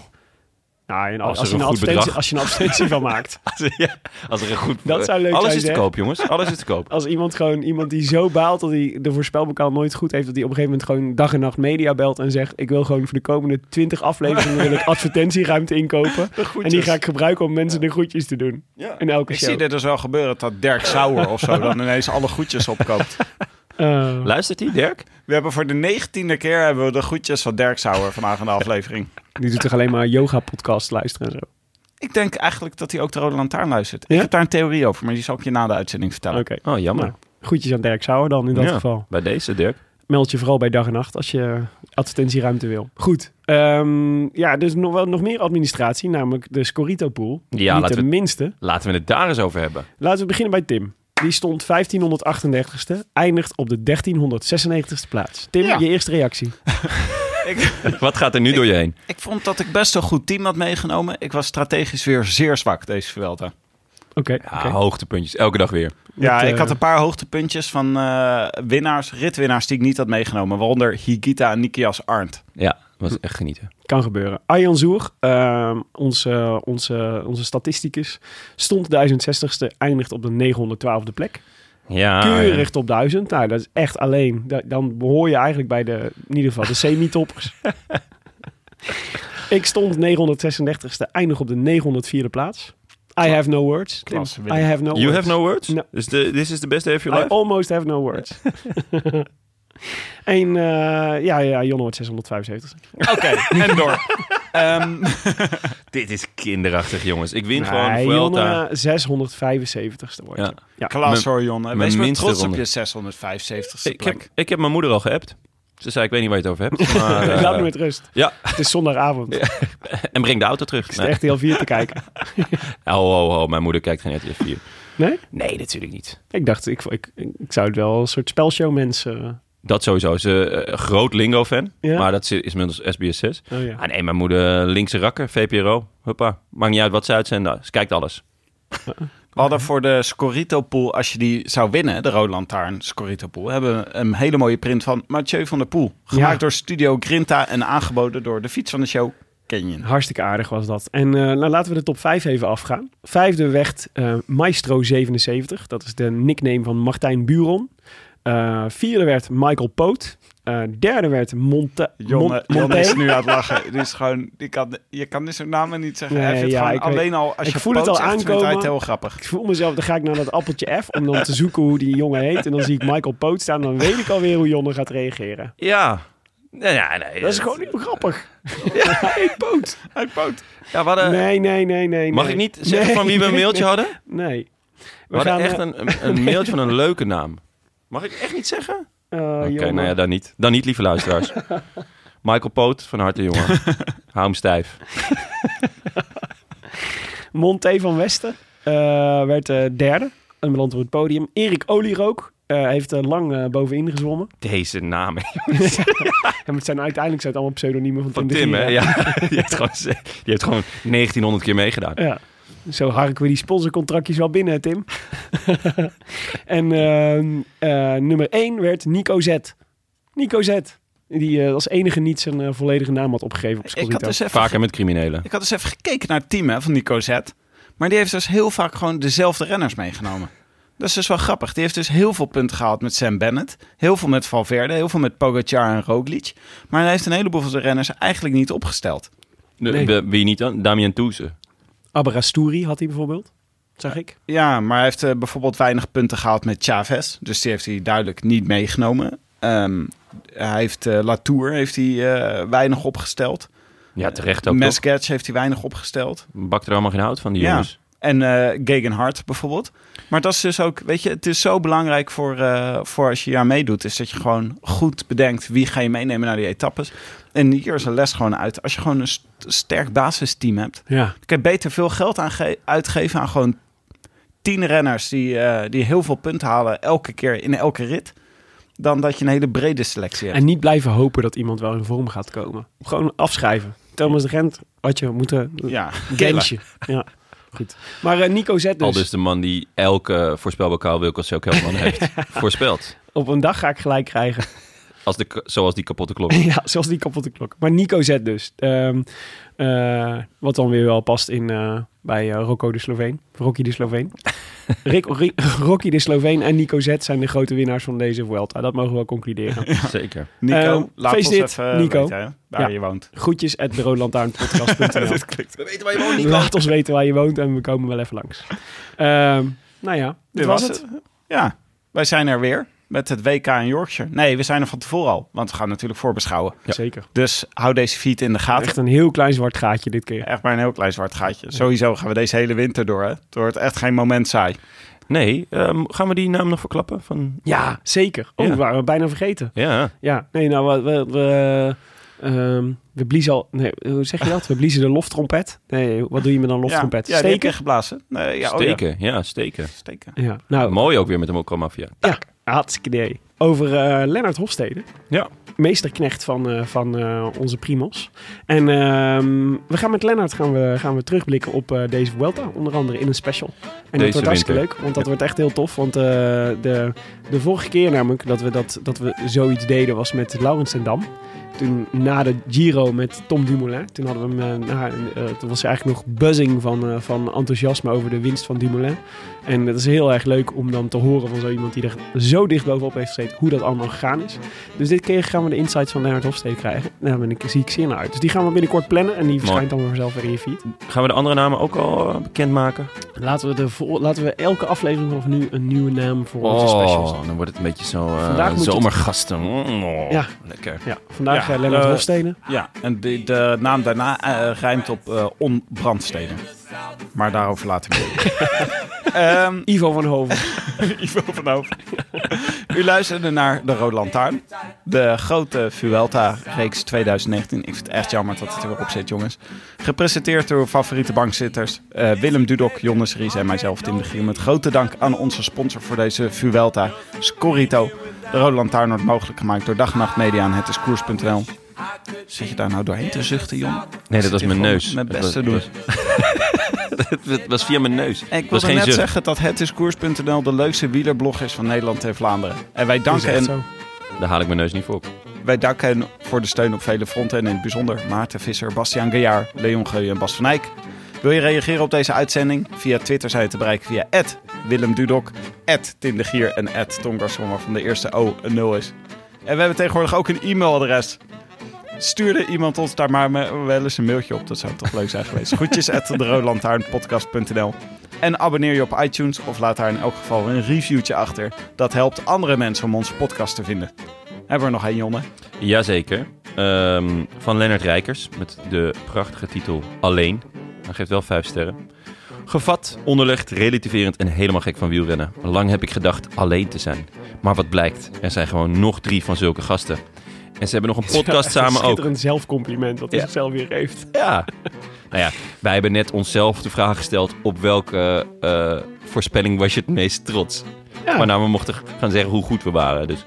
Speaker 2: Nou, en
Speaker 1: Als
Speaker 2: als,
Speaker 1: er
Speaker 2: als, je
Speaker 1: een
Speaker 2: een
Speaker 1: goed
Speaker 2: advertentie,
Speaker 1: bedrag-
Speaker 2: als je een advertentie van maakt.
Speaker 1: als, (laughs) ja, als er een goed...
Speaker 2: Dat zou leuk
Speaker 1: Alles
Speaker 2: zijn,
Speaker 1: is te
Speaker 2: zeg.
Speaker 1: koop, jongens. Alles is te (laughs) koop.
Speaker 2: Als iemand gewoon iemand die zo baalt dat hij de voorspelbokaal nooit goed heeft, dat hij op een gegeven moment gewoon dag en nacht media belt en zegt: Ik wil gewoon voor de komende 20 afleveringen wil ik advertentieruimte inkopen. En die ga ik gebruiken om mensen de groetjes te doen. In elke
Speaker 5: Ik
Speaker 2: show.
Speaker 5: zie dit dus wel gebeuren dat Dirk Sauer of (laughs) zo dan ineens alle goedjes opkoopt.
Speaker 2: Eh,
Speaker 1: Luistert hij, Dirk?
Speaker 5: We hebben voor de negentiende keer hebben we de goedjes van Dirk Sauer vandaag in de aflevering.
Speaker 2: die doet toch alleen maar yoga-podcast luisteren en zo.
Speaker 5: Ik denk eigenlijk dat hij ook de Rode Lantaarn luistert.
Speaker 2: Ja?
Speaker 5: Ik heb daar een theorie over, maar die zal ik je na de uitzending vertellen.
Speaker 2: Oké.
Speaker 1: Oh, jammer.
Speaker 2: Nou, Groetjes aan Dirk Sauer dan in dat
Speaker 1: Ja.
Speaker 2: geval.
Speaker 1: Bij deze, Dirk.
Speaker 2: Meld je vooral bij dag en nacht als je advertentieruimte wil. Goed. Ehm, ja, dus nog, wel, nog meer administratie, namelijk de Scorito Pool.
Speaker 1: Ja,
Speaker 2: Niet
Speaker 1: laten
Speaker 2: de
Speaker 1: we-
Speaker 2: minste.
Speaker 1: Laten we het daar eens over (laughs) hebben.
Speaker 2: Laten we beginnen bij Tim. Die stond 1538ste, eindigt op de 1396ste plaats. Tim, je eerste reactie.
Speaker 1: Wat gaat er nu door je heen?
Speaker 5: Ik vond dat ik best een goed team had meegenomen. Ik was strategisch weer zeer zwak deze Vuelta.
Speaker 2: Oké.
Speaker 1: Ja,
Speaker 2: oké.
Speaker 1: hoogtepuntjes. Elke dag weer.
Speaker 5: Ja,
Speaker 2: Met, eh,
Speaker 5: ik had een paar hoogtepuntjes van eh, winnaars, ritwinnaars die ik niet had meegenomen. Waaronder Higita en Nikias Arndt.
Speaker 1: Ja, was echt genieten.
Speaker 2: Kan gebeuren. Arjan Zoer, ehm, onze, onze, onze statisticus, stond 1060ste, eindigt op de 912e plek.
Speaker 1: Ah, Ja.
Speaker 2: Keurig top 1000. Nou, dat is echt alleen. da- Dan behoor je eigenlijk bij de, in ieder geval, de semi-toppers. Ik stond 936ste, eindig op de 904e plaats. I have no words. Tim.
Speaker 5: Klasse,
Speaker 2: I
Speaker 5: Willem.
Speaker 2: have no
Speaker 1: You
Speaker 2: words.
Speaker 1: have no words?
Speaker 2: No.
Speaker 1: Dus de, this is the best day of your
Speaker 2: I
Speaker 1: life?
Speaker 2: almost have no words. (laughs) en eh, ja, ja, Jonne wordt 675.
Speaker 5: Oké,
Speaker 1: (laughs)
Speaker 5: en door. Ehm,
Speaker 1: Dit is kinderachtig, jongens. Ik win gewoon
Speaker 2: Nee,
Speaker 1: Vuelta.
Speaker 2: Jonne 675ste wordt.
Speaker 1: Ja.
Speaker 2: Ja. Ja.
Speaker 5: Klas hoor, Jon. Wees maar
Speaker 1: minste
Speaker 5: trots op
Speaker 1: ronde.
Speaker 5: je 675 e
Speaker 1: Ik heb,
Speaker 5: plek.
Speaker 1: ik heb mijn moeder al geappt. Ze zei, ik weet niet waar je het over (laughs) hebt. Maar, eh,
Speaker 2: Laat me met rust.
Speaker 1: ja.
Speaker 2: Het is
Speaker 1: (laughs)
Speaker 2: zondagavond. Ik
Speaker 1: en breng de auto terug.
Speaker 2: zit
Speaker 1: Nee.
Speaker 2: echt heel vier te kijken.
Speaker 1: Oh, oh, oh, mijn moeder kijkt geen RTF 4.
Speaker 2: Nee?
Speaker 1: Nee, natuurlijk niet.
Speaker 2: Ik dacht, ik, ik, ik zou het wel een soort spelshow mensen...
Speaker 1: Dat sowieso. Ze is een groot Lingo-fan.
Speaker 2: Ja.
Speaker 1: Maar dat is is inmiddels SBS6.
Speaker 2: Oh ja.
Speaker 1: Ah nee, mijn moeder linkse rakker, VPRO. Huppa. Maakt niet uit wat ze uitzenden. Ze kijkt alles.
Speaker 5: We hadden voor de Scorito Pool, als je die zou winnen, de Rode Lantaarn Scorito Pool, hebben we een hele mooie print van Mathieu van der Poel. Gemaakt
Speaker 2: Ja.
Speaker 5: door Studio Grinta en aangeboden door de fiets van de show Canyon.
Speaker 2: Hartstikke aardig was dat. En eh, nou, laten we de top 5 even afgaan. Vijfde werd eh, Maestro77. Dat is de nickname van Martijn Buron. Eh, vierde werd Michael Poot. Eh, derde werd Monte...
Speaker 5: Jonne,
Speaker 2: Mon-
Speaker 5: Jonne
Speaker 2: Monté.
Speaker 5: is nu aan het lachen. Dit is gewoon, die kan, je kan dit soort namen niet zeggen.
Speaker 2: Nee,
Speaker 5: Hij vindt
Speaker 2: ja,
Speaker 5: gewoon
Speaker 2: ik
Speaker 5: alleen
Speaker 2: weet-
Speaker 5: al, als
Speaker 2: ik
Speaker 5: je
Speaker 2: voel het
Speaker 5: poot
Speaker 2: al
Speaker 5: zegt, vindt hij het
Speaker 2: aankomen.
Speaker 5: heel grappig.
Speaker 2: Ik voel mezelf, dan ga ik naar dat appeltje F om dan te zoeken hoe die jongen heet. En dan zie ik Michael Poot staan. Dan weet ik alweer hoe Jonne gaat reageren.
Speaker 1: Ja. Nee, nee, nee.
Speaker 2: Dat is gewoon niet meer grappig. (laughs) Ja, ik Poot.
Speaker 5: Uit poot.
Speaker 1: Ja, we hadden-
Speaker 2: Nee, nee, nee, nee.
Speaker 1: Mag
Speaker 2: nee.
Speaker 1: ik niet zeggen van wie we een
Speaker 2: (laughs)
Speaker 1: mailtje hadden? We,
Speaker 2: Nee. We
Speaker 1: hadden
Speaker 2: gaan,
Speaker 1: echt
Speaker 2: eh,
Speaker 1: een, een-
Speaker 2: (laughs)
Speaker 1: een mailtje van een leuke naam. Mag ik echt niet zeggen?
Speaker 2: eh,
Speaker 1: Oké,
Speaker 2: Jonne.
Speaker 1: nou ja, dan niet. Dan niet, lieve
Speaker 2: (laughs)
Speaker 1: luisteraars. Michael Poot, van harte jongen. Hou hem stijf.
Speaker 2: Monté van Westen eh, werd eh, derde. Een beland op het podium. Erik Olierook eh, heeft eh, lang eh, bovenin gezwommen.
Speaker 1: Deze naam
Speaker 2: En het zijn uiteindelijk zijn het allemaal pseudoniemen van,
Speaker 1: van
Speaker 2: de
Speaker 1: Tim, hè?
Speaker 2: Gier.
Speaker 1: Ja, (laughs) die, heeft gewoon, ze- die heeft gewoon 1900 keer
Speaker 2: (laughs)
Speaker 1: meegedaan.
Speaker 2: Ja. Zo harken we die sponsorcontractjes wel binnen,
Speaker 5: (laughs)
Speaker 2: Tim. en ehm, eh, nummer 1 werd Nico Z. Nico Z. Die eh, als enige niet zijn eh, volledige naam had opgegeven op
Speaker 5: Ik had,
Speaker 2: Scorito.
Speaker 5: dus even,
Speaker 1: Vaker met criminelen.
Speaker 5: ik had dus even gekeken naar het team hè, van Nico Z. Maar die heeft dus heel vaak gewoon dezelfde renners meegenomen. Dat is dus wel grappig. Die heeft dus heel veel punten gehaald met Sam Bennett. Heel veel met Valverde. Heel veel met Pogacar en Roglic. Maar hij heeft een heleboel van zijn renners eigenlijk niet opgesteld.
Speaker 1: De-
Speaker 2: Nee.
Speaker 1: de- Wie niet dan? Damien Toeze.
Speaker 2: Aberasturi had hij bijvoorbeeld, zag ik.
Speaker 5: Ja, maar hij heeft eh, bijvoorbeeld weinig punten gehaald met Chavez. Dus die heeft hij duidelijk niet meegenomen. Ehm, hij heeft eh, Latour heeft hij, eh, weinig opgesteld.
Speaker 1: Ja, terecht ook,
Speaker 5: Mesketch heeft hij weinig opgesteld.
Speaker 1: toch? Bakt er allemaal geen hout van, die
Speaker 5: Ja.
Speaker 1: jongens.
Speaker 5: En eh Gegenhard bijvoorbeeld. Maar dat is dus ook, weet je, het is zo belangrijk voor, eh, voor als je hier aan meedoet, is dat je gewoon goed bedenkt wie ga je meenemen naar die etappes. En hier is een les gewoon uit. Als je gewoon een st- sterk basisteam hebt,
Speaker 2: Ja.
Speaker 5: dan kan je beter veel geld aan ge- uitgeven aan gewoon tien renners die, eh, die heel veel punten halen elke keer in elke rit, dan dat je een hele brede selectie hebt.
Speaker 2: En niet blijven hopen dat iemand wel in vorm gaat komen. Gewoon afschrijven. Thomas de Gent had je moeten...
Speaker 5: ja,
Speaker 2: Gentje. Ja, goed. Maar eh, Nico zet dus,
Speaker 1: Al dus de man die elke voorspelbokaal Wilco ook Kelman
Speaker 5: (laughs)
Speaker 1: heeft voorspeld.
Speaker 2: op een dag ga ik gelijk krijgen.
Speaker 1: Als de, k- zoals die kapotte klok.
Speaker 2: (laughs) ja, zoals die kapotte klok. Maar Nico zet dus. ehm, eh, wat dan weer wel past in, eh, bij eh, Rocco de Sloveen. Rocky de (laughs) Sloveen. Rick, Ri- Rocky de Sloveen en Nico Z zijn de grote winnaars van deze Vuelta. Dat mogen we wel concluderen. (laughs)
Speaker 1: Zeker.
Speaker 5: Nico,
Speaker 2: Ehm,
Speaker 5: laat ons
Speaker 2: feestdit,
Speaker 5: even
Speaker 2: Nico.
Speaker 5: weten hè, waar
Speaker 2: Ja.
Speaker 5: je woont.
Speaker 2: Groetjes at (laughs) deroodlantaarnpodcast.nl
Speaker 1: We weten waar je woont,
Speaker 2: (laughs) Laat ons weten waar je woont en we komen wel even langs. Ehm, nou ja, dit was het.
Speaker 5: Ja, wij zijn er weer met het WK in Yorkshire. Nee, we zijn er van tevoren al, want we gaan natuurlijk voorbeschouwen.
Speaker 2: Zeker.
Speaker 5: Dus hou deze feed in de gaten.
Speaker 2: Echt een heel klein zwart gaatje dit keer.
Speaker 5: Echt maar een heel klein zwart gaatje. Sowieso gaan we deze hele winter door. Hè? Het wordt echt geen moment saai.
Speaker 1: Nee, ehm, gaan we die naam nog verklappen? Van...
Speaker 2: Ja, zeker. Oh,
Speaker 1: Ja.
Speaker 2: we waren we bijna vergeten.
Speaker 5: oh
Speaker 1: Ja,
Speaker 2: Ja, nee, nou, we, we, we, ehm, we bliezen al... Nee, hoe zeg je dat? We bliezen de loftrompet. Nee, wat doe je met een loftrompet?
Speaker 5: Ja, ja, die heb
Speaker 2: Steken?
Speaker 5: je geblazen. Nee, ja, oh ja.
Speaker 1: steken. Ja. steken.
Speaker 5: Steken.
Speaker 2: Ja, nou,
Speaker 1: Mooi ook weer met de Mokka Mafia.
Speaker 2: ja, hartstikke idee. Over eh Lennart Hofstede.
Speaker 1: Ja.
Speaker 2: Meesterknecht van, eh, van eh, onze primos. En ehm, we gaan met Lennart gaan we, gaan we terugblikken op eh, deze Vuelta. Onder andere in een special. En dat
Speaker 1: Deze
Speaker 2: wordt hartstikke
Speaker 1: winter.
Speaker 2: leuk. Want dat wordt echt heel tof. Want eh, de, de vorige keer namelijk dat we, dat, dat we zoiets deden was met Laurens en Dam. Toen na de Giro met Tom Dumoulin. Toen hadden we hem, eh, na, eh, toen was er eigenlijk nog buzzing van, eh, van enthousiasme over de winst van Dumoulin. En dat is heel erg leuk om dan te horen van zo iemand die er zo dicht bovenop heeft gezeten hoe dat allemaal gegaan is. Dus dit keer gaan we de insights van Leonard Hofstede krijgen. Daar ben ik, zie ik zeer naar uit. Dus die gaan we binnenkort plannen en die verschijnt dan weer vanzelf weer in je feed.
Speaker 1: Gaan we de andere namen ook al eh, bekendmaken?
Speaker 2: Laten we, de vol- laten we elke aflevering vanaf nu een nieuwe naam voor onze
Speaker 1: Oh.
Speaker 2: specials.
Speaker 1: dan wordt het een beetje zo eh,
Speaker 2: Vandaag moet je-
Speaker 1: zomergasten. Oh,
Speaker 2: Ja.
Speaker 1: Lekker.
Speaker 2: Ja, vandaag
Speaker 5: Ja,
Speaker 2: eh, Leonard
Speaker 5: eh,
Speaker 2: Hofstede.
Speaker 5: Ja, en de, de naam daarna eh, rijmt op eh onbrandsteden. Maar daarover later
Speaker 2: (laughs)
Speaker 5: meer. Ehm,
Speaker 2: Ivo van Hoven.
Speaker 5: Ivo van Hoofd. U luisterde naar De Rode Lantaarn. De grote Vuelta-reeks 2019. Ik vind het echt jammer dat het er weer op zit, jongens. Gepresenteerd door uw favoriete bankzitters eh, Willem Dudok, Jonas Ries en mijzelf, Tim de Gier. Met grote dank aan onze sponsor voor deze Vuelta, Scorrito. De Rode Lantaarn wordt mogelijk gemaakt door Dag en Nacht Media en hetiskoers.nl. Zit je daar nou doorheen te zuchten, Jon?
Speaker 1: Nee, dat was mijn neus.
Speaker 5: Mijn
Speaker 1: Dat
Speaker 5: best te
Speaker 1: was-
Speaker 5: doen.
Speaker 1: Het was- het was via mijn neus.
Speaker 5: En
Speaker 1: was
Speaker 5: ik wilde
Speaker 1: geen
Speaker 5: net
Speaker 1: zucht.
Speaker 5: zeggen dat hetiskoers.nl de leukste wielerblog is van Nederland en Vlaanderen. En wij
Speaker 2: Is
Speaker 5: danken
Speaker 2: echt
Speaker 5: en
Speaker 2: zo.
Speaker 1: Daar haal ik mijn neus niet voor op.
Speaker 5: Wij danken hen voor de steun op vele fronten en in het bijzonder Maarten Visser, Bastiaan Gaillard, Leon Geu en Bas van Eyck. Wil je reageren op deze uitzending? Via Twitter zijn we te bereiken via Willem Dudok, Tim de Gier en Tom Garçon, waarvan de eerste O een 0 is. En we hebben tegenwoordig ook een e-mailadres. Stuurde iemand ons daar maar me- wel eens een mailtje op. Dat zou toch leuk zijn geweest. Groetjes at deroodlantaarnpodcast.nl En abonneer je op iTunes of laat daar in elk geval een reviewtje achter. Dat helpt andere mensen om onze podcast te vinden. Hebben we er nog één, Jonne?
Speaker 1: Jazeker. Ehm, van Lennart Rijkers met de prachtige titel Alleen. Hij geeft wel vijf sterren. Gevat, onderlegd, relativerend en helemaal gek van wielrennen. Lang heb ik gedacht alleen te zijn. Maar wat blijkt, er zijn gewoon nog drie van zulke gasten. En ze hebben nog een podcast
Speaker 2: (laughs) (laughs) Ja,
Speaker 1: samen ook.
Speaker 2: Schitterend zelfcompliment dat hij
Speaker 1: Ja.
Speaker 2: zichzelf weer heeft.
Speaker 1: Ja. nou ja, wij hebben net onszelf de vraag gesteld... op welke eh, voorspelling was je het meest trots?
Speaker 2: Ja.
Speaker 1: Maar nou, we mochten gaan zeggen hoe goed we waren. Dus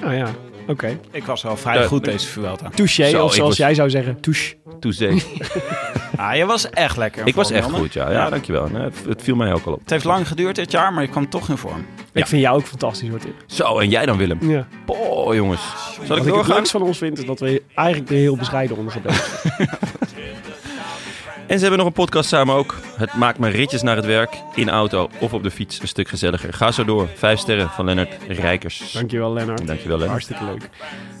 Speaker 2: Nou ja, oké.
Speaker 5: Ik was wel vrij
Speaker 1: Eh,
Speaker 5: goed deze Vuelta.
Speaker 2: Touché,
Speaker 1: Zo,
Speaker 2: of
Speaker 1: ik
Speaker 2: zoals
Speaker 1: was-
Speaker 2: jij zou zeggen, touche. (laughs)
Speaker 1: toezee.
Speaker 5: Ah, je was echt lekker.
Speaker 1: ik was echt goed, ja. Ja, dankjewel. Nee, het- het viel mij ook al op.
Speaker 5: Het heeft lang geduurd dit jaar, maar je kwam toch in vorm.
Speaker 2: Ik vind jou ook fantastisch, hoor. Tim.
Speaker 1: Zo, en jij dan, Willem?
Speaker 2: Ja.
Speaker 1: Oh, jongens. Zal ik
Speaker 2: Wat ik het
Speaker 1: doorgaan?
Speaker 2: leukst van ons vind, is dat we eigenlijk er heel bescheiden onder gebleven.
Speaker 1: En ze hebben nog een podcast samen ook. Het maakt me ritjes naar het werk, in auto of op de fiets een stuk gezelliger. Ga zo door. Vijf sterren van Lennart Rijkers.
Speaker 2: Dankjewel, Lennart.
Speaker 1: Dankjewel, Lennart.
Speaker 2: Hartstikke leuk.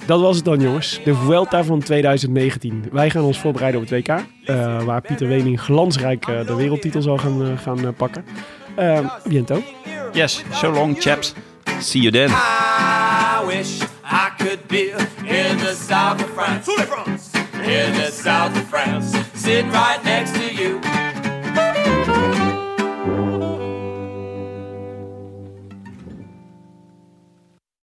Speaker 2: Dat was het dan, jongens. De Vuelta van 2019. Wij gaan ons voorbereiden op het WK. eh, waar Pieter Wening glansrijk eh, de wereldtitel zal gaan, eh, gaan eh, pakken. Eh biento.
Speaker 5: Yes, so long, chaps.
Speaker 1: See you then.
Speaker 4: I wish I could be in the south of France. In the south of France. Sitting right next